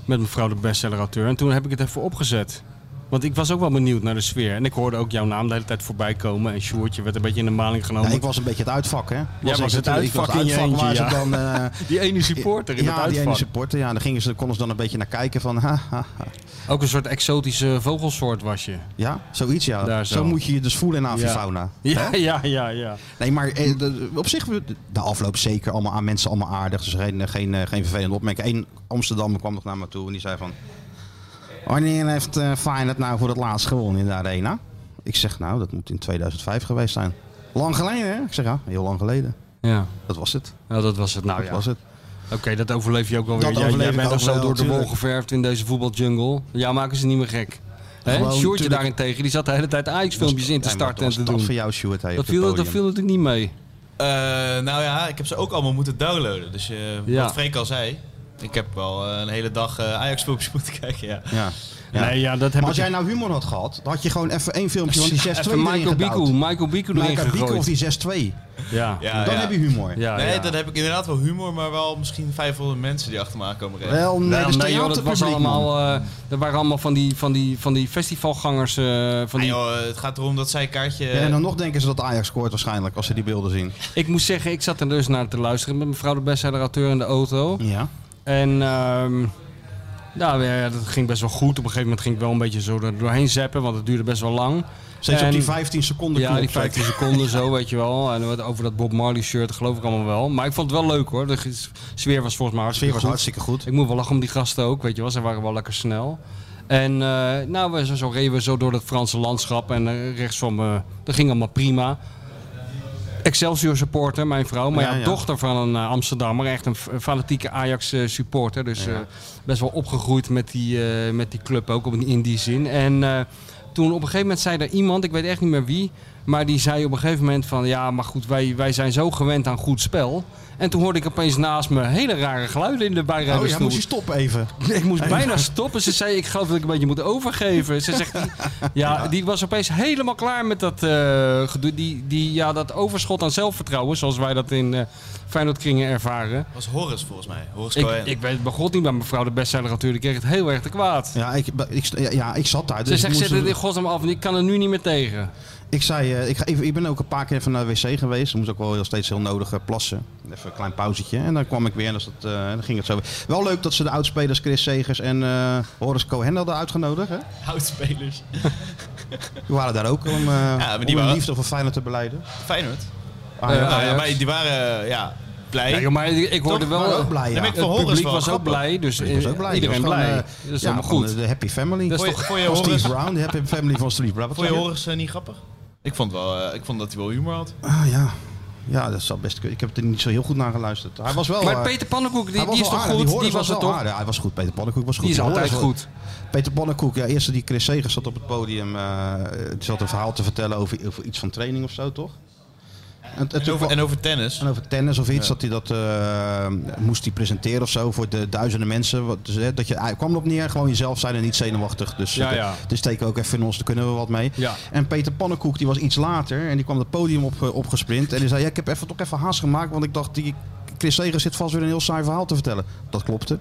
Speaker 4: met mevrouw de bestsellerauteur. En toen heb ik het even opgezet. Want ik was ook wel benieuwd naar de sfeer. En ik hoorde ook jouw naam de hele tijd voorbij komen. En Sjoerdje werd een beetje in de maling
Speaker 3: Ja,
Speaker 4: genomen.
Speaker 3: ik was een beetje het uitvak, hè? Was
Speaker 4: was
Speaker 3: ik
Speaker 4: het
Speaker 3: natuurlijk- ik was
Speaker 4: uitvak in je
Speaker 3: uitvak, waar
Speaker 4: eentje,
Speaker 3: ze
Speaker 4: ja.
Speaker 3: dan, eh,
Speaker 4: Die ene supporter in
Speaker 3: ja,
Speaker 4: het
Speaker 3: die
Speaker 4: uitvak.
Speaker 3: ene supporter. Ja, daar gingen ze, konden ze dan een beetje naar kijken van... Ha, ha, ha.
Speaker 4: Ook een soort exotische vogelsoort was je.
Speaker 3: Ja, zoiets, ja.
Speaker 4: Daar
Speaker 3: zo.
Speaker 4: zo.
Speaker 3: moet je je dus voelen in
Speaker 4: Ja.
Speaker 3: Avifauna.
Speaker 4: Ja, ja, ja, ja.
Speaker 3: Nee, maar eh, de- op zich, we- de afloop zeker allemaal aan mensen allemaal aardig. Dus geen, geen, eh, geen vervelende opmerking. Eén Amsterdammer kwam nog naar me toe en die zei van... Wanneer heeft eh Feyenoord nou voor het laatst gewonnen in de arena? Ik zeg nou, dat moet in 2005 geweest zijn. Lang geleden, hè? Ik zeg ja, heel lang geleden.
Speaker 4: Ja,
Speaker 3: Dat was het.
Speaker 4: nou, dat was het nou
Speaker 3: dat
Speaker 4: ja.
Speaker 3: was het.
Speaker 4: Oké, dat overleef je ook wel
Speaker 3: Dat
Speaker 4: weer. Jij,
Speaker 3: overleef
Speaker 4: jij
Speaker 3: ik
Speaker 4: bent
Speaker 3: ook
Speaker 4: al zo
Speaker 3: wel,
Speaker 4: door de wol
Speaker 3: tuurlijk.
Speaker 4: geverfd in deze voetbaljungle. Ja, maken ze niet meer gek. Hè?
Speaker 3: Gewoon,
Speaker 4: Sjoertje
Speaker 3: tuurlijk.
Speaker 4: daarentegen, die zat de hele tijd Ajax-filmpjes in te
Speaker 3: Ja, maar
Speaker 4: starten en
Speaker 3: Dus was
Speaker 4: te
Speaker 3: dat
Speaker 4: doen.
Speaker 3: voor jou, Stuart, hey,
Speaker 4: Dat
Speaker 3: op het
Speaker 4: viel, dat
Speaker 3: podium.
Speaker 4: viel natuurlijk niet mee.
Speaker 5: Eh, nou ja, ik heb ze ook allemaal moeten downloaden. Dus eh,
Speaker 4: Ja.
Speaker 5: wat Freek al zei, ik heb wel eh, een hele dag eh, Ajax-filmpjes moeten kijken. Ja.
Speaker 3: Ja. Ja.
Speaker 4: Nee, ja, dat heb
Speaker 3: Maar
Speaker 4: ik-
Speaker 3: als jij nou humor had gehad, dan had je gewoon even één filmpje van die 6-2
Speaker 4: Even Michael Biku, Michael Biku erin
Speaker 3: Michael Biku of
Speaker 4: gegooid.
Speaker 3: die 6-2.
Speaker 4: Ja, ja,
Speaker 5: Ja,
Speaker 3: Dan
Speaker 5: ja.
Speaker 3: heb je humor.
Speaker 4: ja.
Speaker 5: nee, dan heb ik inderdaad wel humor, maar wel misschien 500 mensen die achter me aankomen rennen.
Speaker 3: Wel, nee,
Speaker 4: Nee,
Speaker 3: dat is
Speaker 4: Nou, nee, joh, dat was
Speaker 3: theaterpubliek, man.
Speaker 4: allemaal, eh dat waren allemaal van die, van die, van die festivalgangers. eh, van
Speaker 5: Ah,
Speaker 4: die...
Speaker 5: joh, het gaat erom dat zij een kaartje...
Speaker 3: Ja, en dan nog denken ze dat Ajax scoort waarschijnlijk, als ze die beelden zien.
Speaker 4: Ik moet zeggen, ik zat er dus naar te luisteren met mevrouw de bestsellerauteur in de auto.
Speaker 3: Ja.
Speaker 4: En ehm nou, ja, dat ging best wel goed. Op een gegeven moment ging ik wel een beetje zo er doorheen zappen, want het duurde best wel lang.
Speaker 3: Steeds op die
Speaker 4: En-
Speaker 3: 15 seconden
Speaker 4: Ja,
Speaker 3: knop,
Speaker 4: die
Speaker 3: zeg.
Speaker 4: 15 seconden zo, weet je wel. En wat over dat Bob Marley shirt geloof ik allemaal wel. Maar ik vond het wel leuk hoor. De g- sfeer was volgens mij
Speaker 3: De sfeer
Speaker 4: hartstikke
Speaker 3: was
Speaker 4: goed.
Speaker 3: hartstikke goed.
Speaker 4: Ik moet wel lachen om die gasten ook, weet je wel. Ze waren wel lekker snel. En eh, nou, we, zo, zo reden we zo door het Franse landschap. En eh, rechts van me, dat ging allemaal prima. Excelsior supporter, mijn vrouw. Maar
Speaker 3: Ja,
Speaker 4: ja,
Speaker 3: ja.
Speaker 4: dochter van een eh, Amsterdammer. Echt een f- een fanatieke Ajax eh, supporter. Dus eh, best wel opgegroeid met die, eh, met die club ook op- in die zin. En eh, toen op een gegeven moment zei er iemand, ik weet echt niet meer wie... Maar die zei op een gegeven moment van ja, maar goed, wij, wij zijn zo gewend aan goed spel. En toen hoorde ik opeens naast me hele rare geluiden in de
Speaker 3: Oh ja,
Speaker 4: bijrijdersstoel.
Speaker 3: moest je stoppen even.
Speaker 4: Ik moest bijna stoppen. Ze zei, ik geloof dat ik een beetje moet overgeven. Ze zegt, die, ja, die was opeens helemaal klaar met dat eh, gedoe. Die, die, ja, dat overschot aan zelfvertrouwen, zoals wij dat in eh Feyenoordkringen ervaren.
Speaker 5: was Horus volgens mij. Horus
Speaker 4: Ik,
Speaker 5: Cohen.
Speaker 4: ik weet bij god niet, maar mevrouw de bestseller natuurlijk kreeg het heel erg te kwaad.
Speaker 3: Ja, ik, ik, ja, ja, ik zat daar.
Speaker 4: Ze
Speaker 3: Dus ik,
Speaker 4: zegt,
Speaker 3: Dus moest-
Speaker 4: zet het in godsnaam af, want ik kan er nu niet meer tegen.
Speaker 3: ik zei, eh, ik, ga even, ik ben ook een paar keer even naar de wc geweest. Dan moest ook wel heel steeds heel nodig eh, plassen. Even een klein pauzetje. En dan kwam ik weer en dus dat, eh, dan ging het zo weer. Wel leuk dat ze de oudspelers Chris Segers en eh Horace Cohen hadden uitgenodigd. Hè?
Speaker 5: Houtspelers.
Speaker 3: Die waren daar ook om, eh
Speaker 5: maar die
Speaker 3: om hun
Speaker 5: waren-
Speaker 3: liefde voor Feyenoord te beleiden.
Speaker 5: Feyenoord.
Speaker 3: Ah, ja.
Speaker 5: Nou, ja,
Speaker 4: Ajax.
Speaker 5: maar die waren eh, ja, blij.
Speaker 4: Ja, joh, maar ik ik hoorde
Speaker 5: Toch?
Speaker 4: wel...
Speaker 3: Maar ook blij, ja.
Speaker 5: Dan ben ik
Speaker 4: Het
Speaker 5: van Horus
Speaker 4: publiek
Speaker 5: wel
Speaker 4: was ook
Speaker 5: grappig.
Speaker 4: blij, dus
Speaker 3: Ik was ook blij.
Speaker 4: iedereen
Speaker 3: Ik was gewoon,
Speaker 4: blij.
Speaker 3: eh,
Speaker 4: dat is
Speaker 3: ja,
Speaker 4: helemaal
Speaker 3: gewoon,
Speaker 4: goed.
Speaker 3: eh, De happy family.
Speaker 4: Dat is
Speaker 5: Vond je-
Speaker 4: toch-
Speaker 5: vond je
Speaker 3: van
Speaker 5: Horus-
Speaker 3: Steve Brown, de happy family van Steve Brown. Wat
Speaker 5: Vond je
Speaker 3: zei
Speaker 5: Horus eh, niet grappig? Ik vond, wel, eh, ik vond dat hij wel humor had.
Speaker 3: Ah, ja. ja, dat zou best kunnen. Ik heb er niet zo heel goed naar geluisterd. Hij was wel...
Speaker 4: Maar
Speaker 3: eh,
Speaker 4: Peter Pannenkoek,
Speaker 3: hij
Speaker 4: die, die is
Speaker 3: wel
Speaker 4: toch
Speaker 3: aardig.
Speaker 4: goed? Die
Speaker 3: Horus
Speaker 4: was er
Speaker 3: wel
Speaker 4: toch?
Speaker 3: aardig. Hij was goed. Peter Pannenkoek was goed.
Speaker 4: Die is
Speaker 3: Horus
Speaker 4: altijd
Speaker 3: was-
Speaker 4: goed.
Speaker 3: Peter Pannenkoek, ja, eerst die Chris Segers zat op het podium. eh, die zat een verhaal te vertellen over, over iets van training of zo, toch? En, en toen
Speaker 5: En over,
Speaker 3: kwam-
Speaker 5: en over tennis.
Speaker 3: en over tennis of iets, dat hij dat eh, moest hij presenteren of zo voor de duizenden mensen. Wat, dus, hè, dat je, hij kwam erop neer, gewoon jezelf zijn en niet zenuwachtig. Dus,
Speaker 4: Ja,
Speaker 3: eh,
Speaker 4: ja.
Speaker 3: dus steken we ook even in ons, daar kunnen we wat mee.
Speaker 4: Ja.
Speaker 3: En Peter Pannenkoek, die was iets later en die kwam het podium op, eh, opgesprint. En die zei, ja, ik heb even, toch even haast gemaakt, want ik dacht, die Chris Segers zit vast weer een heel saai verhaal te vertellen. Dat klopte.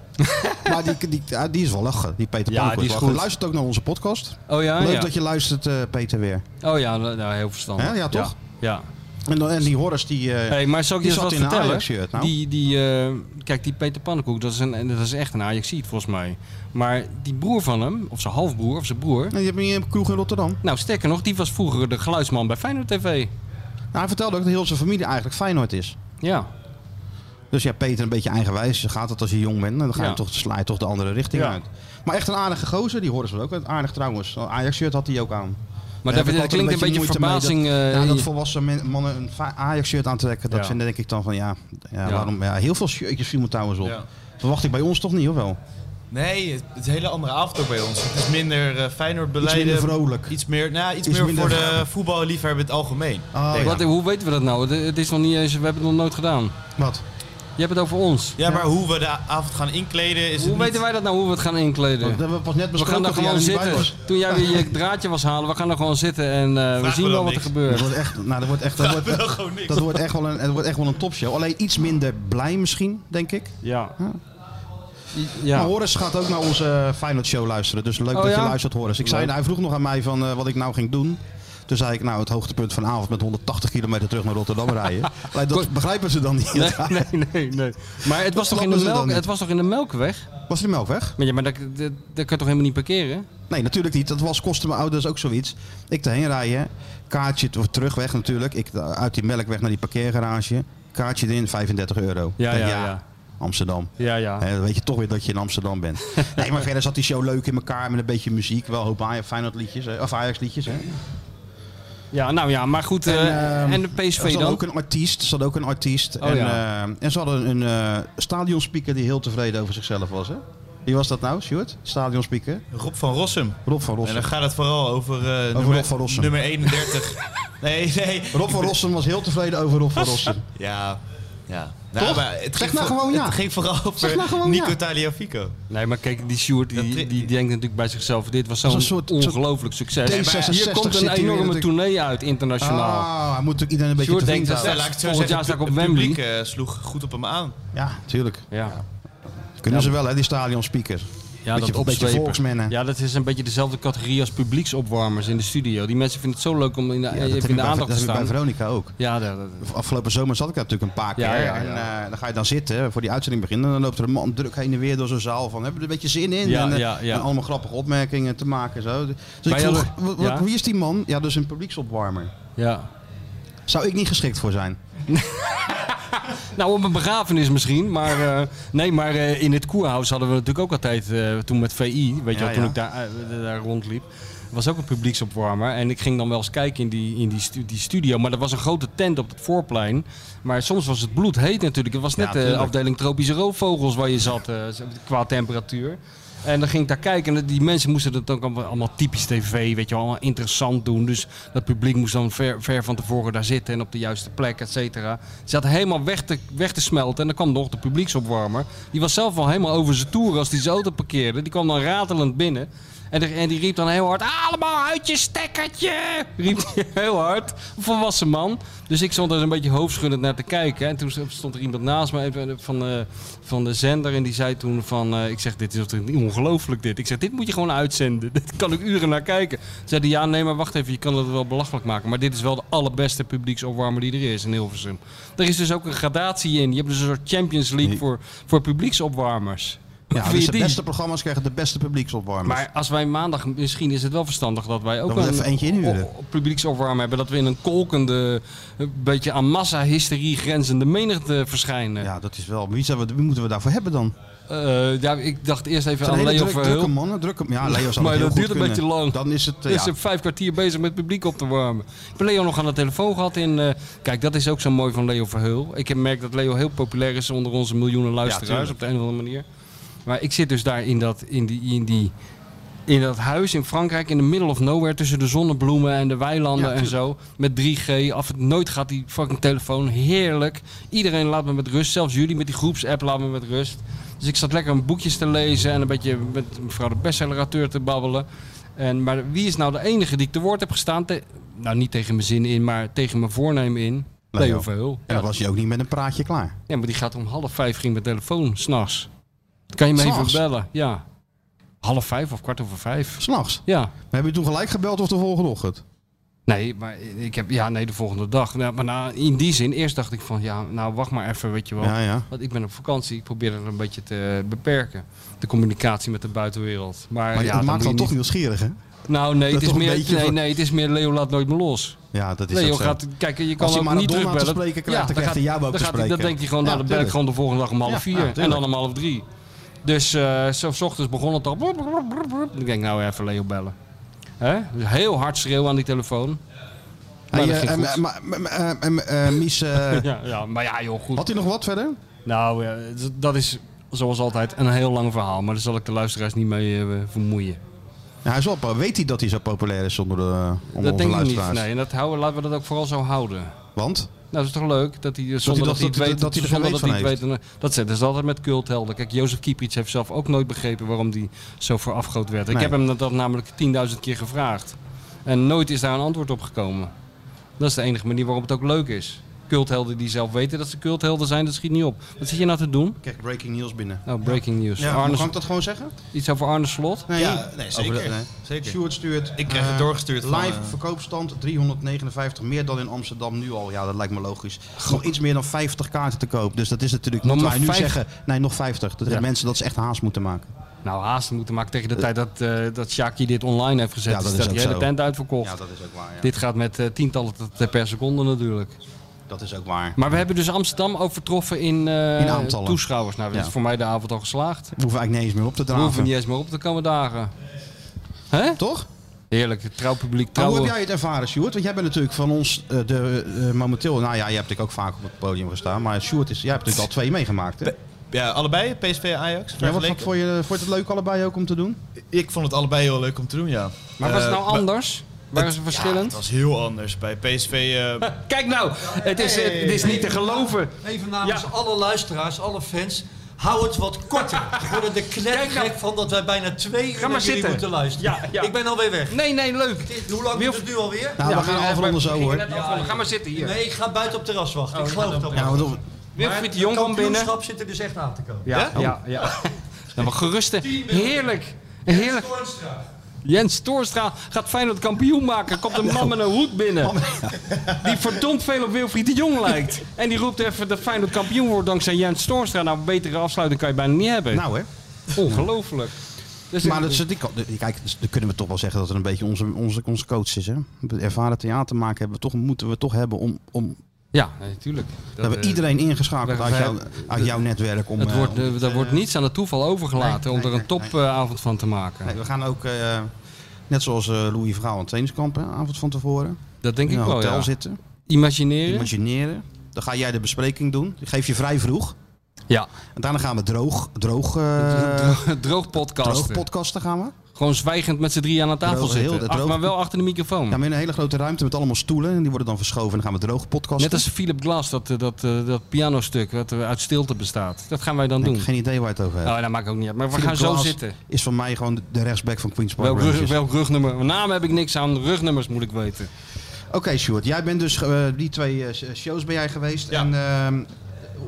Speaker 3: maar die, die, ja, die is wel lachen, die Peter
Speaker 4: Ja,
Speaker 3: Pannenkoek.
Speaker 4: die is
Speaker 3: Lachen.
Speaker 4: goed.
Speaker 3: Luistert ook naar onze podcast.
Speaker 4: Oh ja,
Speaker 3: Leuk
Speaker 4: ja.
Speaker 3: dat je luistert, eh, Peter, weer.
Speaker 4: Oh ja, nou, heel verstandig.
Speaker 3: Hè, ja, toch?
Speaker 4: Ja.
Speaker 3: En, dan- en die Horace, die... eh,
Speaker 4: Hey, maar zal ik je
Speaker 3: Die
Speaker 4: eens
Speaker 3: zat
Speaker 4: wat
Speaker 3: in een
Speaker 4: vertellen?
Speaker 3: Ajax-shirt, nou.
Speaker 4: Die, die, eh, kijk, die Peter Pannenkoek, dat is, een, dat is echt een Ajaxiet volgens mij. Maar die broer van hem, of zijn halfbroer of zijn broer...
Speaker 3: die hebben hier een kroeg in Rotterdam.
Speaker 4: Nou, sterker nog, die was vroeger de geluidsman bij Feyenoord TV.
Speaker 3: Nou, hij vertelde ook dat heel zijn familie eigenlijk Feyenoord is.
Speaker 4: Ja,
Speaker 3: Dus ja, Peter een beetje eigenwijs. Zo gaat het als je jong bent. Nou, Dan ga je
Speaker 4: Ja.
Speaker 3: toch, sla je toch de andere richting
Speaker 4: Ja.
Speaker 3: uit. Maar echt een aardige gozer. Die horen ze ook. Aardig trouwens. Een Ajax-shirt had hij ook aan.
Speaker 4: maar
Speaker 3: Daar
Speaker 4: dat, dat
Speaker 3: heb ik altijd
Speaker 4: klinkt een beetje
Speaker 3: moeite mee
Speaker 4: verbazing...
Speaker 3: Dat,
Speaker 4: eh,
Speaker 3: ja, dat
Speaker 4: je-
Speaker 3: volwassen men- mannen een fa- Ajax-shirt aantrekken. Dat
Speaker 4: Ja.
Speaker 3: vind denk ik dan van ja, ja,
Speaker 4: Ja.
Speaker 3: waarom? Ja, heel veel shirtjes viel me trouwens op.
Speaker 5: Ja.
Speaker 3: Verwacht ik bij ons toch niet, of wel?
Speaker 5: Nee, het het is een hele andere avond ook bij ons. Het is minder eh Feyenoord
Speaker 3: Iets
Speaker 5: beleiden.
Speaker 3: minder vrolijk.
Speaker 5: Iets meer, nou, iets
Speaker 3: Iets
Speaker 5: meer
Speaker 3: minder
Speaker 5: voor de
Speaker 3: vrolijk.
Speaker 5: voetballiefhebber in het algemeen.
Speaker 3: Oh, ja.
Speaker 4: wat,
Speaker 3: wat,
Speaker 4: hoe weten we dat nou? Het, het is nog niet eens... We hebben het nog nooit gedaan. Je hebt het over ons.
Speaker 5: Ja, maar hoe we de a- avond gaan inkleden is
Speaker 4: Hoe
Speaker 5: het
Speaker 4: weten wij dat nou, hoe we het gaan inkleden?
Speaker 3: Oh, Dat hebben we pas net
Speaker 4: We
Speaker 3: besproken
Speaker 4: gaan er
Speaker 3: dat jij
Speaker 4: gewoon
Speaker 3: er niet bij
Speaker 4: zitten.
Speaker 3: was.
Speaker 4: Toen jij weer je draadje was halen, we gaan er gewoon zitten en eh, we
Speaker 5: me
Speaker 4: zien
Speaker 5: dan
Speaker 4: wel wat er
Speaker 5: niks.
Speaker 3: Dat
Speaker 4: gebeurt.
Speaker 3: wordt echt, nou, dat wordt echt, dat wordt,
Speaker 5: niet. gewoon niks.
Speaker 3: dat wordt echt wel een, dat wordt echt wel een topshow. Alleen iets minder blij misschien, denk ik.
Speaker 4: Ja.
Speaker 3: Maar
Speaker 4: Ja.
Speaker 3: Horus gaat ook naar onze eh, Feyenoord show luisteren. Dus leuk
Speaker 4: Oh,
Speaker 3: dat
Speaker 4: ja?
Speaker 3: je luistert, Horus. Ik zei, hij vroeg nog aan mij van eh, wat ik nou ging doen. Toen zei ik, nou, het hoogtepunt vanavond met 180 kilometer terug naar Rotterdam rijden. Alleen dat begrijpen ze dan niet.
Speaker 4: Nee, nee, nee, nee. Maar het was, toch in
Speaker 3: snappen
Speaker 4: de
Speaker 3: ze dan
Speaker 4: melk,
Speaker 3: niet.
Speaker 4: het was toch in de melkweg?
Speaker 3: Was de melk weg?
Speaker 4: Maar, ja, maar dat, dat, dat kan je toch helemaal niet parkeren?
Speaker 3: Nee, natuurlijk niet. Dat was, kostte mijn ouders ook zoiets. Ik erheen rijden, kaartje t- terugweg natuurlijk. Ik eh, uit die melkweg naar die parkeergarage. Kaartje erin, 35 euro.
Speaker 4: Ja,
Speaker 3: Ik denk,
Speaker 4: ja, ja.
Speaker 3: Amsterdam.
Speaker 4: Ja, ja.
Speaker 3: Hè, dan weet je toch weer dat je in Amsterdam bent. Nee, maar verder zat die show leuk in elkaar met een beetje muziek. Wel een hoop Ajax- Feyenoord liedjes, hè, of Ajax liedjes. Hè.
Speaker 4: Ja, nou ja, maar goed. eh,
Speaker 3: En,
Speaker 4: en,
Speaker 3: ehm,
Speaker 4: de
Speaker 3: Er
Speaker 4: PSV
Speaker 3: zat
Speaker 4: dan?
Speaker 3: ook een artiest. er zat ook een artiest.
Speaker 4: Oh,
Speaker 3: en,
Speaker 4: ja.
Speaker 3: eh, en ze hadden een eh stadionspeaker die heel tevreden over zichzelf was. Hè? Wie was dat nou, Stuart? Stadionspeaker?
Speaker 5: Rob van Rossum.
Speaker 3: Rob van
Speaker 5: En dan
Speaker 3: Rossum.
Speaker 5: gaat het vooral over, eh, nummer,
Speaker 3: Rob van Rossum.
Speaker 5: nummer 31. nee, nee.
Speaker 3: Rob van Rossum was heel tevreden over Rob van Rossum.
Speaker 5: Ja, ja. Nou,
Speaker 3: Toch?
Speaker 5: maar het
Speaker 3: Zeg
Speaker 5: ging
Speaker 3: nou
Speaker 5: voor-
Speaker 3: gewoon ja.
Speaker 5: Het ging vooral over
Speaker 3: nou gewoon
Speaker 5: Nico
Speaker 3: ja.
Speaker 5: Taliafico.
Speaker 4: Nee, maar kijk, die Sjoerd die,
Speaker 5: Dat-
Speaker 4: die, die denkt natuurlijk bij zichzelf: dit was zo'n
Speaker 3: Zo'n soort-
Speaker 4: ongelooflijk succes.
Speaker 3: Nee, maar
Speaker 4: Hier
Speaker 3: 66
Speaker 4: komt
Speaker 3: zit
Speaker 4: een
Speaker 3: hier
Speaker 4: enorme
Speaker 3: natuurlijk-
Speaker 4: tournee uit internationaal.
Speaker 3: Ah, hij moet natuurlijk iedereen een beetje
Speaker 4: Sjoerd
Speaker 3: tevreden
Speaker 4: denkt
Speaker 3: houden.
Speaker 5: Nou, laat ik het zo
Speaker 4: volgend
Speaker 5: zeggen.
Speaker 4: jaar sta ik op
Speaker 5: het pu- het
Speaker 4: Wembley.
Speaker 5: publiek eh, sloeg goed op hem aan.
Speaker 3: Ja, tuurlijk.
Speaker 4: Ja,
Speaker 3: Kunnen
Speaker 4: Ja.
Speaker 3: ze wel, hè, die stadionspeaker.
Speaker 4: ja
Speaker 3: Beetje-
Speaker 4: dat
Speaker 3: beetje
Speaker 4: opzwepen.
Speaker 3: volksmennen.
Speaker 4: Ja, dat is een beetje dezelfde categorie als publieksopwarmers in de studio. Die mensen vinden het zo leuk om in de,
Speaker 3: Ja, dat
Speaker 4: even
Speaker 3: heb
Speaker 4: in
Speaker 3: ik
Speaker 4: de
Speaker 3: bij,
Speaker 4: aandacht
Speaker 3: dat
Speaker 4: te
Speaker 3: heb ik bij
Speaker 4: staan.
Speaker 3: Veronica ook.
Speaker 4: Ja, dat, dat-
Speaker 3: Afgelopen zomer zat ik daar natuurlijk een paar keer.
Speaker 4: Ja, ja,
Speaker 3: En
Speaker 4: ja.
Speaker 3: eh, dan ga je dan zitten voor die uitzending begint. En dan loopt er een man druk heen en weer door zo'n zaal. Van, hebben we er een beetje zin in?
Speaker 4: Ja,
Speaker 3: en, eh,
Speaker 4: ja, ja.
Speaker 3: en allemaal grappige opmerkingen te maken. en Zo. Dus ik
Speaker 4: Wij
Speaker 3: vroeg,
Speaker 4: hadden-
Speaker 3: wat- wat-
Speaker 4: ja?
Speaker 3: wie is die man? Ja, dus een publieksopwarmer.
Speaker 4: ja.
Speaker 3: Zou ik niet geschikt voor zijn?
Speaker 4: Nou, op een begrafenis misschien, maar eh, nee, maar eh, in het koerhuis hadden we natuurlijk ook altijd eh, toen met VI, weet
Speaker 3: Ja,
Speaker 4: je wel, toen
Speaker 3: ja.
Speaker 4: ik daar, eh, daar rondliep, was ook een publieksopwarmer en ik ging dan wel eens kijken in die, in die, stu- die studio, maar dat was een grote tent op het voorplein, maar soms was het bloed heet natuurlijk. Het was net
Speaker 3: Ja,
Speaker 4: de
Speaker 3: tuurlijk.
Speaker 4: afdeling tropische roofvogels waar je zat eh, qua temperatuur. En dan ging ik daar kijken en die mensen moesten dat ook allemaal- allemaal typisch tv, weet je wel, allemaal interessant doen. Dus dat publiek moest dan ver, ver van tevoren daar zitten en op de juiste plek, et cetera. Ze zaten helemaal weg te, weg te smelten en dan kwam nog de publieksopwarmer. Die was zelf al helemaal over zijn toer als die zijn auto parkeerde. Die kwam dan ratelend binnen. En, er- en die riep dan heel hard, allemaal uit je stekkertje! Riep hij heel hard, een volwassen man. Dus ik stond er een beetje hoofdschuddend naar te kijken. En toen stond er iemand naast me even eh, van de, van de zender. En die zei toen van, eh, ik zeg, dit is toch ongelooflijk dit. Ik zeg, dit moet je gewoon uitzenden. Dit kan ik uren naar kijken. Toen Zei die, ja nee, maar wacht even, je kan het wel belachelijk maken. Maar dit is wel de allerbeste publieksopwarmer die er is in Hilversum. Er is dus ook een gradatie in. Je hebt dus een soort Champions League voor, voor publieksopwarmers. Hoe
Speaker 3: Ja,
Speaker 4: vind
Speaker 3: dus
Speaker 4: je
Speaker 3: de
Speaker 4: die?
Speaker 3: beste programma's krijgen de beste publieksopwarmers.
Speaker 4: Maar als wij maandag, misschien is het wel verstandig dat wij ook
Speaker 3: Dus- Dan moet even eentje inhuren.
Speaker 4: o- o- publieksopwarm hebben. Dat we in een kolkende, een beetje aan massa-hysterie grenzende menigte verschijnen. Ja.
Speaker 3: ja, dat is wel. Wie, zijn we, wie moeten we daarvoor hebben dan?
Speaker 4: ja, ik dacht eerst
Speaker 3: Het
Speaker 4: even
Speaker 3: zijn
Speaker 4: aan
Speaker 3: hele
Speaker 4: Leo
Speaker 3: druk, drukke
Speaker 4: Verheul.
Speaker 3: mannen. Drukke, ja, Leo zou
Speaker 4: Maar
Speaker 3: het heel
Speaker 4: dat
Speaker 3: goed
Speaker 4: duurt een
Speaker 3: kunnen.
Speaker 4: beetje lang.
Speaker 3: Dan is het... eh,
Speaker 4: Is
Speaker 3: ja.
Speaker 4: er Dus vijf kwartier bezig met publiek op te warmen. Ik heb Leo nog aan de telefoon gehad. In, eh, kijk, dat is ook zo mooi van Leo Verheul. Ik heb merkt dat Leo heel populair is onder onze miljoenen luisteraars
Speaker 3: tuurlijk.
Speaker 4: op de een of andere manier. Maar ik zit dus daar in dat, in die, in die, in dat huis in Frankrijk in de middle of nowhere tussen de zonnebloemen en de weilanden
Speaker 3: Ja,
Speaker 4: en
Speaker 3: tuurlijk.
Speaker 4: zo. Met 3G. Af het nooit gaat die fucking telefoon. Heerlijk. Iedereen laat me met rust. Zelfs jullie met die groepsapp laat me met rust. Dus ik zat lekker een boekjes te lezen en een beetje met mevrouw de bestsellerauteur te babbelen. En, maar wie is nou de enige die ik te woord heb gestaan? Te- nou, niet tegen mijn zin in, maar tegen mijn voornemen in.
Speaker 3: Leo.
Speaker 4: Leo Verhul.
Speaker 3: En dan was hij ook niet met een praatje klaar.
Speaker 4: Ja, maar die gaat om half vijf ging mijn telefoon, s'nachts. Kan je me
Speaker 3: S'nachts?
Speaker 4: even bellen? Ja. Half vijf of kwart over vijf?
Speaker 3: S'nachts.
Speaker 4: Ja.
Speaker 3: Maar heb je toen gelijk gebeld of de volgende ochtend?
Speaker 4: Nee, maar ik heb, ja, nee, de volgende dag. Nou, maar na, in die zin, eerst dacht ik van, ja, nou, wacht maar even, weet je wel.
Speaker 3: Ja, ja.
Speaker 4: Want ik ben op vakantie, ik probeer het een beetje te beperken. De communicatie met de buitenwereld. Maar,
Speaker 3: Maar
Speaker 4: ja,
Speaker 3: het maakt
Speaker 4: moet
Speaker 3: dan
Speaker 4: je
Speaker 3: toch
Speaker 4: niet-
Speaker 3: nieuwsgierig, hè?
Speaker 4: Nou, nee, het
Speaker 3: toch
Speaker 4: is,
Speaker 3: een
Speaker 4: meer,
Speaker 3: beetje
Speaker 4: nee,
Speaker 3: voor-
Speaker 4: nee, het is meer Leo laat nooit me los.
Speaker 3: Ja, dat is
Speaker 4: Leo
Speaker 3: ook zo.
Speaker 4: gaat, kijk, je kan
Speaker 3: Als hij
Speaker 4: ook
Speaker 3: maar
Speaker 4: niet
Speaker 3: een dom aan te
Speaker 4: terugbellen.
Speaker 3: spreken krijgt, dan
Speaker 4: dan
Speaker 3: krijgt hij jou ook
Speaker 4: dan
Speaker 3: te
Speaker 4: gaat hij- Dan
Speaker 3: spreken.
Speaker 4: denk je gewoon,
Speaker 3: Ja,
Speaker 4: nou, dan bel ik
Speaker 3: tuurlijk.
Speaker 4: gewoon de volgende dag om half
Speaker 3: Ja,
Speaker 4: vier.
Speaker 3: ja,
Speaker 4: en
Speaker 3: tuurlijk.
Speaker 4: dan om half drie. Dus eh zo, s ochtends begon het al. Ik denk, nou, even Leo bellen. Hè? Dus Heel hard schreeuwen aan die telefoon. Maar
Speaker 3: Hey,
Speaker 4: dat
Speaker 3: eh,
Speaker 4: ging
Speaker 3: em,
Speaker 4: goed.
Speaker 3: em, em, em, em, em, Mies, eh,
Speaker 4: Ja, ja, maar ja, joh, goed.
Speaker 3: had hij nog wat verder?
Speaker 4: Nou, ja, d- dat is zoals altijd een heel lang verhaal. Maar daar zal ik de luisteraars niet mee eh, vermoeien.
Speaker 3: Ja, hij is wel, po- weet hij dat hij zo populair is onder, de, onder
Speaker 4: dat
Speaker 3: onze
Speaker 4: denk ik niet.
Speaker 3: luisteraars?
Speaker 4: Nee, en dat houden, laten we dat ook vooral zo houden.
Speaker 3: Want?
Speaker 4: Nou, dat is toch leuk dat hij eh, zonder
Speaker 3: dacht
Speaker 4: dat, hij het
Speaker 3: dat-
Speaker 4: weet,
Speaker 3: dat hij er geen weet
Speaker 4: zonder dat
Speaker 3: van
Speaker 4: hij het weet. En, eh, Dat zetten ze altijd met culthelden. Kijk, Jozef Kieprits heeft zelf ook nooit begrepen waarom hij zo verafgoot werd. Ik
Speaker 3: Nee.
Speaker 4: heb hem dat, dat namelijk 10.000 keer gevraagd. En nooit is daar een antwoord op gekomen. Dat is de enige manier waarop het ook leuk is. Culthelden die zelf weten dat ze culthelden zijn, dat schiet niet op. Wat zit je nou te doen?
Speaker 3: Kijk, breaking news binnen.
Speaker 4: Nou, breaking news.
Speaker 3: Ja,
Speaker 4: Arne,
Speaker 3: kan ik dat gewoon zeggen?
Speaker 4: iets over Arne Slot?
Speaker 3: Nee,
Speaker 5: Ja, nee, zeker.
Speaker 3: Over de- nee.
Speaker 5: Zeker.
Speaker 3: Stuart stuurt.
Speaker 5: Ik krijg het
Speaker 3: eh,
Speaker 5: doorgestuurd van,
Speaker 3: Live
Speaker 5: eh,
Speaker 3: verkoopstand 359, meer dan in Amsterdam nu al. Ja, dat lijkt me logisch. Nog iets meer dan 50 kaarten te koop. Dus dat is natuurlijk
Speaker 4: Nog
Speaker 3: niet
Speaker 4: maar
Speaker 3: waar wij nu
Speaker 4: vijf-
Speaker 3: zeggen. Nee, nog 50. Dat
Speaker 4: Ja.
Speaker 3: de mensen dat ze echt haast moeten maken.
Speaker 4: Nou, haast moeten maken tegen de tijd dat, eh dat Shaki dit online heeft gezet.
Speaker 3: Ja, dat
Speaker 4: Dus
Speaker 3: is ook
Speaker 4: die hele
Speaker 3: zo.
Speaker 4: tent uitverkocht.
Speaker 3: dat is ook waar.
Speaker 4: Dit gaat met eh, tientallen t- per seconde natuurlijk.
Speaker 3: Dat is ook waar.
Speaker 4: Maar we hebben dus Amsterdam overtroffen in, eh,
Speaker 3: In aantallen.
Speaker 4: toeschouwers. Nou, dat
Speaker 3: Ja.
Speaker 4: is voor mij de avond al geslaagd.
Speaker 3: We hoeven eigenlijk niet eens meer op te
Speaker 4: We hoeven
Speaker 3: draven.
Speaker 4: niet eens meer op te komen dagen. Hè?
Speaker 3: Toch?
Speaker 4: Heerlijk, het trouwpubliek
Speaker 3: Maar hoe
Speaker 4: trouwen.
Speaker 3: heb jij het ervaren, Sjoerd? Want jij bent natuurlijk van ons eh, de, eh, momenteel... Nou ja, jij hebt natuurlijk ook vaak op het podium gestaan. Maar Sjoerd, is, jij hebt natuurlijk al twee meegemaakt, hè?
Speaker 5: Ja, allebei, PSV en Ajax.
Speaker 3: Ja, wat, wat
Speaker 5: vergeleken.
Speaker 3: vond, je, vond je het leuk allebei ook om te doen?
Speaker 5: Ik vond het allebei heel leuk om te doen, ja.
Speaker 4: Maar was het
Speaker 5: Eh,
Speaker 4: nou anders? Waar is het
Speaker 5: Ja,
Speaker 4: verschillend?
Speaker 5: het was heel anders. Bij PSV... eh,
Speaker 4: Kijk nou, het is, het is niet te geloven.
Speaker 9: Even namens
Speaker 4: Ja.
Speaker 9: alle luisteraars, alle fans. Hou het wat korter. We worden er knettergek van dat wij bijna twee uur naar
Speaker 4: maar
Speaker 9: jullie
Speaker 4: zitten.
Speaker 9: moeten luisteren.
Speaker 4: Ja, ja.
Speaker 9: Ik ben alweer weg.
Speaker 4: Nee, nee, leuk.
Speaker 9: Dit- Hoe lang
Speaker 4: Wilf-
Speaker 9: duurt het nu alweer?
Speaker 3: Nou, we
Speaker 4: Ja,
Speaker 3: gaan
Speaker 4: maar-
Speaker 3: afronden
Speaker 4: maar-
Speaker 3: zo,
Speaker 4: ik
Speaker 3: hoor.
Speaker 4: ging net afronden. Ga maar zitten hier. Oh, nou,
Speaker 9: Nee, ik ga buiten op terras wachten. Ik geloof dat
Speaker 3: Ja,
Speaker 9: wel.
Speaker 3: want-
Speaker 4: Wilfried de
Speaker 9: het
Speaker 4: Jong kwam binnen.
Speaker 9: kampioenschap zit er dus echt aan te komen.
Speaker 4: Ja, ja, ja. Nou, maar gerusten. Heerlijk. Heerlijk. Jens Toorstra gaat Feyenoord kampioen maken. Komt een man met een hoed binnen. Die verdomd veel op Wilfried de Jong lijkt. En die roept even dat Feyenoord kampioen wordt dankzij Jens Toorstra. Nou, een betere afsluiting kan je bijna niet hebben.
Speaker 3: nou, hè?
Speaker 4: Ongelooflijk. Dus
Speaker 3: Maar dat, is- die kan- die- kijk, dus dan kunnen we toch wel zeggen dat het een beetje onze, onze, onze coach is. Hè? Met Ervaren theater maken hebben we toch, moeten we toch hebben om, om
Speaker 4: Ja, natuurlijk.
Speaker 3: we hebben iedereen ingeschakeld
Speaker 4: we-
Speaker 3: uit,
Speaker 4: we-
Speaker 3: jou, uit jouw netwerk. Om,
Speaker 4: eh, het
Speaker 3: eh,
Speaker 4: wordt,
Speaker 3: om-
Speaker 4: eh, daar wordt niets aan het toeval overgelaten om er een topavond van te maken.
Speaker 3: Nee, we gaan ook, eh, net zoals eh, Louis Verhaal aan tenniskamp, hè, avond van tevoren,
Speaker 4: Dat denk ik
Speaker 3: in een
Speaker 4: wel,
Speaker 3: hotel
Speaker 4: ja.
Speaker 3: zitten,
Speaker 4: Imagineren?
Speaker 3: imagineren. Dan ga jij de bespreking doen. Die geef je vrij vroeg.
Speaker 4: Ja,
Speaker 3: En daarna gaan we droog, droog, eh
Speaker 4: droog podcasten.
Speaker 3: droog podcasten gaan we.
Speaker 4: Gewoon zwijgend met z'n drie aan de tafel
Speaker 3: Droog, heel
Speaker 4: zitten.
Speaker 3: de
Speaker 4: Ach,
Speaker 3: droog-
Speaker 4: maar wel achter de microfoon.
Speaker 3: Ja, maar in een hele grote ruimte met allemaal stoelen. En die worden dan verschoven en dan gaan we droog podcasten.
Speaker 4: Net als Philip Glass, dat, eh, dat, eh, dat pianostuk wat eh, uit stilte bestaat. Dat gaan wij dan
Speaker 3: Ik
Speaker 4: doen.
Speaker 3: heb geen idee waar je het over hebt.
Speaker 4: Oh, dat maakt ook niet uit. Maar we
Speaker 3: Philip
Speaker 4: gaan zo
Speaker 3: Glass
Speaker 4: zitten.
Speaker 3: Is van mij gewoon de rechtsback van Queen's Park
Speaker 4: Welk, rug,
Speaker 3: Rangers.
Speaker 4: welk rugnummer? Naam heb ik niks aan, rugnummers moet ik weten.
Speaker 3: Oké, Sjoerd. Jij bent dus, eh, die twee eh, shows ben jij geweest.
Speaker 5: Ja.
Speaker 3: En ehm,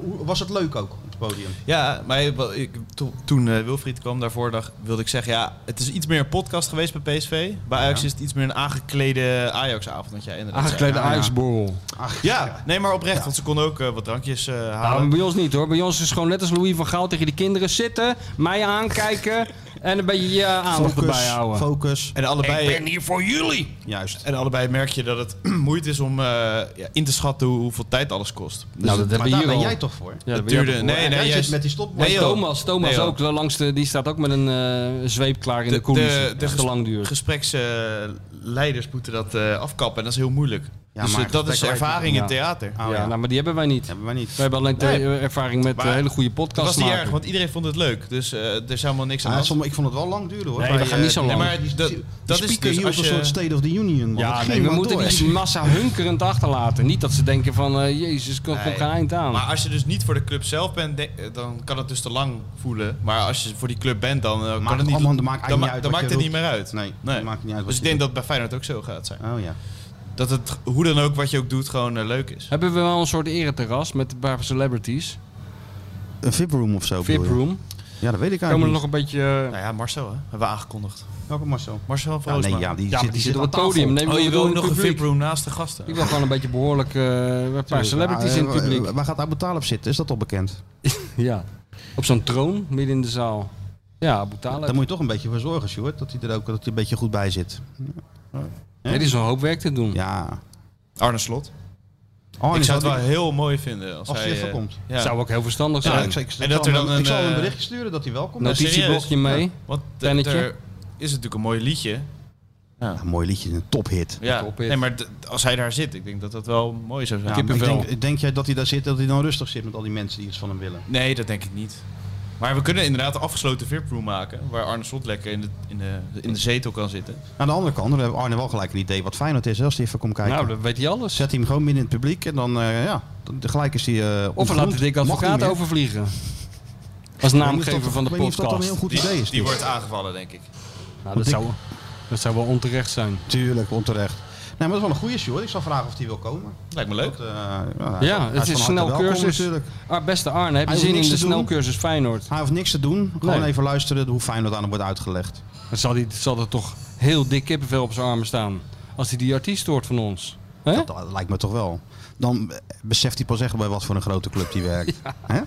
Speaker 3: hoe- was het leuk ook op het podium?
Speaker 5: Ja, maar ik, to- toen eh, Wilfried kwam daarvoor, dag, wilde ik zeggen... Ja, het is iets meer een podcast geweest bij PSV. Bij Ajax is het iets meer een aangeklede Ajax-avond. want jij inderdaad zei.
Speaker 4: Aangeklede
Speaker 3: ja, ja.
Speaker 4: ijsborrel.
Speaker 5: Ja, nee, maar oprecht. Want ze konden ook eh, wat
Speaker 3: Dus,
Speaker 5: drankjes eh,
Speaker 4: Nou,
Speaker 5: halen.
Speaker 4: bij ons niet hoor. Bij ons is gewoon net als Louis van Gaal tegen de kinderen zitten, mij aankijken en een beetje je aandacht erbij houden.
Speaker 3: focus.
Speaker 5: en allebei...
Speaker 4: hier voor jullie.
Speaker 3: Juist.
Speaker 5: En allebei merk je dat het moeite is om eh, ja, in te schatten hoe, hoeveel tijd alles kost. Dus
Speaker 3: maar
Speaker 4: Nou, dat hebben we
Speaker 3: daar
Speaker 4: hier
Speaker 3: ben
Speaker 4: al.
Speaker 3: jij toch voor?
Speaker 4: Ja,
Speaker 5: het
Speaker 4: dat
Speaker 5: duurde.
Speaker 4: ben
Speaker 5: Nee,
Speaker 4: jij
Speaker 5: nee,
Speaker 3: En jij
Speaker 5: juist-
Speaker 3: zit met die stopwatch.
Speaker 5: Nee,
Speaker 4: voor.
Speaker 5: joh.
Speaker 4: Thomas, Thomas
Speaker 5: Nee, joh.
Speaker 4: ook. wel Langs de, die staat ook met een eh, zweep klaar in de,
Speaker 5: De-
Speaker 4: coulissen.
Speaker 5: de-
Speaker 4: De,
Speaker 5: de
Speaker 4: te lang duurt.
Speaker 5: Gespreksleiders moeten dat eh, afkappen en dat is heel moeilijk.
Speaker 3: Ja,
Speaker 5: dus
Speaker 3: maar
Speaker 5: eh, dat is
Speaker 3: gesprekken-
Speaker 5: ervaring
Speaker 4: ja.
Speaker 5: in theater.
Speaker 3: Oh,
Speaker 4: ja,
Speaker 3: ja.
Speaker 4: Nou, maar die hebben wij niet.
Speaker 3: Ja, maar niet.
Speaker 4: We hebben alleen te-
Speaker 5: Nee.
Speaker 4: ervaring met
Speaker 5: Maar
Speaker 4: eh, hele goede
Speaker 5: Dat
Speaker 4: podcasts
Speaker 5: was niet
Speaker 4: maken.
Speaker 5: erg, want iedereen vond het leuk. Dus eh, er is helemaal niks
Speaker 3: Ah,
Speaker 5: aan de hand.
Speaker 3: sommige- ik vond het wel lang duren hoor.
Speaker 4: Nee,
Speaker 3: Bij,
Speaker 4: we gaan
Speaker 3: eh,
Speaker 4: niet zo
Speaker 3: die-
Speaker 5: Nee,
Speaker 4: lang.
Speaker 5: maar die- dat,
Speaker 3: die
Speaker 5: dat is
Speaker 3: speaker
Speaker 5: dus
Speaker 3: hier
Speaker 5: als
Speaker 3: was een
Speaker 5: je...
Speaker 3: soort State of the Union. Man. Het
Speaker 4: ja,
Speaker 3: ging
Speaker 4: nee, we
Speaker 3: maar
Speaker 4: moeten
Speaker 3: door.
Speaker 4: die massa hunkerend achterlaten. Niet dat ze denken van, eh, jezus, ik kom
Speaker 5: Nee.
Speaker 4: geen eind aan.
Speaker 5: Maar als je dus niet voor de club zelf bent, denk- eh, dan kan het dus te lang voelen. Maar als je voor die club bent, dan eh, kan het niet...
Speaker 3: allemaal- dat maakt eigenlijk
Speaker 5: dan
Speaker 3: niet
Speaker 5: ma-
Speaker 3: uit wat
Speaker 5: dan maakt
Speaker 3: je
Speaker 5: het niet
Speaker 3: roept.
Speaker 5: meer uit.
Speaker 3: Nee, dat maakt niet uit wat
Speaker 5: Dus ik
Speaker 3: je
Speaker 5: denk dat bij Feyenoord ook zo gaat zijn.
Speaker 3: Oh ja.
Speaker 5: Dat het hoe dan ook wat je ook doet gewoon eh, leuk is.
Speaker 4: Hebben we wel een soort ereterras met een paar celebrities.
Speaker 3: Een VIP room of zo.
Speaker 4: VIP
Speaker 3: bedoel je?
Speaker 4: room.
Speaker 3: Ja, dat weet ik eigenlijk.
Speaker 4: Komen er
Speaker 3: niet.
Speaker 4: nog een beetje... eh,
Speaker 5: Nou ja, Marcel hè, hebben we aangekondigd.
Speaker 3: Welke Marcel?
Speaker 5: Marcel
Speaker 3: Ja,
Speaker 5: van
Speaker 3: nee,
Speaker 5: Roosma.
Speaker 3: ja, die,
Speaker 4: Ja,
Speaker 3: zit,
Speaker 4: maar die zit op het podium. Nee, maar
Speaker 5: Oh, je
Speaker 4: ik
Speaker 5: wil
Speaker 4: bedoel
Speaker 5: ook nog
Speaker 4: in
Speaker 5: een
Speaker 4: het publiek.
Speaker 5: VIP-room naast de gasten.
Speaker 4: Ik wil gewoon een beetje behoorlijk eh, een paar
Speaker 3: Ah,
Speaker 4: celebrities in het publiek.
Speaker 3: eh, Waar gaat Abu Talib zitten? Is dat al bekend?
Speaker 4: Ja. Op zo'n troon midden in de zaal. Ja, Abu Talib.
Speaker 3: Daar moet je toch een beetje voor zorgen, Sjoerd. Dat hij er ook dat hij een beetje goed bij zit.
Speaker 4: Nee, die is een hoop werk te doen.
Speaker 3: Ja.
Speaker 5: Arne Slot.
Speaker 3: Oh,
Speaker 5: ik zou het wel heel mooi vinden als,
Speaker 3: Als hij
Speaker 5: hij...
Speaker 3: even
Speaker 5: eh,
Speaker 3: komt.
Speaker 5: Ja.
Speaker 4: Zou ook heel verstandig
Speaker 3: Ja,
Speaker 4: zijn.
Speaker 3: ik, zal- ik,
Speaker 5: En
Speaker 3: dat
Speaker 5: dat er
Speaker 3: zal,
Speaker 5: dan
Speaker 3: hem- ik
Speaker 5: een,
Speaker 3: zal hem een
Speaker 5: eh,
Speaker 3: berichtje sturen dat hij welkom
Speaker 4: Nou,
Speaker 3: is.
Speaker 5: serieus.
Speaker 4: notitieblokje mee.
Speaker 5: Want d-
Speaker 4: Pennetje.
Speaker 5: er is natuurlijk een mooi liedje.
Speaker 3: Ja, mooi liedje, een tophit.
Speaker 5: Ja.
Speaker 4: Tophit.
Speaker 5: Nee, maar d- als hij daar zit, ik denk dat dat wel mooi zou zijn.
Speaker 3: Ja, maar ik denk, denk jij dat hij daar zit, dat hij dan rustig zit met al die mensen die iets van hem willen?
Speaker 5: Nee, dat denk ik niet. Maar we kunnen inderdaad een afgesloten VIP-room maken. Waar Arne Slot lekker in de, in, de, in de zetel kan zitten.
Speaker 3: Aan de andere kant, dan heeft Arne wel gelijk een idee wat Feyenoord is hè, als hij even komt kijken.
Speaker 4: Nou, dan weet hij alles.
Speaker 3: Zet hij hem gewoon midden in het publiek en dan, eh, ja, dan- gelijk is hij eh,
Speaker 4: Of we
Speaker 3: ontgroend.
Speaker 4: laten Dick
Speaker 3: Mag niet
Speaker 4: Advocaat
Speaker 3: meer.
Speaker 4: overvliegen. Als
Speaker 3: Ik weet niet of
Speaker 4: naamgever
Speaker 3: dat-
Speaker 4: van de
Speaker 3: ik weet niet of dat dan een heel
Speaker 4: podcast.
Speaker 3: goed idee is.
Speaker 5: Die
Speaker 3: dit.
Speaker 5: wordt aangevallen, denk ik.
Speaker 4: Nou, dat,
Speaker 3: Dick-
Speaker 4: zou, dat zou wel onterecht zijn.
Speaker 3: Tuurlijk, onterecht. Nee, maar dat is wel een goede show. Ik zal vragen of hij wil komen.
Speaker 5: Lijkt me leuk.
Speaker 3: Dat, eh, ja, hij
Speaker 4: Ja,
Speaker 3: hij
Speaker 4: het
Speaker 3: van
Speaker 4: is
Speaker 3: harte
Speaker 4: snel
Speaker 3: welkom
Speaker 4: cursus.
Speaker 3: natuurlijk.
Speaker 4: Ah, beste Arne, heb je
Speaker 3: Hij hoeft
Speaker 4: zin in
Speaker 3: niks
Speaker 4: de
Speaker 3: te doen.
Speaker 4: snelcursus Feyenoord?
Speaker 3: Hij hoeft niks te doen. Gewoon
Speaker 4: Nee.
Speaker 3: even luisteren hoe fijn dat aan hem wordt uitgelegd.
Speaker 4: Dan zal, die, zal er toch heel dik kippenvel op zijn armen staan. Als hij die artiest hoort van ons. Hè?
Speaker 3: Dat, dat lijkt me toch wel. Dan eh, beseft hij pas echt bij wat voor een grote club hij werkt. Hè?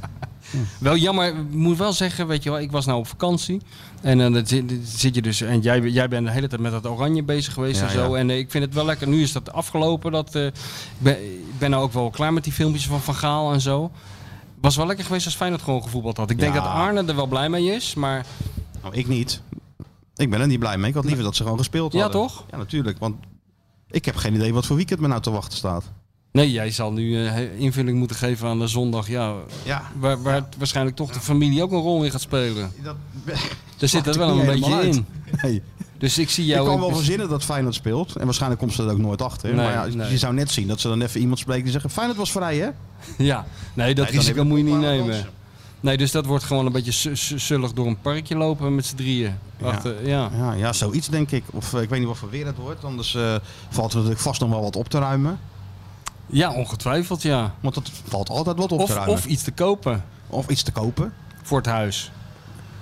Speaker 4: Wel jammer, ik moet wel zeggen, weet je wel, ik was nou op vakantie. En eh, dan zit, zit je dus, en jij, jij bent de hele tijd met dat oranje bezig geweest
Speaker 3: Ja,
Speaker 4: en zo.
Speaker 3: ja.
Speaker 4: En eh, ik vind het wel lekker, nu is dat afgelopen. Dat, eh, ik, ben, ik ben nou ook wel klaar met die filmpjes van Van Gaal en zo. Was wel lekker geweest als Feyenoord gewoon gevoetbald had. Ik denk
Speaker 3: Ja.
Speaker 4: dat Arne er wel blij mee is, maar
Speaker 3: Nou, ik niet. Ik ben er niet blij mee. Ik had liever dat ze gewoon gespeeld
Speaker 4: Ja,
Speaker 3: hadden.
Speaker 4: toch?
Speaker 3: Ja, natuurlijk. Want ik heb geen idee wat voor weekend me nou te wachten staat.
Speaker 4: nee, jij zal nu eh, invulling moeten geven aan de zondag. Ja,
Speaker 3: Ja,
Speaker 4: waar, waar het waarschijnlijk toch de familie ook een rol in gaat spelen.
Speaker 3: dat
Speaker 4: Daar zit dat
Speaker 3: ik
Speaker 4: wel een
Speaker 3: niet
Speaker 4: beetje
Speaker 3: helemaal
Speaker 4: in.
Speaker 3: nee.
Speaker 4: Dus ik zie
Speaker 3: Ik
Speaker 4: jou...
Speaker 3: kan
Speaker 4: in-
Speaker 3: wel verzinnen dat Feyenoord speelt. En waarschijnlijk komt ze er ook nooit achter.
Speaker 4: Nee,
Speaker 3: maar ja,
Speaker 4: nee.
Speaker 3: je zou net zien dat ze dan even iemand spreken die zegt... Feyenoord was vrij, hè?
Speaker 4: Ja, nee, dat
Speaker 3: Nee, dan heb
Speaker 4: risico
Speaker 3: je
Speaker 4: moet je niet
Speaker 3: bepaalde
Speaker 4: nemen.
Speaker 3: kansen.
Speaker 4: Nee, dus dat wordt gewoon een beetje su- su- zullig door een parkje lopen met z'n drieën. Achter, ja.
Speaker 3: Ja, ja, zoiets denk ik. Of eh, ik weet niet wat voor weer het wordt. Anders eh, valt er natuurlijk vast nog wel wat op te ruimen.
Speaker 4: ja, ongetwijfeld ja.
Speaker 3: Want dat valt altijd wat op te
Speaker 4: Of,
Speaker 3: ruimen.
Speaker 4: of
Speaker 3: Of,
Speaker 4: iets te kopen
Speaker 3: iets te kopen.
Speaker 4: voor het huis.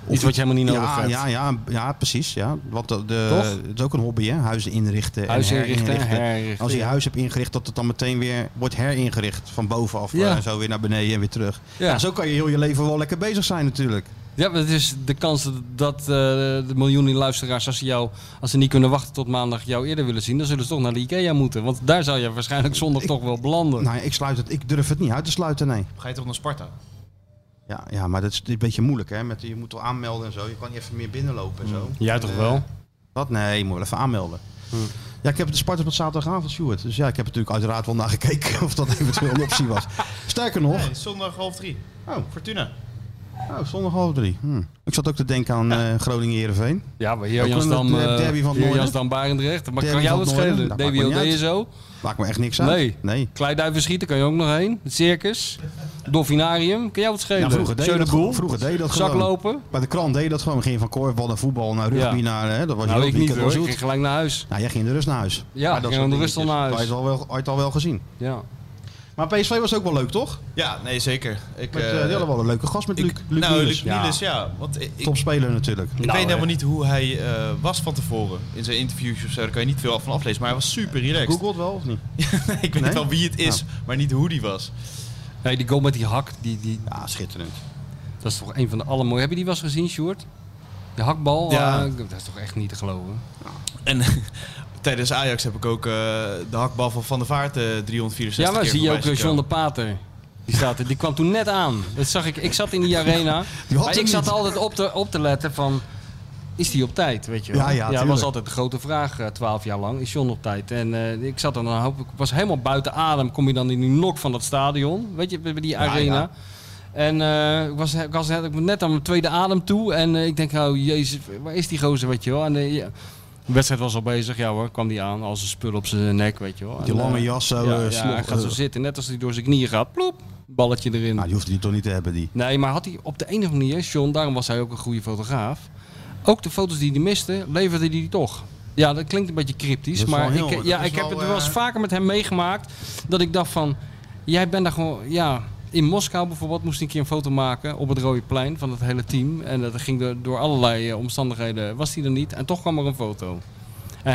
Speaker 3: Of
Speaker 4: iets wat je helemaal niet nodig
Speaker 3: ja,
Speaker 4: hebt.
Speaker 3: ja, ja, ja, precies. Ja. Want de, de-
Speaker 4: Toch?
Speaker 3: het is ook een hobby, hè? Huizen inrichten. en
Speaker 4: Huizen inrichten,
Speaker 3: herinrichten.
Speaker 4: herinrichten,
Speaker 3: Als je je
Speaker 4: ja.
Speaker 3: huis hebt ingericht, dat het dan meteen weer wordt heringericht. Van bovenaf
Speaker 4: Ja.
Speaker 3: eh, en zo weer naar beneden en weer terug.
Speaker 4: Ja.
Speaker 3: Ja, zo kan je heel je leven wel lekker bezig zijn natuurlijk.
Speaker 4: Ja, maar het is de kans dat- dat eh, de miljoenen luisteraars, als ze, jou, als ze niet kunnen wachten tot maandag, jou eerder willen zien, dan zullen ze toch naar de IKEA moeten. Want daar zou je waarschijnlijk zondag toch wel belanden.
Speaker 3: Nou, ja, ik, sluit het, ik durf het niet uit te sluiten, nee.
Speaker 5: Ga je toch naar Sparta?
Speaker 3: Ja, ja maar dat is een beetje moeilijk, hè? Met, je moet wel aanmelden en zo. Eh, Je kan niet even meer binnenlopen en zo.
Speaker 4: Jij Mm. toch wel? Mm.
Speaker 3: Wat? Nee, je moet wel even aanmelden. Ja, ik heb de Sparta op zaterdagavond, Sjoerd. Dus ja, ik heb natuurlijk uiteraard wel naar gekeken of dat eventueel een optie was. Sterker nog,
Speaker 5: Nee, zondag half drie.
Speaker 3: Oh.
Speaker 5: Fortuna.
Speaker 3: oh, zondag half drie. Hm. Ik zat ook te denken aan eh Groningen-Herenveen.
Speaker 4: Ja, maar
Speaker 3: Ook
Speaker 4: hier Jansdam,
Speaker 3: een, eh, derby van het
Speaker 4: hier
Speaker 3: noorden.
Speaker 4: Jansdam Barendrecht. Maar
Speaker 3: Derby
Speaker 4: kan
Speaker 3: van
Speaker 4: jou
Speaker 3: het
Speaker 4: het
Speaker 3: noorden.
Speaker 4: schelen?
Speaker 3: Dat maakt me niet
Speaker 4: DWOD
Speaker 3: uit.
Speaker 4: en zo.
Speaker 3: Maakt me echt niks uit.
Speaker 4: Nee.
Speaker 3: nee.
Speaker 4: Kleiduiven schieten kan je ook nog heen. Het circus. Dolfinarium. Kan jou het schelen?
Speaker 3: Ja, Nou, vroeger deed je dat,
Speaker 4: Schönerbroel.
Speaker 3: gewoon- vroeger deed je dat gewoon.
Speaker 4: Zaklopen.
Speaker 3: Bij de krant deed je dat gewoon. Ging je van korfbal naar voetbal, naar rugby,
Speaker 4: Ja.
Speaker 3: naar... Hè, dat was
Speaker 4: Nou,
Speaker 3: je
Speaker 4: ik niet
Speaker 3: weekend was
Speaker 4: hoor. Ik
Speaker 3: goed.
Speaker 4: ging gelijk naar huis.
Speaker 3: Nou, jij ging in de rust naar huis.
Speaker 4: Ja,
Speaker 3: Maar
Speaker 4: ik
Speaker 3: dat
Speaker 4: ging
Speaker 3: soort
Speaker 4: in de rust al
Speaker 3: dingetjes.
Speaker 4: naar huis.
Speaker 3: Had je het al wel, had je het al wel gezien.
Speaker 4: Ja.
Speaker 3: Maar PSV was ook wel leuk, toch?
Speaker 5: Ja, nee, zeker. Ik,
Speaker 3: Met, eh,
Speaker 5: eh,
Speaker 3: die hadden wel een leuke gast met
Speaker 5: ik-
Speaker 3: Luc, Luc
Speaker 5: nou,
Speaker 3: Niels.
Speaker 5: Luc Niels, ja. Want ik, ik
Speaker 3: Topspeler natuurlijk.
Speaker 4: Nou,
Speaker 5: ik weet helemaal niet hoe hij eh, was van tevoren. In zijn interviews of zo, daar kan je niet veel van aflezen. Maar hij was super relaxed.
Speaker 3: Googelt wel of niet?
Speaker 5: ik weet
Speaker 3: Nee? Nou.
Speaker 5: wel wie het is, maar niet hoe die was.
Speaker 4: Nee, die goal met die hak. Die, die,
Speaker 3: Ja, schitterend.
Speaker 4: Dat is toch een van de allermooiste. Heb je die wel eens gezien, Sjoerd? De hakbal?
Speaker 5: Ja.
Speaker 4: eh, dat is toch echt niet te geloven.
Speaker 5: En tijdens Ajax heb ik ook eh, de hakbal van Van der Vaart eh 364
Speaker 4: Ja, maar
Speaker 5: keer
Speaker 4: zie je ook
Speaker 5: voorbij
Speaker 4: eh,
Speaker 5: zien
Speaker 4: John de
Speaker 5: komen.
Speaker 4: Pater. Die, staat er, die kwam toen net aan. Dat zag ik, ik zat in die arena.
Speaker 3: Die had
Speaker 4: maar
Speaker 3: hem
Speaker 4: ik zat
Speaker 3: niet.
Speaker 4: altijd op te, op te letten van... Is die op tijd, weet je wel?
Speaker 3: Ja, ja,
Speaker 4: dat
Speaker 3: tuurlijk.
Speaker 4: was altijd de grote vraag, eh, twaalf jaar lang. Is John op tijd? En eh, ik zat dan een hoop... Ik was helemaal buiten adem. Kom je dan in die nok van dat stadion. Weet je, bij bij die arena.
Speaker 3: ja.
Speaker 4: En eh, ik, was, ik was net- ik was net aan mijn tweede adem toe. En eh, ik denk, oh jezus, waar is die gozer, weet je wel? En, eh, ja, de wedstrijd was al bezig, ja hoor. Kwam die aan, al zijn spul op zijn nek, weet je wel.
Speaker 3: Die
Speaker 4: En,
Speaker 3: lange
Speaker 4: eh,
Speaker 3: jas zo.
Speaker 4: ja,
Speaker 3: eh,
Speaker 4: ja,
Speaker 3: slok,
Speaker 4: hij gaat zo
Speaker 3: eh,
Speaker 4: zitten, net als hij door zijn knieën gaat. Ploep, balletje erin.
Speaker 3: Nou, die hoefde die toch niet te hebben, die.
Speaker 4: Nee, maar had hij op de enige manier, John, daarom was hij ook een goede fotograaf. Ook de foto's die hij miste, leverde hij die toch. Ja, dat klinkt een beetje cryptisch,
Speaker 3: Dat is wel
Speaker 4: maar
Speaker 3: heel-
Speaker 4: ik,
Speaker 3: dat
Speaker 4: ja,
Speaker 3: is
Speaker 4: ik heb
Speaker 3: wel,
Speaker 4: het wel eens
Speaker 3: eh,
Speaker 4: vaker met hem meegemaakt. Dat ik dacht van, jij bent daar gewoon, ja... In Moskou bijvoorbeeld moest hij een keer een foto maken op het Rode Plein van het hele team. En dat ging door, door allerlei eh, omstandigheden, was hij er niet. En toch kwam er een foto. En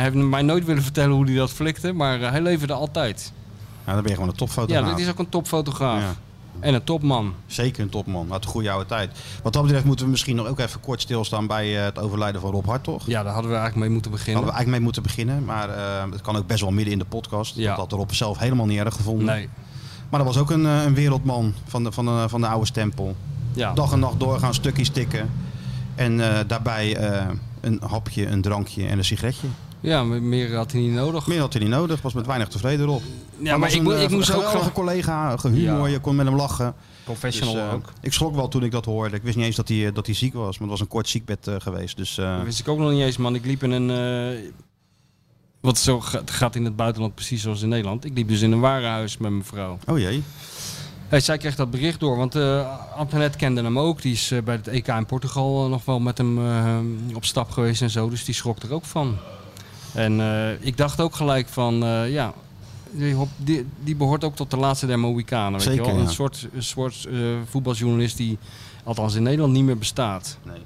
Speaker 4: hij heeft mij nooit willen vertellen hoe hij dat flikte, maar eh, hij leverde altijd.
Speaker 3: Nou, dan ben je gewoon een topfotograaf.
Speaker 4: Ja, dat is ook een topfotograaf.
Speaker 3: Ja.
Speaker 4: En een topman.
Speaker 3: Zeker een topman. Uit de goede oude tijd. Wat dat betreft moeten we misschien nog ook even kort stilstaan bij eh, het overlijden van Rob Hartog.
Speaker 4: Ja, daar hadden we eigenlijk mee moeten beginnen.
Speaker 3: Daar hadden we eigenlijk mee moeten beginnen. Maar eh, het kan ook best wel midden in de podcast.
Speaker 4: Ja.
Speaker 3: Dat had Rob zelf helemaal niet erg gevonden.
Speaker 4: Nee.
Speaker 3: Maar dat was ook een, eh, een wereldman van de, van, de, van de oude stempel.
Speaker 4: Ja.
Speaker 3: Dag en nacht doorgaan, stukjes tikken. En eh, daarbij eh, een hapje, een drankje en een sigaretje.
Speaker 4: ja, maar meer had hij niet nodig.
Speaker 3: Meer had hij niet nodig. Was met weinig tevreden, Rob.
Speaker 4: Ja, maar
Speaker 3: was
Speaker 4: ik,
Speaker 3: een,
Speaker 4: mo-
Speaker 3: eh,
Speaker 4: ik moest ook
Speaker 3: geweldige
Speaker 4: graag...
Speaker 3: collega, gehumor,
Speaker 4: Ja.
Speaker 3: je kon met hem lachen.
Speaker 4: Professional
Speaker 3: Dus, eh,
Speaker 4: ook.
Speaker 3: Ik schrok wel toen ik dat hoorde. Ik wist niet eens dat hij, eh, dat hij ziek was, maar het was een kort ziekbed eh, geweest. Dus eh,
Speaker 4: Dat wist ik ook nog niet eens, man. Ik liep in een... eh, wat zo ga- gaat in het buitenland precies zoals in Nederland. Ik liep dus in een warenhuis met mijn vrouw.
Speaker 3: oh jee.
Speaker 4: Hey, zij kreeg dat bericht door, want eh Antoinette kende hem ook. Die is eh, bij het EK in Portugal eh, nog wel met hem eh, op stap geweest en zo. Dus die schrok er ook van. En eh, ik dacht ook gelijk van, eh, ja, die, hop- die, die behoort ook tot de laatste der Mohikanen. Weet
Speaker 3: Zeker,
Speaker 4: je wel?
Speaker 3: ja.
Speaker 4: Een soort, een soort eh, voetbaljournalist die, althans in Nederland, niet meer bestaat.
Speaker 3: Nee.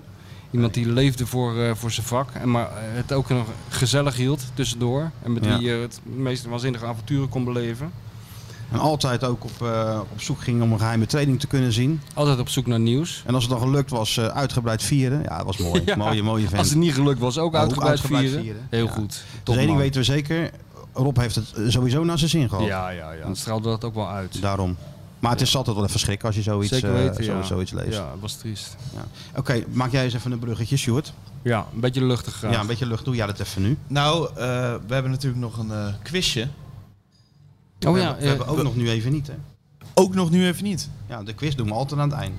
Speaker 4: Iemand die leefde voor, eh, voor zijn vak, en maar het ook nog gezellig hield tussendoor. En met
Speaker 3: Ja.
Speaker 4: wie je het meest waanzinnige avonturen kon beleven.
Speaker 3: En altijd ook op, eh, op zoek ging om een geheime training te kunnen zien.
Speaker 4: Altijd op zoek naar nieuws.
Speaker 3: En als het dan gelukt was, eh, uitgebreid vieren. Ja, dat was mooi.
Speaker 4: Ja.
Speaker 3: Mooie, mooie vent.
Speaker 4: Als het niet gelukt was, ook
Speaker 3: Ook
Speaker 4: uitgebreid,
Speaker 3: uitgebreid
Speaker 4: vieren.
Speaker 3: vieren.
Speaker 4: Heel
Speaker 3: Ja.
Speaker 4: goed.
Speaker 3: Dus
Speaker 4: Top
Speaker 3: één ding
Speaker 4: man.
Speaker 3: weten we zeker. Rob heeft het eh, sowieso naar zijn zin gehad.
Speaker 4: Ja, ja, ja. Dan straalde dat ook wel uit.
Speaker 3: Daarom. Maar het is altijd wel even schrik als je zoiets,
Speaker 4: Zeker
Speaker 3: eh,
Speaker 4: weten,
Speaker 3: zo-
Speaker 4: ja.
Speaker 3: zoiets leest.
Speaker 4: Ja, dat was triest.
Speaker 3: Ja. Oké, maak jij eens even een bruggetje, Sjoerd.
Speaker 4: Ja, een beetje luchtig graag.
Speaker 3: Ja, een beetje lucht. Doe jij dat even nu.
Speaker 5: Nou, eh, we hebben natuurlijk nog een eh, quizje.
Speaker 4: Oh
Speaker 3: we
Speaker 4: ja,
Speaker 3: hebben, we
Speaker 4: eh,
Speaker 3: hebben ook nog nu even niet, hè.
Speaker 5: Ook nog nu even niet.
Speaker 3: Ja, de quiz doen we altijd aan het einde.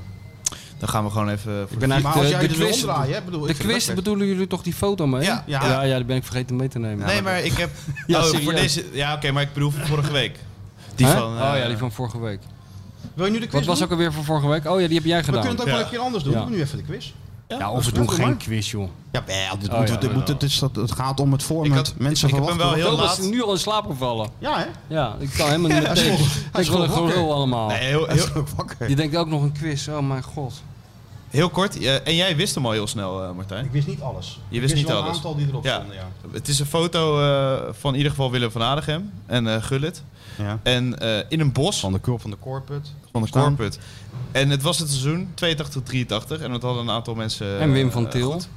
Speaker 5: Dan gaan we gewoon even... Voor
Speaker 4: ben
Speaker 5: de-
Speaker 4: eigenlijk-
Speaker 3: Maar als
Speaker 4: de-
Speaker 3: jij
Speaker 4: de
Speaker 3: het wil
Speaker 4: quiz-
Speaker 3: omdraaien, hè, bedoel
Speaker 4: de
Speaker 3: ik vind
Speaker 4: quiz
Speaker 3: dat leuk.
Speaker 4: bedoelen jullie toch die foto mee?
Speaker 5: Ja, ja.
Speaker 4: ja. ja, die ben ik vergeten mee te nemen.
Speaker 5: Nee, maar ik heb...
Speaker 4: Ja,
Speaker 5: oh, voor
Speaker 4: serieus.
Speaker 5: deze... Ja, oké, maar ik bedoel voor vorige week. Die
Speaker 4: Die
Speaker 5: van...
Speaker 4: van,
Speaker 5: eh,
Speaker 4: oh ja, die van vorige week.
Speaker 3: Wil je nu de quiz
Speaker 4: Wat was
Speaker 3: doen?
Speaker 4: ook alweer van vorige week? Oh ja, die heb jij
Speaker 3: We
Speaker 4: gedaan.
Speaker 3: kunnen het ook wel een
Speaker 5: Ja.
Speaker 3: keer anders doen.
Speaker 4: Ja.
Speaker 3: Doen we nu even de quiz.
Speaker 4: ja, of we
Speaker 3: dat
Speaker 4: doen
Speaker 3: is
Speaker 4: geen
Speaker 3: maar.
Speaker 4: quiz, joh.
Speaker 3: Ja, wel, dit
Speaker 4: Oh,
Speaker 3: moet,
Speaker 4: ja,
Speaker 3: dit
Speaker 4: ja,
Speaker 3: moet,
Speaker 4: ja.
Speaker 3: dit is, dat, het gaat om het format.
Speaker 5: Ik had-
Speaker 3: Mensen
Speaker 5: ik heb hem
Speaker 3: verwachten
Speaker 5: wel heel
Speaker 4: Ik was
Speaker 5: laat.
Speaker 4: nu al in slaap gevallen.
Speaker 3: Ja, hè?
Speaker 4: Ja, ik kan helemaal niet meer tegen. Ik wil
Speaker 3: schrok
Speaker 4: een
Speaker 3: wakker.
Speaker 4: gelul allemaal.
Speaker 5: Nee, heel,
Speaker 3: Hij
Speaker 5: heel,
Speaker 3: is ook wakker.
Speaker 4: Die denkt ook nog een quiz. Oh mijn god.
Speaker 5: heel kort. eh, en jij wist hem al heel snel, eh, Martijn.
Speaker 3: Ik wist niet alles.
Speaker 5: Je wist niet
Speaker 3: wel een
Speaker 5: alles.
Speaker 3: aantal die erop
Speaker 5: Ja.
Speaker 3: stonden, ja.
Speaker 5: Het is een foto eh, van in ieder geval Willem van Adegem en eh Gullit.
Speaker 3: ja.
Speaker 5: En eh, in een bos
Speaker 3: Van de Kulp van de Corput.
Speaker 5: van de
Speaker 3: Staan.
Speaker 5: Corput. En het was het seizoen 82-83 en dat hadden een aantal mensen...
Speaker 4: en Wim
Speaker 5: eh,
Speaker 4: van Til.
Speaker 5: goed.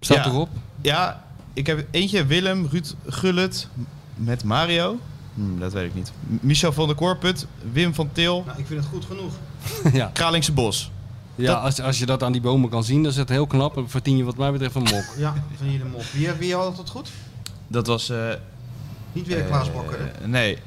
Speaker 4: Staat
Speaker 5: Ja.
Speaker 4: erop.
Speaker 5: Ja, ik heb eentje Willem, Ruud Gullit m- met Mario. Hm, dat weet ik niet. M- Michel van der Korput, Wim van Til,
Speaker 3: Nou, ik vind het goed genoeg.
Speaker 4: ja.
Speaker 5: Kralingse Bos.
Speaker 4: Ja, als, als je dat aan die bomen kan zien, dan is het heel knap. Dan verdien je wat mij betreft een mok.
Speaker 3: Ja, van hier de mop. Wie, wie had het goed?
Speaker 5: Dat was... eh,
Speaker 3: Niet weer Klaas Bokker. hè?
Speaker 5: eh, nee,
Speaker 3: Ik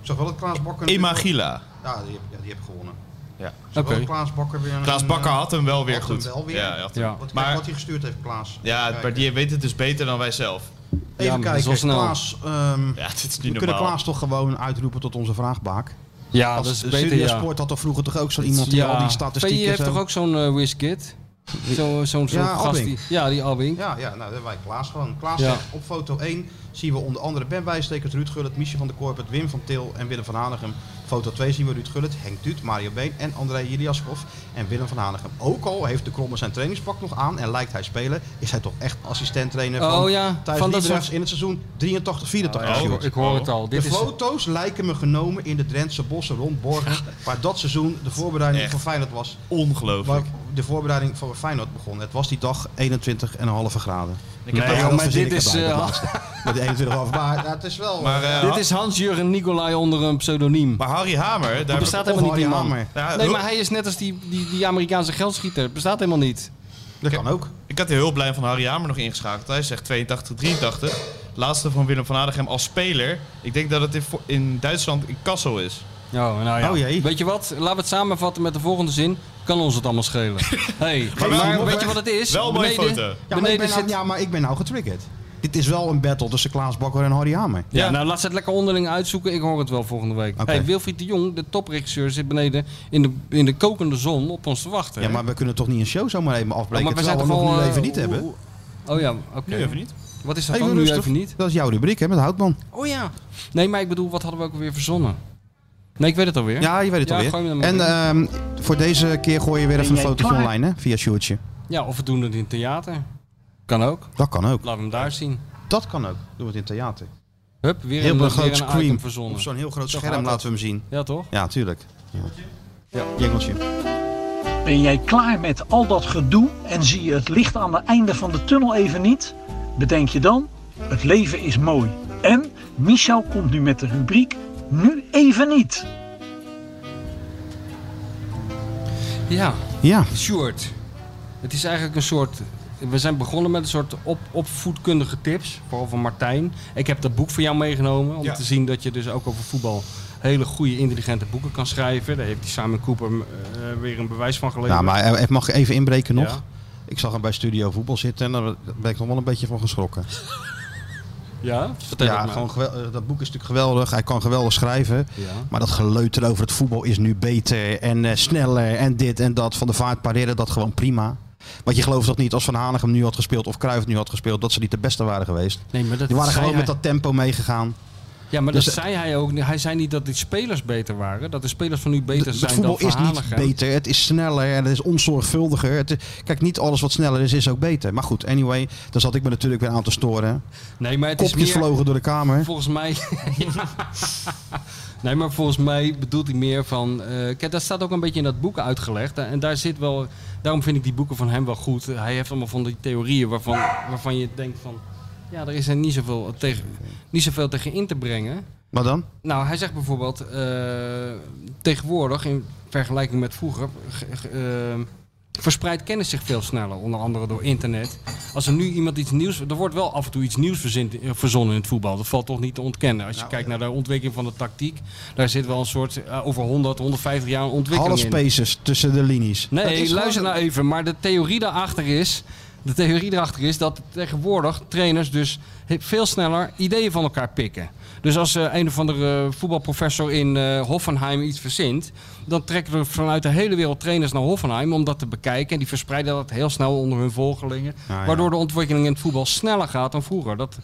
Speaker 3: zag wel dat Klaas Bokker...
Speaker 5: Emagila.
Speaker 3: Ja, die, heb- ja, die heb gewonnen.
Speaker 5: Ja.
Speaker 3: Ik zag wel
Speaker 4: Oké.
Speaker 3: dat Klaas Bokker weer... een-
Speaker 5: Klaas Bakker had hem wel weer
Speaker 3: had hem
Speaker 5: goed.
Speaker 3: wel weer.
Speaker 5: Ja, hij had hem-
Speaker 4: Ja.
Speaker 3: Want maar,
Speaker 5: Maar-
Speaker 3: wat hij gestuurd heeft, Klaas.
Speaker 5: ja, maar die weet het dus beter dan wij zelf.
Speaker 4: Ja,
Speaker 3: Even
Speaker 4: maar dat is
Speaker 3: kijken,
Speaker 4: wel snel.
Speaker 3: Klaas... ehm,
Speaker 5: Ja, dit is
Speaker 3: we
Speaker 5: niet
Speaker 3: kunnen
Speaker 5: normaal.
Speaker 3: Klaas toch gewoon uitroepen tot onze vraagbaak.
Speaker 4: Ja,
Speaker 3: Als
Speaker 4: Ah, dat is beter,
Speaker 3: Studio
Speaker 4: ja.
Speaker 3: Sport had toch vroeger toch ook zo'n iemand die
Speaker 4: ja.
Speaker 3: al die
Speaker 4: Vee,
Speaker 3: statistieken...
Speaker 4: Je hebt
Speaker 3: zo-
Speaker 4: toch ook zo'n eh WizKid? Zo'n zo'n zo'n
Speaker 3: Ja,
Speaker 4: gast
Speaker 3: Albink.
Speaker 4: die... Ja, die Albing.
Speaker 3: Ja, ja, nou, dat hebben wij Klaas gewoon. Klaas
Speaker 4: Ja.
Speaker 3: zegt, op foto 1 zien we onder andere Ben Wijstekers, Ruud Gullit, Michel van der Korpert, Wim van Til en Willem van Hanegem. Foto 2 zien we Ruud Gullit, Henk Duut, Mario Been en André Iliaskov en Willem van Hanegem. Ook al heeft de Kromme zijn trainingspak nog aan en lijkt hij spelen, is hij toch echt assistent-trainer van
Speaker 4: Oh ja,
Speaker 3: Thijs
Speaker 4: van dat
Speaker 3: Liedrechts
Speaker 4: soort-
Speaker 3: in het seizoen 83, 84.
Speaker 5: Oh,
Speaker 4: Ik, hoor- ik hoor het al.
Speaker 3: De
Speaker 4: Dit is...
Speaker 3: foto's lijken me genomen in de Drentse bossen rond Borgen, waar dat seizoen de voorbereiding
Speaker 5: Echt.
Speaker 3: voor Feyenoord was. Waar
Speaker 5: Ongelooflijk.
Speaker 3: de voorbereiding voor Feyenoord begon. Het was die dag 21,5 graden.
Speaker 5: Ik heb
Speaker 4: Nee,
Speaker 5: daar-
Speaker 4: joh, maar
Speaker 3: verzin ik
Speaker 4: dit is,
Speaker 3: erbij, dat
Speaker 4: eh,
Speaker 3: laatste. Met die 21 half. Maar ja, het is wel.
Speaker 5: maar, eh,
Speaker 4: Dit is Hans-Jurgen Nicolai onder een pseudoniem.
Speaker 5: maar Harry Hamer, daar
Speaker 4: bestaat
Speaker 3: of
Speaker 4: helemaal niet die
Speaker 3: Harry
Speaker 4: man.
Speaker 3: Hamer.
Speaker 5: Ja,
Speaker 4: Nee,
Speaker 5: hulp-
Speaker 4: maar hij is net als die, die, die Amerikaanse geldschieter. Bestaat helemaal niet.
Speaker 3: Dat kan ook.
Speaker 5: Ik had de hulplijn van Harry Hamer nog ingeschakeld. Hij zegt 82, 83. Laatste van Willem van Adegem als speler. Ik denk dat het in, Vo- in Duitsland in Kassel is.
Speaker 4: Oh, nou ja.
Speaker 3: Oh, jee.
Speaker 4: Weet je wat? Laten we het samenvatten met de volgende zin. Kan ons het allemaal schelen. Hey, maar,
Speaker 5: wel mooi,
Speaker 4: weet
Speaker 5: hè?
Speaker 4: je wat het is?
Speaker 5: Wel een mooie
Speaker 4: Beneden-
Speaker 5: foto. Ja,
Speaker 3: Ja, maar, ik
Speaker 4: beneden
Speaker 3: ben nou,
Speaker 4: zit...
Speaker 3: ja, maar ik ben nou getriggerd. Dit is wel een battle tussen Klaas Bakker en Harry Hamer.
Speaker 4: Ja,
Speaker 5: Ja.
Speaker 4: nou laat ze het lekker onderling uitzoeken. Ik hoor het wel volgende week.
Speaker 3: Oké.
Speaker 4: Hey, Wilfried de Jong, de topregisseur, zit beneden in de, in de kokende zon op ons te wachten.
Speaker 3: Ja, maar we kunnen toch niet een show zomaar even
Speaker 4: Ja,
Speaker 3: afbreken.
Speaker 4: maar we zijn
Speaker 3: terwijl
Speaker 4: toch
Speaker 3: we nog
Speaker 4: al...
Speaker 3: nu
Speaker 4: eh,
Speaker 3: even niet
Speaker 4: hoe-
Speaker 3: hebben.
Speaker 4: hoe- Oh ja, oké.
Speaker 5: niet.
Speaker 4: Wat is dat
Speaker 3: Even
Speaker 4: dan? Nu
Speaker 3: rustig.
Speaker 4: even niet?
Speaker 3: Dat is jouw rubriek, hè, met Houtman.
Speaker 4: Oh ja. Nee, maar ik bedoel, wat hadden we ook alweer verzonnen? Nee, ik weet het alweer.
Speaker 3: Ja, je weet het
Speaker 4: Ja, gooi
Speaker 3: alweer.
Speaker 4: hem
Speaker 3: En
Speaker 4: dan
Speaker 3: ehm, voor deze keer gooi je weer even een fotootje online, hè? Via Sjoerdje.
Speaker 4: Ja, of we doen het in het theater. Kan ook.
Speaker 3: Dat kan ook.
Speaker 4: Laten we hem daar zien.
Speaker 3: Dat kan ook. Doen we het in theater.
Speaker 4: Hup, weer
Speaker 3: Heel
Speaker 4: een,
Speaker 3: een
Speaker 4: weer
Speaker 3: groot
Speaker 4: een item
Speaker 3: screen. Op
Speaker 4: verzonnen.
Speaker 3: zo'n heel groot
Speaker 4: Zo
Speaker 3: scherm
Speaker 4: gaat dat.
Speaker 3: laten we hem zien.
Speaker 4: Ja, toch?
Speaker 3: Ja, tuurlijk. Ja, jingeltje.
Speaker 10: Ben jij klaar met al dat gedoe en zie je het licht aan het einde van de tunnel even niet? Bedenk je dan, het leven is mooi. En Michel komt nu met de rubriek Nu even niet.
Speaker 4: Ja,
Speaker 3: Ja.
Speaker 4: Sjoerd. Het is eigenlijk een soort... We zijn begonnen met een soort op, opvoedkundige tips. Vooral van Martijn. Ik heb dat boek voor jou meegenomen. Om
Speaker 5: Ja.
Speaker 4: te zien dat je dus ook over voetbal hele goede, intelligente boeken kan schrijven. Daar heeft die Simon Cooper eh, weer een bewijs van geleverd.
Speaker 3: Nou, maar eh, mag ik even inbreken nog?
Speaker 4: Ja.
Speaker 3: Ik zag hem bij Studio Voetbal zitten en daar ben ik nog wel een beetje van geschrokken.
Speaker 4: Ja? Vertel
Speaker 3: Ja,
Speaker 4: het maar.
Speaker 3: gewoon gewel- eh, dat boek is natuurlijk geweldig. Hij kan geweldig schrijven.
Speaker 4: Ja.
Speaker 3: Maar dat geleuter over het voetbal is nu beter en eh, sneller en dit en dat. Van de vaart pareren dat gewoon prima. Want je gelooft toch niet als Van Hanegem nu had gespeeld of Cruijff nu had gespeeld... dat ze niet de beste waren geweest.
Speaker 4: Nee, maar dat
Speaker 3: Die waren
Speaker 4: zei
Speaker 3: gewoon met
Speaker 4: hij-
Speaker 3: dat tempo meegegaan.
Speaker 4: Ja, maar
Speaker 3: dus-
Speaker 4: dat zei hij ook. niet. Hij zei niet dat de spelers beter waren. Dat de spelers van nu beter
Speaker 3: Het-
Speaker 4: zijn
Speaker 3: het voetbal
Speaker 4: dan
Speaker 3: is niet
Speaker 4: Hanegem.
Speaker 3: beter. Het is sneller en het is onzorgvuldiger. Het, is- kijk, niet alles wat sneller is, is ook beter. Maar goed, anyway, daar zat ik me natuurlijk weer aan te storen.
Speaker 4: Nee, maar het is
Speaker 3: Kopjes
Speaker 4: meer...
Speaker 3: vlogen door de kamer.
Speaker 4: Volgens mij. Ja. Nee, maar volgens mij bedoelt hij meer van. eh, kijk, dat staat ook een beetje in dat boek uitgelegd. En en daar zit wel. Daarom vind ik die boeken van hem wel goed. Hij heeft allemaal van die theorieën waarvan, waarvan je denkt van. Ja, er is er niet zoveel, tegen, niet zoveel tegen in te brengen.
Speaker 3: Wat dan?
Speaker 4: Nou, hij zegt bijvoorbeeld. eh, tegenwoordig, in vergelijking met vroeger. ge- ge- eh, verspreidt kennis zich veel sneller, onder andere door internet. Als er nu iemand iets nieuws... Er wordt wel af en toe iets nieuws verzin- eh, verzonnen in het voetbal. Dat valt toch niet te ontkennen. Als je kijkt naar de ontwikkeling van de tactiek... daar zit wel een soort eh, over 100, 150 jaar een ontwikkeling
Speaker 3: Alle
Speaker 4: in.
Speaker 3: spaces tussen de linies. Dat is
Speaker 4: Nee,
Speaker 3: gewoon-
Speaker 4: luister nou even. Maar de theorie daarachter is... De theorie daarachter is dat tegenwoordig trainers dus he- veel sneller ideeën van elkaar pikken. Dus als eh, een of andere voetbalprofessor in eh, Hoffenheim iets verzint, dan trekken er vanuit de hele wereld trainers naar Hoffenheim om dat te bekijken. En die verspreiden dat heel snel onder hun volgelingen.
Speaker 3: Ah, ja.
Speaker 4: Waardoor de ontwikkeling in het voetbal sneller gaat dan vroeger. Dat,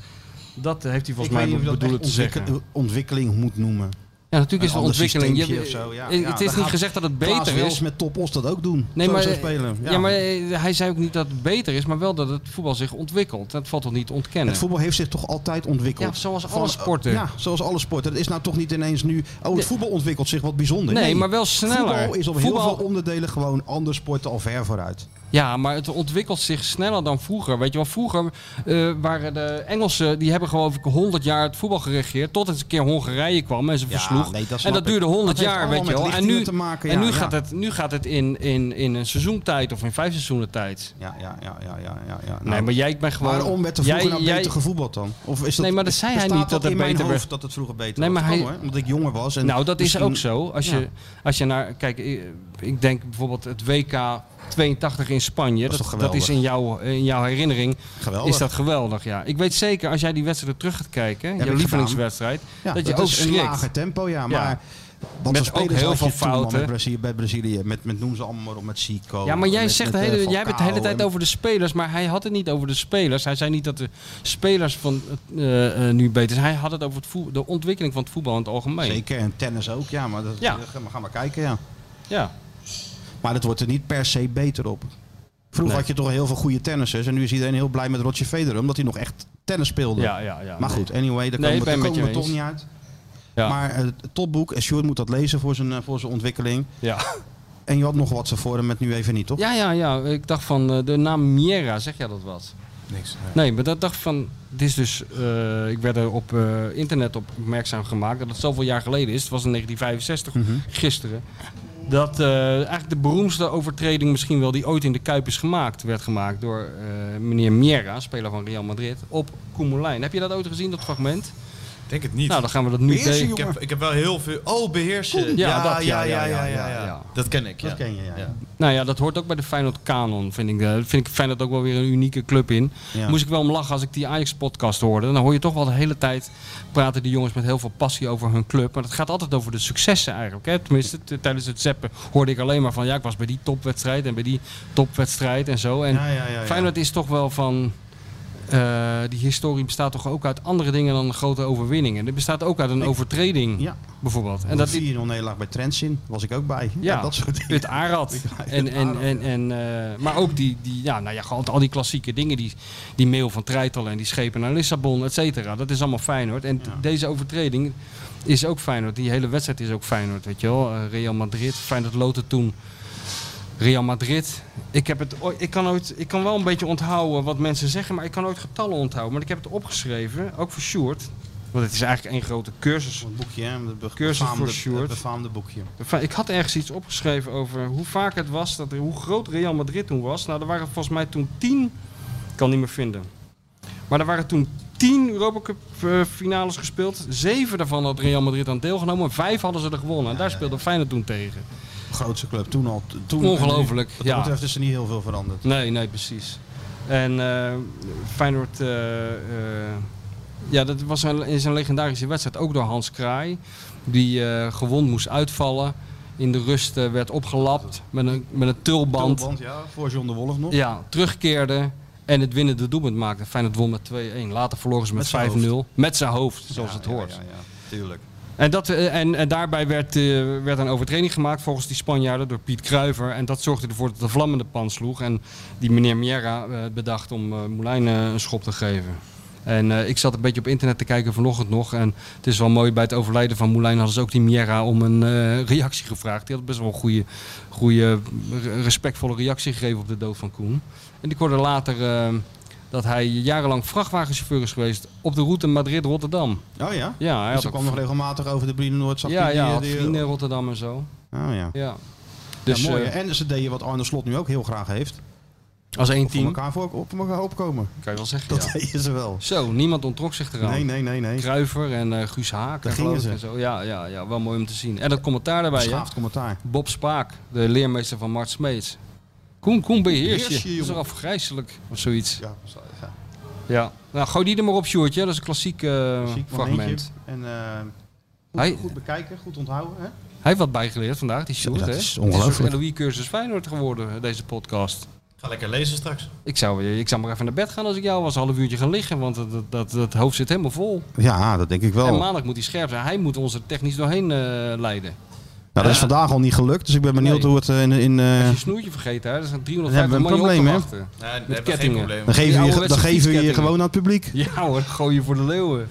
Speaker 4: dat heeft
Speaker 3: Ik
Speaker 4: hij volgens
Speaker 3: weet niet
Speaker 4: mij
Speaker 3: of je
Speaker 4: be-
Speaker 3: dat
Speaker 4: bedoelen
Speaker 3: echt
Speaker 4: te zeggen.
Speaker 3: ontwikkel- ontwikkeling moet noemen.
Speaker 4: Ja, natuurlijk is
Speaker 3: Een
Speaker 4: de
Speaker 3: ander
Speaker 4: ontwikkeling. Je-
Speaker 3: systeempje of zo, ja.
Speaker 4: eh,
Speaker 3: Ja,
Speaker 4: het
Speaker 3: daar
Speaker 4: is niet
Speaker 3: gaat
Speaker 4: gezegd dat het
Speaker 3: Klaas
Speaker 4: beter
Speaker 3: Wils
Speaker 4: is.
Speaker 3: met Topos dat ook doen.
Speaker 4: Nee,
Speaker 3: Zo
Speaker 4: maar,
Speaker 3: zo spelen.
Speaker 4: Ja. maar eh, hij zei ook niet dat het beter is, maar wel dat het voetbal zich ontwikkelt. Dat valt toch niet te ontkennen.
Speaker 3: Het voetbal heeft zich toch altijd ontwikkeld.
Speaker 4: Ja, zoals alle sporten.
Speaker 3: Ja, zoals alle sporten. Het is nou toch niet ineens nu... Oh, het
Speaker 4: Nee.
Speaker 3: voetbal ontwikkelt zich wat bijzonder.
Speaker 4: Nee, maar wel sneller.
Speaker 3: Voetbal is op
Speaker 4: Voetbal-
Speaker 3: heel veel onderdelen gewoon andere sporten al ver vooruit.
Speaker 4: Ja, maar het ontwikkelt zich sneller dan vroeger. Weet je wel, vroeger eh, waren de Engelsen, die hebben gewoon 100 jaar het voetbal geregeerd. Tot het een keer Hongarije kwam en ze versloeg.
Speaker 3: nee, dat
Speaker 4: en
Speaker 3: snap
Speaker 4: dat
Speaker 3: ik.
Speaker 4: duurde 100
Speaker 3: Dat heeft
Speaker 4: jaar,
Speaker 3: allemaal
Speaker 4: weet je
Speaker 3: met
Speaker 4: wel. En
Speaker 3: lichtingen
Speaker 4: nu,
Speaker 3: te maken,
Speaker 4: en
Speaker 3: ja,
Speaker 4: nu,
Speaker 3: ja.
Speaker 4: Gaat, het, nu gaat het in, in, in een seizoentijd of in vijf seizoenen tijd.
Speaker 3: Ja, ja, ja, ja, ja, ja. ja. Nou,
Speaker 4: nee, maar jij bent gewoon...
Speaker 3: Waarom werd er
Speaker 4: jij-
Speaker 3: vroeger nou
Speaker 4: jij-
Speaker 3: beter gevoetbald dan? Of is dat,
Speaker 4: Nee, maar dat zei hij
Speaker 3: bestaat
Speaker 4: niet dat het
Speaker 3: in mijn
Speaker 4: beter
Speaker 3: hoofd
Speaker 4: werd.
Speaker 3: dat het vroeger beter
Speaker 4: Nee,
Speaker 3: was?
Speaker 4: maar
Speaker 3: Kan,
Speaker 4: hij-
Speaker 3: hoor, omdat ik jonger was. En
Speaker 4: nou, dat
Speaker 3: misschien-
Speaker 4: is ook zo. Als,
Speaker 3: Ja.
Speaker 4: je, als je naar... Kijk, ik, ik denk bijvoorbeeld het WK 82 in Spanje.
Speaker 3: is
Speaker 4: Dat,
Speaker 3: toch
Speaker 4: dat is in
Speaker 3: geweldig?
Speaker 4: jouw, in jouw herinnering.
Speaker 3: Geweldig.
Speaker 4: Is dat geweldig, ja. Ik weet zeker, als jij die wedstrijd terug gaat kijken...
Speaker 3: Heb
Speaker 4: jouw
Speaker 3: ik
Speaker 4: lievelingswedstrijd...
Speaker 3: Ja,
Speaker 4: dat je ook
Speaker 3: is
Speaker 4: schrikt.
Speaker 3: een lager tempo, ja. Maar
Speaker 4: Ja.
Speaker 3: wat
Speaker 4: Met
Speaker 3: voor spelers
Speaker 4: ook heel
Speaker 3: had je
Speaker 4: veel
Speaker 3: toen, man,
Speaker 4: fouten.
Speaker 3: Met Brazilië, bij Brazilië, met, met noem ze allemaal maar op, met Zico.
Speaker 4: Ja, maar jij,
Speaker 3: met-
Speaker 4: zegt
Speaker 3: met,
Speaker 4: de
Speaker 3: eh,
Speaker 4: hele, jij hebt het de hele
Speaker 3: Falcao
Speaker 4: tijd
Speaker 3: en-
Speaker 4: over de spelers, maar hij had het niet over de spelers. Hij zei niet dat de spelers van eh, eh, nu beter zijn. Hij had het over het voe- de ontwikkeling van het voetbal in het algemeen.
Speaker 3: Zeker, en tennis ook, ja. Maar dat,
Speaker 4: Ja.
Speaker 3: we gaan maar kijken, ja.
Speaker 4: Ja.
Speaker 3: Maar dat wordt er niet per se beter op. Vroeger
Speaker 4: Nee.
Speaker 3: had je toch heel veel goede tennissers. En nu is iedereen heel blij met Roger Federer, omdat hij nog echt tennis speelde.
Speaker 4: Ja, ja, ja.
Speaker 3: maar
Speaker 4: Nee.
Speaker 3: goed, anyway, daar
Speaker 4: Nee, ik
Speaker 3: komen, daar
Speaker 4: ben met
Speaker 3: komen
Speaker 4: je
Speaker 3: we toch
Speaker 4: eens.
Speaker 3: niet uit.
Speaker 4: Ja.
Speaker 3: Maar eh, het topboek, en Sjoerd moet dat lezen voor zijn, eh, voor zijn ontwikkeling.
Speaker 4: Ja.
Speaker 3: En je had nog wat voor hem, met nu even niet, toch?
Speaker 4: ja, ja, ja. Ik dacht van eh, de naam Miera, zeg jij dat wat?
Speaker 5: Niks.
Speaker 4: Nee, maar dat dacht van. Het is dus. eh, ik werd er op eh, internet op opmerkzaam gemaakt dat het zoveel jaar geleden is. Het was in 1965,
Speaker 5: Mhm.
Speaker 4: gisteren. Dat eh, eigenlijk de beroemdste overtreding misschien wel die ooit in de Kuip is gemaakt, werd gemaakt door eh, meneer Miera, speler van Real Madrid, op Koemelijn. Heb je dat ooit gezien, dat fragment?
Speaker 5: Ik denk het niet.
Speaker 4: Nou, dan gaan we dat nu
Speaker 3: Beheersen,
Speaker 4: tegen.
Speaker 5: ik, heb, ik heb wel heel veel... Oh, beheersen.
Speaker 4: Ja,
Speaker 5: Ja, ja,
Speaker 4: dat,
Speaker 5: ja,
Speaker 4: ja,
Speaker 5: ja, ja,
Speaker 4: ja, ja.
Speaker 5: Dat ken ik, ja.
Speaker 3: Dat ken je, ja. ja.
Speaker 4: Nou ja, dat hoort ook bij de Feyenoord kanon, vind ik. Eh, vind ik Feyenoord ook wel weer een unieke club in.
Speaker 3: Ja.
Speaker 4: Moest ik wel om lachen als ik die Ajax-podcast hoorde. Dan hoor je toch wel de hele tijd praten die jongens met heel veel passie over hun club. Maar dat gaat altijd over de successen eigenlijk. Hè? Tenminste, t- tijdens het zeppen hoorde ik alleen maar van... ja, ik was bij die topwedstrijd en bij die topwedstrijd en zo. En
Speaker 3: Ja, ja, ja, ja.
Speaker 4: Feyenoord is toch wel van... eh, die historie bestaat toch ook uit andere dingen dan grote overwinningen. Dit bestaat ook uit een overtreding,
Speaker 3: Ja.
Speaker 4: bijvoorbeeld.
Speaker 3: En dat 4-0 Nederland bij Trensin, was ik ook bij. Ja,
Speaker 4: Ja,
Speaker 3: dat soort dingen.
Speaker 4: Put Arad. En, en, en, en, eh, maar ook die, die ja, nou ja, gewoon al die klassieke dingen. Die, die mail van Treitel en die schepen naar Lissabon, et cetera. Dat is allemaal Feyenoord. En t- deze overtreding is ook Feyenoord. Die hele wedstrijd is ook Feyenoord, weet je wel. Eh, Real Madrid, Feyenoord loten toen. Real Madrid. Ik, heb het, ooit- ik, kan ooit, ik kan wel een beetje onthouden wat mensen zeggen, maar ik kan ooit getallen onthouden. Maar ik heb het opgeschreven, ook voor Sjoerd. Want het is eigenlijk één grote cursus
Speaker 3: Het boekje, hè? de be-
Speaker 4: Cursus voor
Speaker 3: befaamde-
Speaker 4: Sjoerd.
Speaker 3: het befaamde boekje.
Speaker 4: Enfin, Ik had ergens iets opgeschreven over hoe vaak het was, dat, hoe groot Real Madrid toen was. Nou, er waren volgens mij toen tien, ik kan het niet meer vinden. Maar er waren toen tien Europa Cup eh, finales gespeeld. Zeven daarvan had Real Madrid aan deelgenomen. Vijf hadden ze er gewonnen. En daar speelde Feyenoord toen tegen.
Speaker 3: Grootste club toen al. Toen,
Speaker 4: Ongelooflijk,
Speaker 3: Wat dat
Speaker 4: ja.
Speaker 3: betreft is er niet heel veel veranderd.
Speaker 4: Nee, nee, precies. En eh Feyenoord, eh, eh, ja, dat was een, is een legendarische wedstrijd. Ook door Hans Kraai, die eh, gewond moest uitvallen. In de rust eh, werd opgelapt met een, met een tulband.
Speaker 3: Tulband, ja, voor John de Wolf nog.
Speaker 4: Ja, terugkeerde en het winnende doelpunt maakte. Feyenoord won met 2-1. Later verloren ze
Speaker 3: Met
Speaker 4: met,
Speaker 3: zijn
Speaker 4: 5-0. Met zijn hoofd, zoals
Speaker 3: Ja,
Speaker 4: het
Speaker 3: ja,
Speaker 4: hoort.
Speaker 3: Ja, ja, tuurlijk.
Speaker 4: En, dat, eh, en, en daarbij werd, eh, werd een overtreding gemaakt volgens die Spanjaarden door Piet Kruiver. En dat zorgde ervoor dat de vlammende pan sloeg. En die meneer Miera eh, bedacht om eh Moulijn eh, een schop te geven. En eh, ik zat een beetje op internet te kijken vanochtend nog. En het is wel mooi, bij het overlijden van Moulijn hadden ze ook die Miera om een eh, reactie gevraagd. Die had best wel een goede, goede, re- respectvolle reactie gegeven op de dood van Koen. En ik hoorde later eh, dat hij jarenlang vrachtwagenchauffeur is geweest op de route Madrid-Rotterdam.
Speaker 3: Oh ja?
Speaker 4: Ja,
Speaker 3: dus
Speaker 4: hij had
Speaker 3: er
Speaker 4: ook
Speaker 3: kwam nog regelmatig over de Brine Noord. zag
Speaker 4: ja,
Speaker 3: je
Speaker 4: ja, had
Speaker 3: die, die-
Speaker 4: vrienden in Rotterdam en zo.
Speaker 3: Oh ja.
Speaker 4: Ja.
Speaker 3: Dus,
Speaker 4: Dus
Speaker 3: mooi.
Speaker 4: eh,
Speaker 3: hè? en ze deden wat Arne Slot nu ook heel graag heeft.
Speaker 4: als één
Speaker 3: Voor
Speaker 4: team,
Speaker 3: elkaar, voor, op elkaar opkomen.
Speaker 4: kan je wel zeggen.
Speaker 3: Dat
Speaker 4: Ja.
Speaker 3: deden ze wel.
Speaker 4: Zo, niemand ontrok zich eraan.
Speaker 3: Nee, nee, nee, nee.
Speaker 4: Kruiver en eh, Guus Haak
Speaker 3: Daar
Speaker 4: en
Speaker 3: gingen
Speaker 4: geloof ik
Speaker 3: ze.
Speaker 4: en zo. Ja, ja, ja, wel mooi om te zien. En dat commentaar daarbij, hè?
Speaker 3: Schaafd commentaar.
Speaker 4: Bob Spaak, de leermeester van Mart Smeets. Koen, Koen, beheers
Speaker 3: Beheers je,
Speaker 4: je. Dat is
Speaker 3: jongen.
Speaker 4: toch afgrijzelijk of zoiets.
Speaker 3: Ja, zo- ja.
Speaker 4: Ja. Nou, gooi die er maar op, Sjoerdje. Dat is een klassiek, eh,
Speaker 3: Klassiek
Speaker 4: fragment.
Speaker 3: fragment. En eh, goed,
Speaker 4: Hij-
Speaker 3: goed bekijken, goed onthouden. Hè?
Speaker 4: Hij heeft wat bijgeleerd vandaag, die Sjoerd.
Speaker 3: Ja, dat
Speaker 4: hè?
Speaker 3: is
Speaker 4: Het een soort
Speaker 3: ongelooflijk.
Speaker 4: LOE-cursus Feyenoord geworden, deze podcast.
Speaker 5: Ga lekker lezen straks.
Speaker 4: Ik zou, ik zou maar even naar bed gaan als ik jou was. Een half uurtje gaan liggen, want dat, dat, dat, dat hoofd zit helemaal vol.
Speaker 3: Ja, dat denk ik wel.
Speaker 4: En
Speaker 3: Nou,
Speaker 4: maandag moet hij scherp zijn. Hij moet ons er technisch doorheen eh, leiden.
Speaker 3: Nou, dat is vandaag al niet gelukt, dus ik ben benieuwd
Speaker 4: Nee.
Speaker 3: hoe het eh, in... in eh,
Speaker 4: Als je snoertje vergeet, hè, er zijn
Speaker 3: Dan hebben
Speaker 4: 350
Speaker 3: we
Speaker 4: man
Speaker 3: een
Speaker 4: op te
Speaker 3: probleem, hè?
Speaker 4: wachten.
Speaker 5: Nee, nee,
Speaker 4: Met
Speaker 5: dat is geen
Speaker 4: kettingen.
Speaker 5: probleem.
Speaker 3: dan
Speaker 4: die
Speaker 3: geven we je,
Speaker 4: ouderwetse
Speaker 3: dan geven we je
Speaker 4: fietskettingen.
Speaker 3: gewoon aan het publiek.
Speaker 4: Ja hoor, gooi je voor de leeuwen.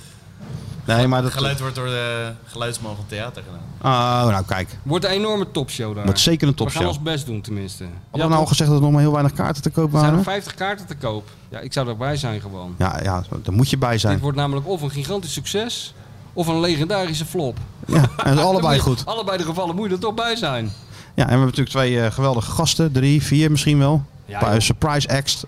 Speaker 3: Nee, maar dat...
Speaker 5: Het geluid wordt door de geluidsmogen theater gedaan.
Speaker 3: Oh, nou kijk.
Speaker 4: Wordt een enorme topshow daar.
Speaker 3: Wordt zeker een topshow.
Speaker 4: We gaan ons best doen tenminste.
Speaker 3: Hadden we nou al gezegd dat er nog maar heel weinig kaarten te koop
Speaker 4: Er zijn nog
Speaker 3: waren?
Speaker 4: 50 kaarten te koop. Ja, ik zou erbij zijn gewoon.
Speaker 3: Ja, ja, daar moet je bij zijn.
Speaker 4: Dit wordt namelijk of een gigantisch succes, of een legendarische flop.
Speaker 3: Ja, en allebei
Speaker 4: Dan moet je-
Speaker 3: goed.
Speaker 4: Allebei de gevallen moet je er toch bij zijn.
Speaker 3: Ja, en we hebben natuurlijk twee eh, geweldige gasten. Drie, vier misschien wel.
Speaker 4: Ja,
Speaker 3: Een paar
Speaker 4: joh.
Speaker 3: surprise acts.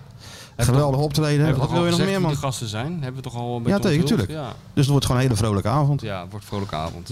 Speaker 3: Geweldige optreden.
Speaker 4: Hebben we
Speaker 3: Wat
Speaker 4: toch
Speaker 3: wil
Speaker 4: al
Speaker 3: je nog
Speaker 4: gezegd
Speaker 3: meer,
Speaker 4: wie
Speaker 3: man?
Speaker 4: de gasten zijn? Hebben we toch al bij
Speaker 3: Ja,
Speaker 4: ons
Speaker 3: tegen,
Speaker 4: bedoeld?
Speaker 3: natuurlijk.
Speaker 4: Ja,
Speaker 3: Dus het wordt gewoon een hele vrolijke avond.
Speaker 4: ja het wordt een vrolijke avond.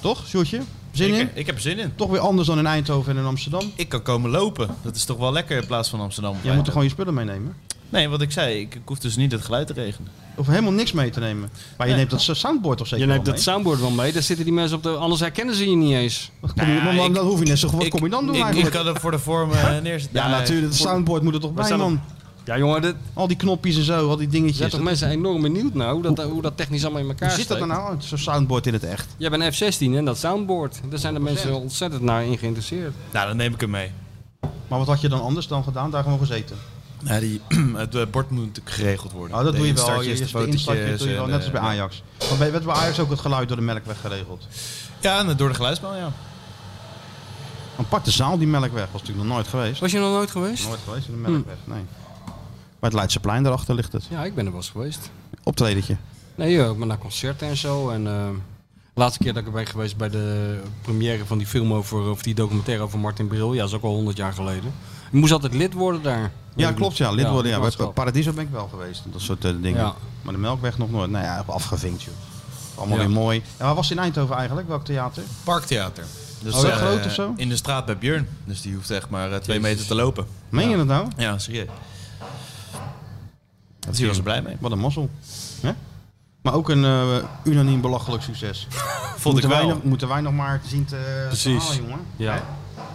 Speaker 3: Toch, Sjoerdje? Zin in?
Speaker 5: Ik, ik heb er zin in.
Speaker 3: Toch weer anders dan in Eindhoven en in Amsterdam. Jij
Speaker 5: Ik kan komen lopen. Dat is toch wel lekker in plaats van Amsterdam.
Speaker 3: moet er gewoon je spullen meenemen.
Speaker 5: Nee, wat ik zei, ik, ik hoef dus niet het geluid te regenen.
Speaker 3: Of helemaal niks mee te nemen. Maar je
Speaker 5: Nee.
Speaker 3: neemt dat soundboard toch zeker
Speaker 4: Je neemt
Speaker 3: wel
Speaker 4: dat
Speaker 3: mee?
Speaker 4: soundboard wel mee, daar zitten die mensen op de... Anders herkennen ze je niet eens.
Speaker 3: Wat kom je-
Speaker 5: Nou ja,
Speaker 3: want
Speaker 5: ik-
Speaker 3: dan hoef je net zo Wat
Speaker 5: ik-
Speaker 3: kom je dan doen
Speaker 5: ik, ik
Speaker 3: eigenlijk?
Speaker 5: kan er voor de vorm eh, neerzetten.
Speaker 3: ja,
Speaker 5: Nou,
Speaker 3: natuurlijk. Het
Speaker 5: voor-
Speaker 3: soundboard moet er toch bij,
Speaker 5: staan op-
Speaker 3: man.
Speaker 4: Ja jongen, dat
Speaker 3: Al die knopjes en zo, al die
Speaker 4: er zijn
Speaker 3: dingetjes.
Speaker 4: toch
Speaker 3: Dat-
Speaker 4: mensen enorm benieuwd nou, dat, hoe dat technisch allemaal in elkaar
Speaker 3: Hoe zit dat
Speaker 4: steekt.
Speaker 3: er nou? Zo'n soundboard in het echt.
Speaker 4: Jij bent F-16 en dat soundboard. Daar zijn de mensen ontzettend naar in geïnteresseerd.
Speaker 5: Nou, dan neem ik hem mee.
Speaker 3: Maar wat had je dan anders dan gedaan? Daar gewoon gezeten.
Speaker 5: Ja, die, het eh, bord moet natuurlijk geregeld worden.
Speaker 3: Nou, dat
Speaker 5: De
Speaker 3: doe je wel.
Speaker 5: instartjes,
Speaker 3: Je,
Speaker 5: de
Speaker 3: je de instapje
Speaker 5: fotootjes
Speaker 3: doe je wel,
Speaker 5: en,
Speaker 3: net als bij
Speaker 5: eh,
Speaker 3: Ajax. Maar bij, werd bij Ajax ook het geluid door de melkweg geregeld?
Speaker 5: Ja, en door de geluidsbel, ja.
Speaker 3: Een aparte zaal, die melkweg. Was natuurlijk nog nooit geweest.
Speaker 4: Was je nog nooit geweest?
Speaker 3: Nooit geweest in
Speaker 5: Hm.
Speaker 3: de melkweg, nee. Bij het Leidseplein daarachter ligt het.
Speaker 4: Ja, ik ben er wel eens geweest.
Speaker 3: Optredentje.
Speaker 4: Nee, joh, ik ben naar concerten en zo. En eh, de laatste keer dat ik er ben geweest bij de première van die film over, of die documentaire over Martin Bril. Ja, dat is ook al 100 jaar geleden. Je moest altijd lid worden daar.
Speaker 3: Ja, klopt. Ja, lid worden. Ja, bij
Speaker 4: lidmaatschap.
Speaker 3: Paradiso ben ik wel geweest. en Dat soort eh, dingen.
Speaker 4: Ja.
Speaker 3: Maar de melkweg nog nooit. Nou ja, afgevinkt, joh. Allemaal
Speaker 4: Ja.
Speaker 3: weer mooi. En waar was het in Eindhoven eigenlijk? Welk theater?
Speaker 5: Parktheater. Dus,
Speaker 3: Oh, heel
Speaker 5: eh,
Speaker 3: groot of zo?
Speaker 5: In de straat bij Björn. Dus die hoeft echt maar eh, twee meter te lopen.
Speaker 3: Meen je dat nou?
Speaker 5: Ja, serieus. Dat was er blij mee.
Speaker 3: Wat een mazzel. Hè? Maar ook een eh, unaniem belachelijk succes.
Speaker 5: Vond ik
Speaker 3: moeten, wij
Speaker 5: wel.
Speaker 3: nog, moeten wij nog maar zien te
Speaker 4: Precies.
Speaker 3: te halen, jongen.
Speaker 4: Ja.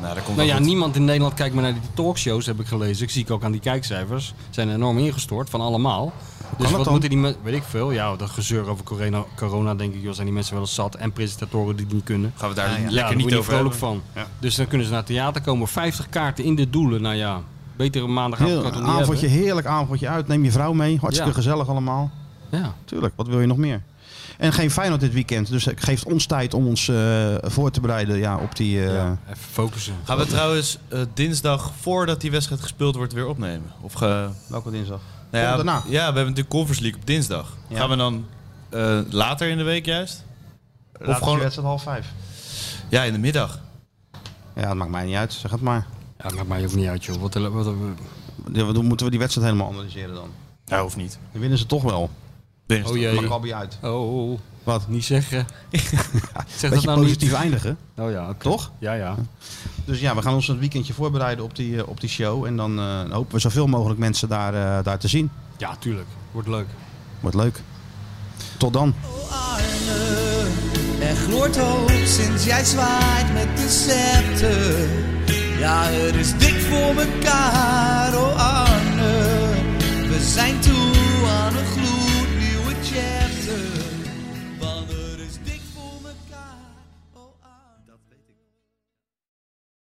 Speaker 5: Nou, daar komt
Speaker 4: Nou
Speaker 5: wel
Speaker 4: ja,
Speaker 5: goed.
Speaker 4: niemand in Nederland kijkt meer naar die talkshows, heb ik gelezen. Ik zie ik ook aan die kijkcijfers. Zijn enorm ingestort van allemaal.
Speaker 3: dat
Speaker 4: Dus wat
Speaker 3: dan?
Speaker 4: moeten die mensen, weet ik veel. Ja, dat gezeur over corona, corona denk ik, joh, zijn die mensen wel eens zat. En presentatoren die het niet kunnen.
Speaker 5: Gaan we daar
Speaker 4: Ja,
Speaker 5: lekker
Speaker 4: daar
Speaker 5: niet
Speaker 4: word je
Speaker 5: over
Speaker 4: vrolijk
Speaker 5: hebben.
Speaker 4: van.
Speaker 3: Ja.
Speaker 4: Dus dan kunnen ze naar het theater komen. 50 kaarten in de doelen. Nou ja, betere maandagavond
Speaker 3: Heel-
Speaker 4: kan het
Speaker 3: een
Speaker 4: toch niet
Speaker 3: Nou, avondje, heerlijk avondje uit. Neem je vrouw mee. Hartstikke
Speaker 4: Ja.
Speaker 3: gezellig allemaal.
Speaker 4: hebben. Ja.
Speaker 3: Tuurlijk, wat wil je nog meer? En geen Feyenoord dit weekend. Dus het geeft ons tijd om ons eh, voor te bereiden ja, op die... eh,
Speaker 4: ja, even focussen.
Speaker 5: Gaan we trouwens eh, dinsdag, voordat die wedstrijd gespeeld wordt, weer opnemen? Of ge...
Speaker 3: Welke dinsdag?
Speaker 5: Nou ja,
Speaker 3: Komt daarna.
Speaker 5: ja, we hebben natuurlijk Conference League op dinsdag.
Speaker 3: Ja.
Speaker 5: Gaan we dan eh, later in de week juist?
Speaker 3: of gewoon...
Speaker 5: gewoon-
Speaker 3: wedstrijd half vijf.
Speaker 5: Ja, in de middag.
Speaker 3: Ja, dat maakt mij niet uit. Zeg het maar.
Speaker 4: Ja, maakt mij ook niet uit, joh. Wat, wat, wat-
Speaker 3: Ja, Dan moeten we die wedstrijd helemaal analyseren dan.
Speaker 5: Ja, hoeft niet.
Speaker 3: Dan winnen ze toch wel.
Speaker 5: Dinsdag.
Speaker 4: oh jee.
Speaker 3: Maccabi uit.
Speaker 4: Oh,
Speaker 3: Wat?
Speaker 4: niet zeggen. zeg dat
Speaker 3: Beetje
Speaker 4: nou
Speaker 3: positief
Speaker 4: niet.
Speaker 3: eindigen,
Speaker 4: Oh ja, oké.
Speaker 3: toch?
Speaker 4: Ja, ja.
Speaker 3: Dus ja, we gaan ons het weekendje voorbereiden op die, eh, op die show. En dan eh, hopen we zoveel mogelijk mensen daar, eh, daar te zien.
Speaker 4: Ja, tuurlijk. Wordt leuk.
Speaker 3: Wordt leuk. Tot dan.
Speaker 2: Arne, er gloort hoop sinds jij zwaait met de scepter. Ja, het is dik voor mekaar, oh Arne. We zijn toe aan een gloednieuwe chapter. oh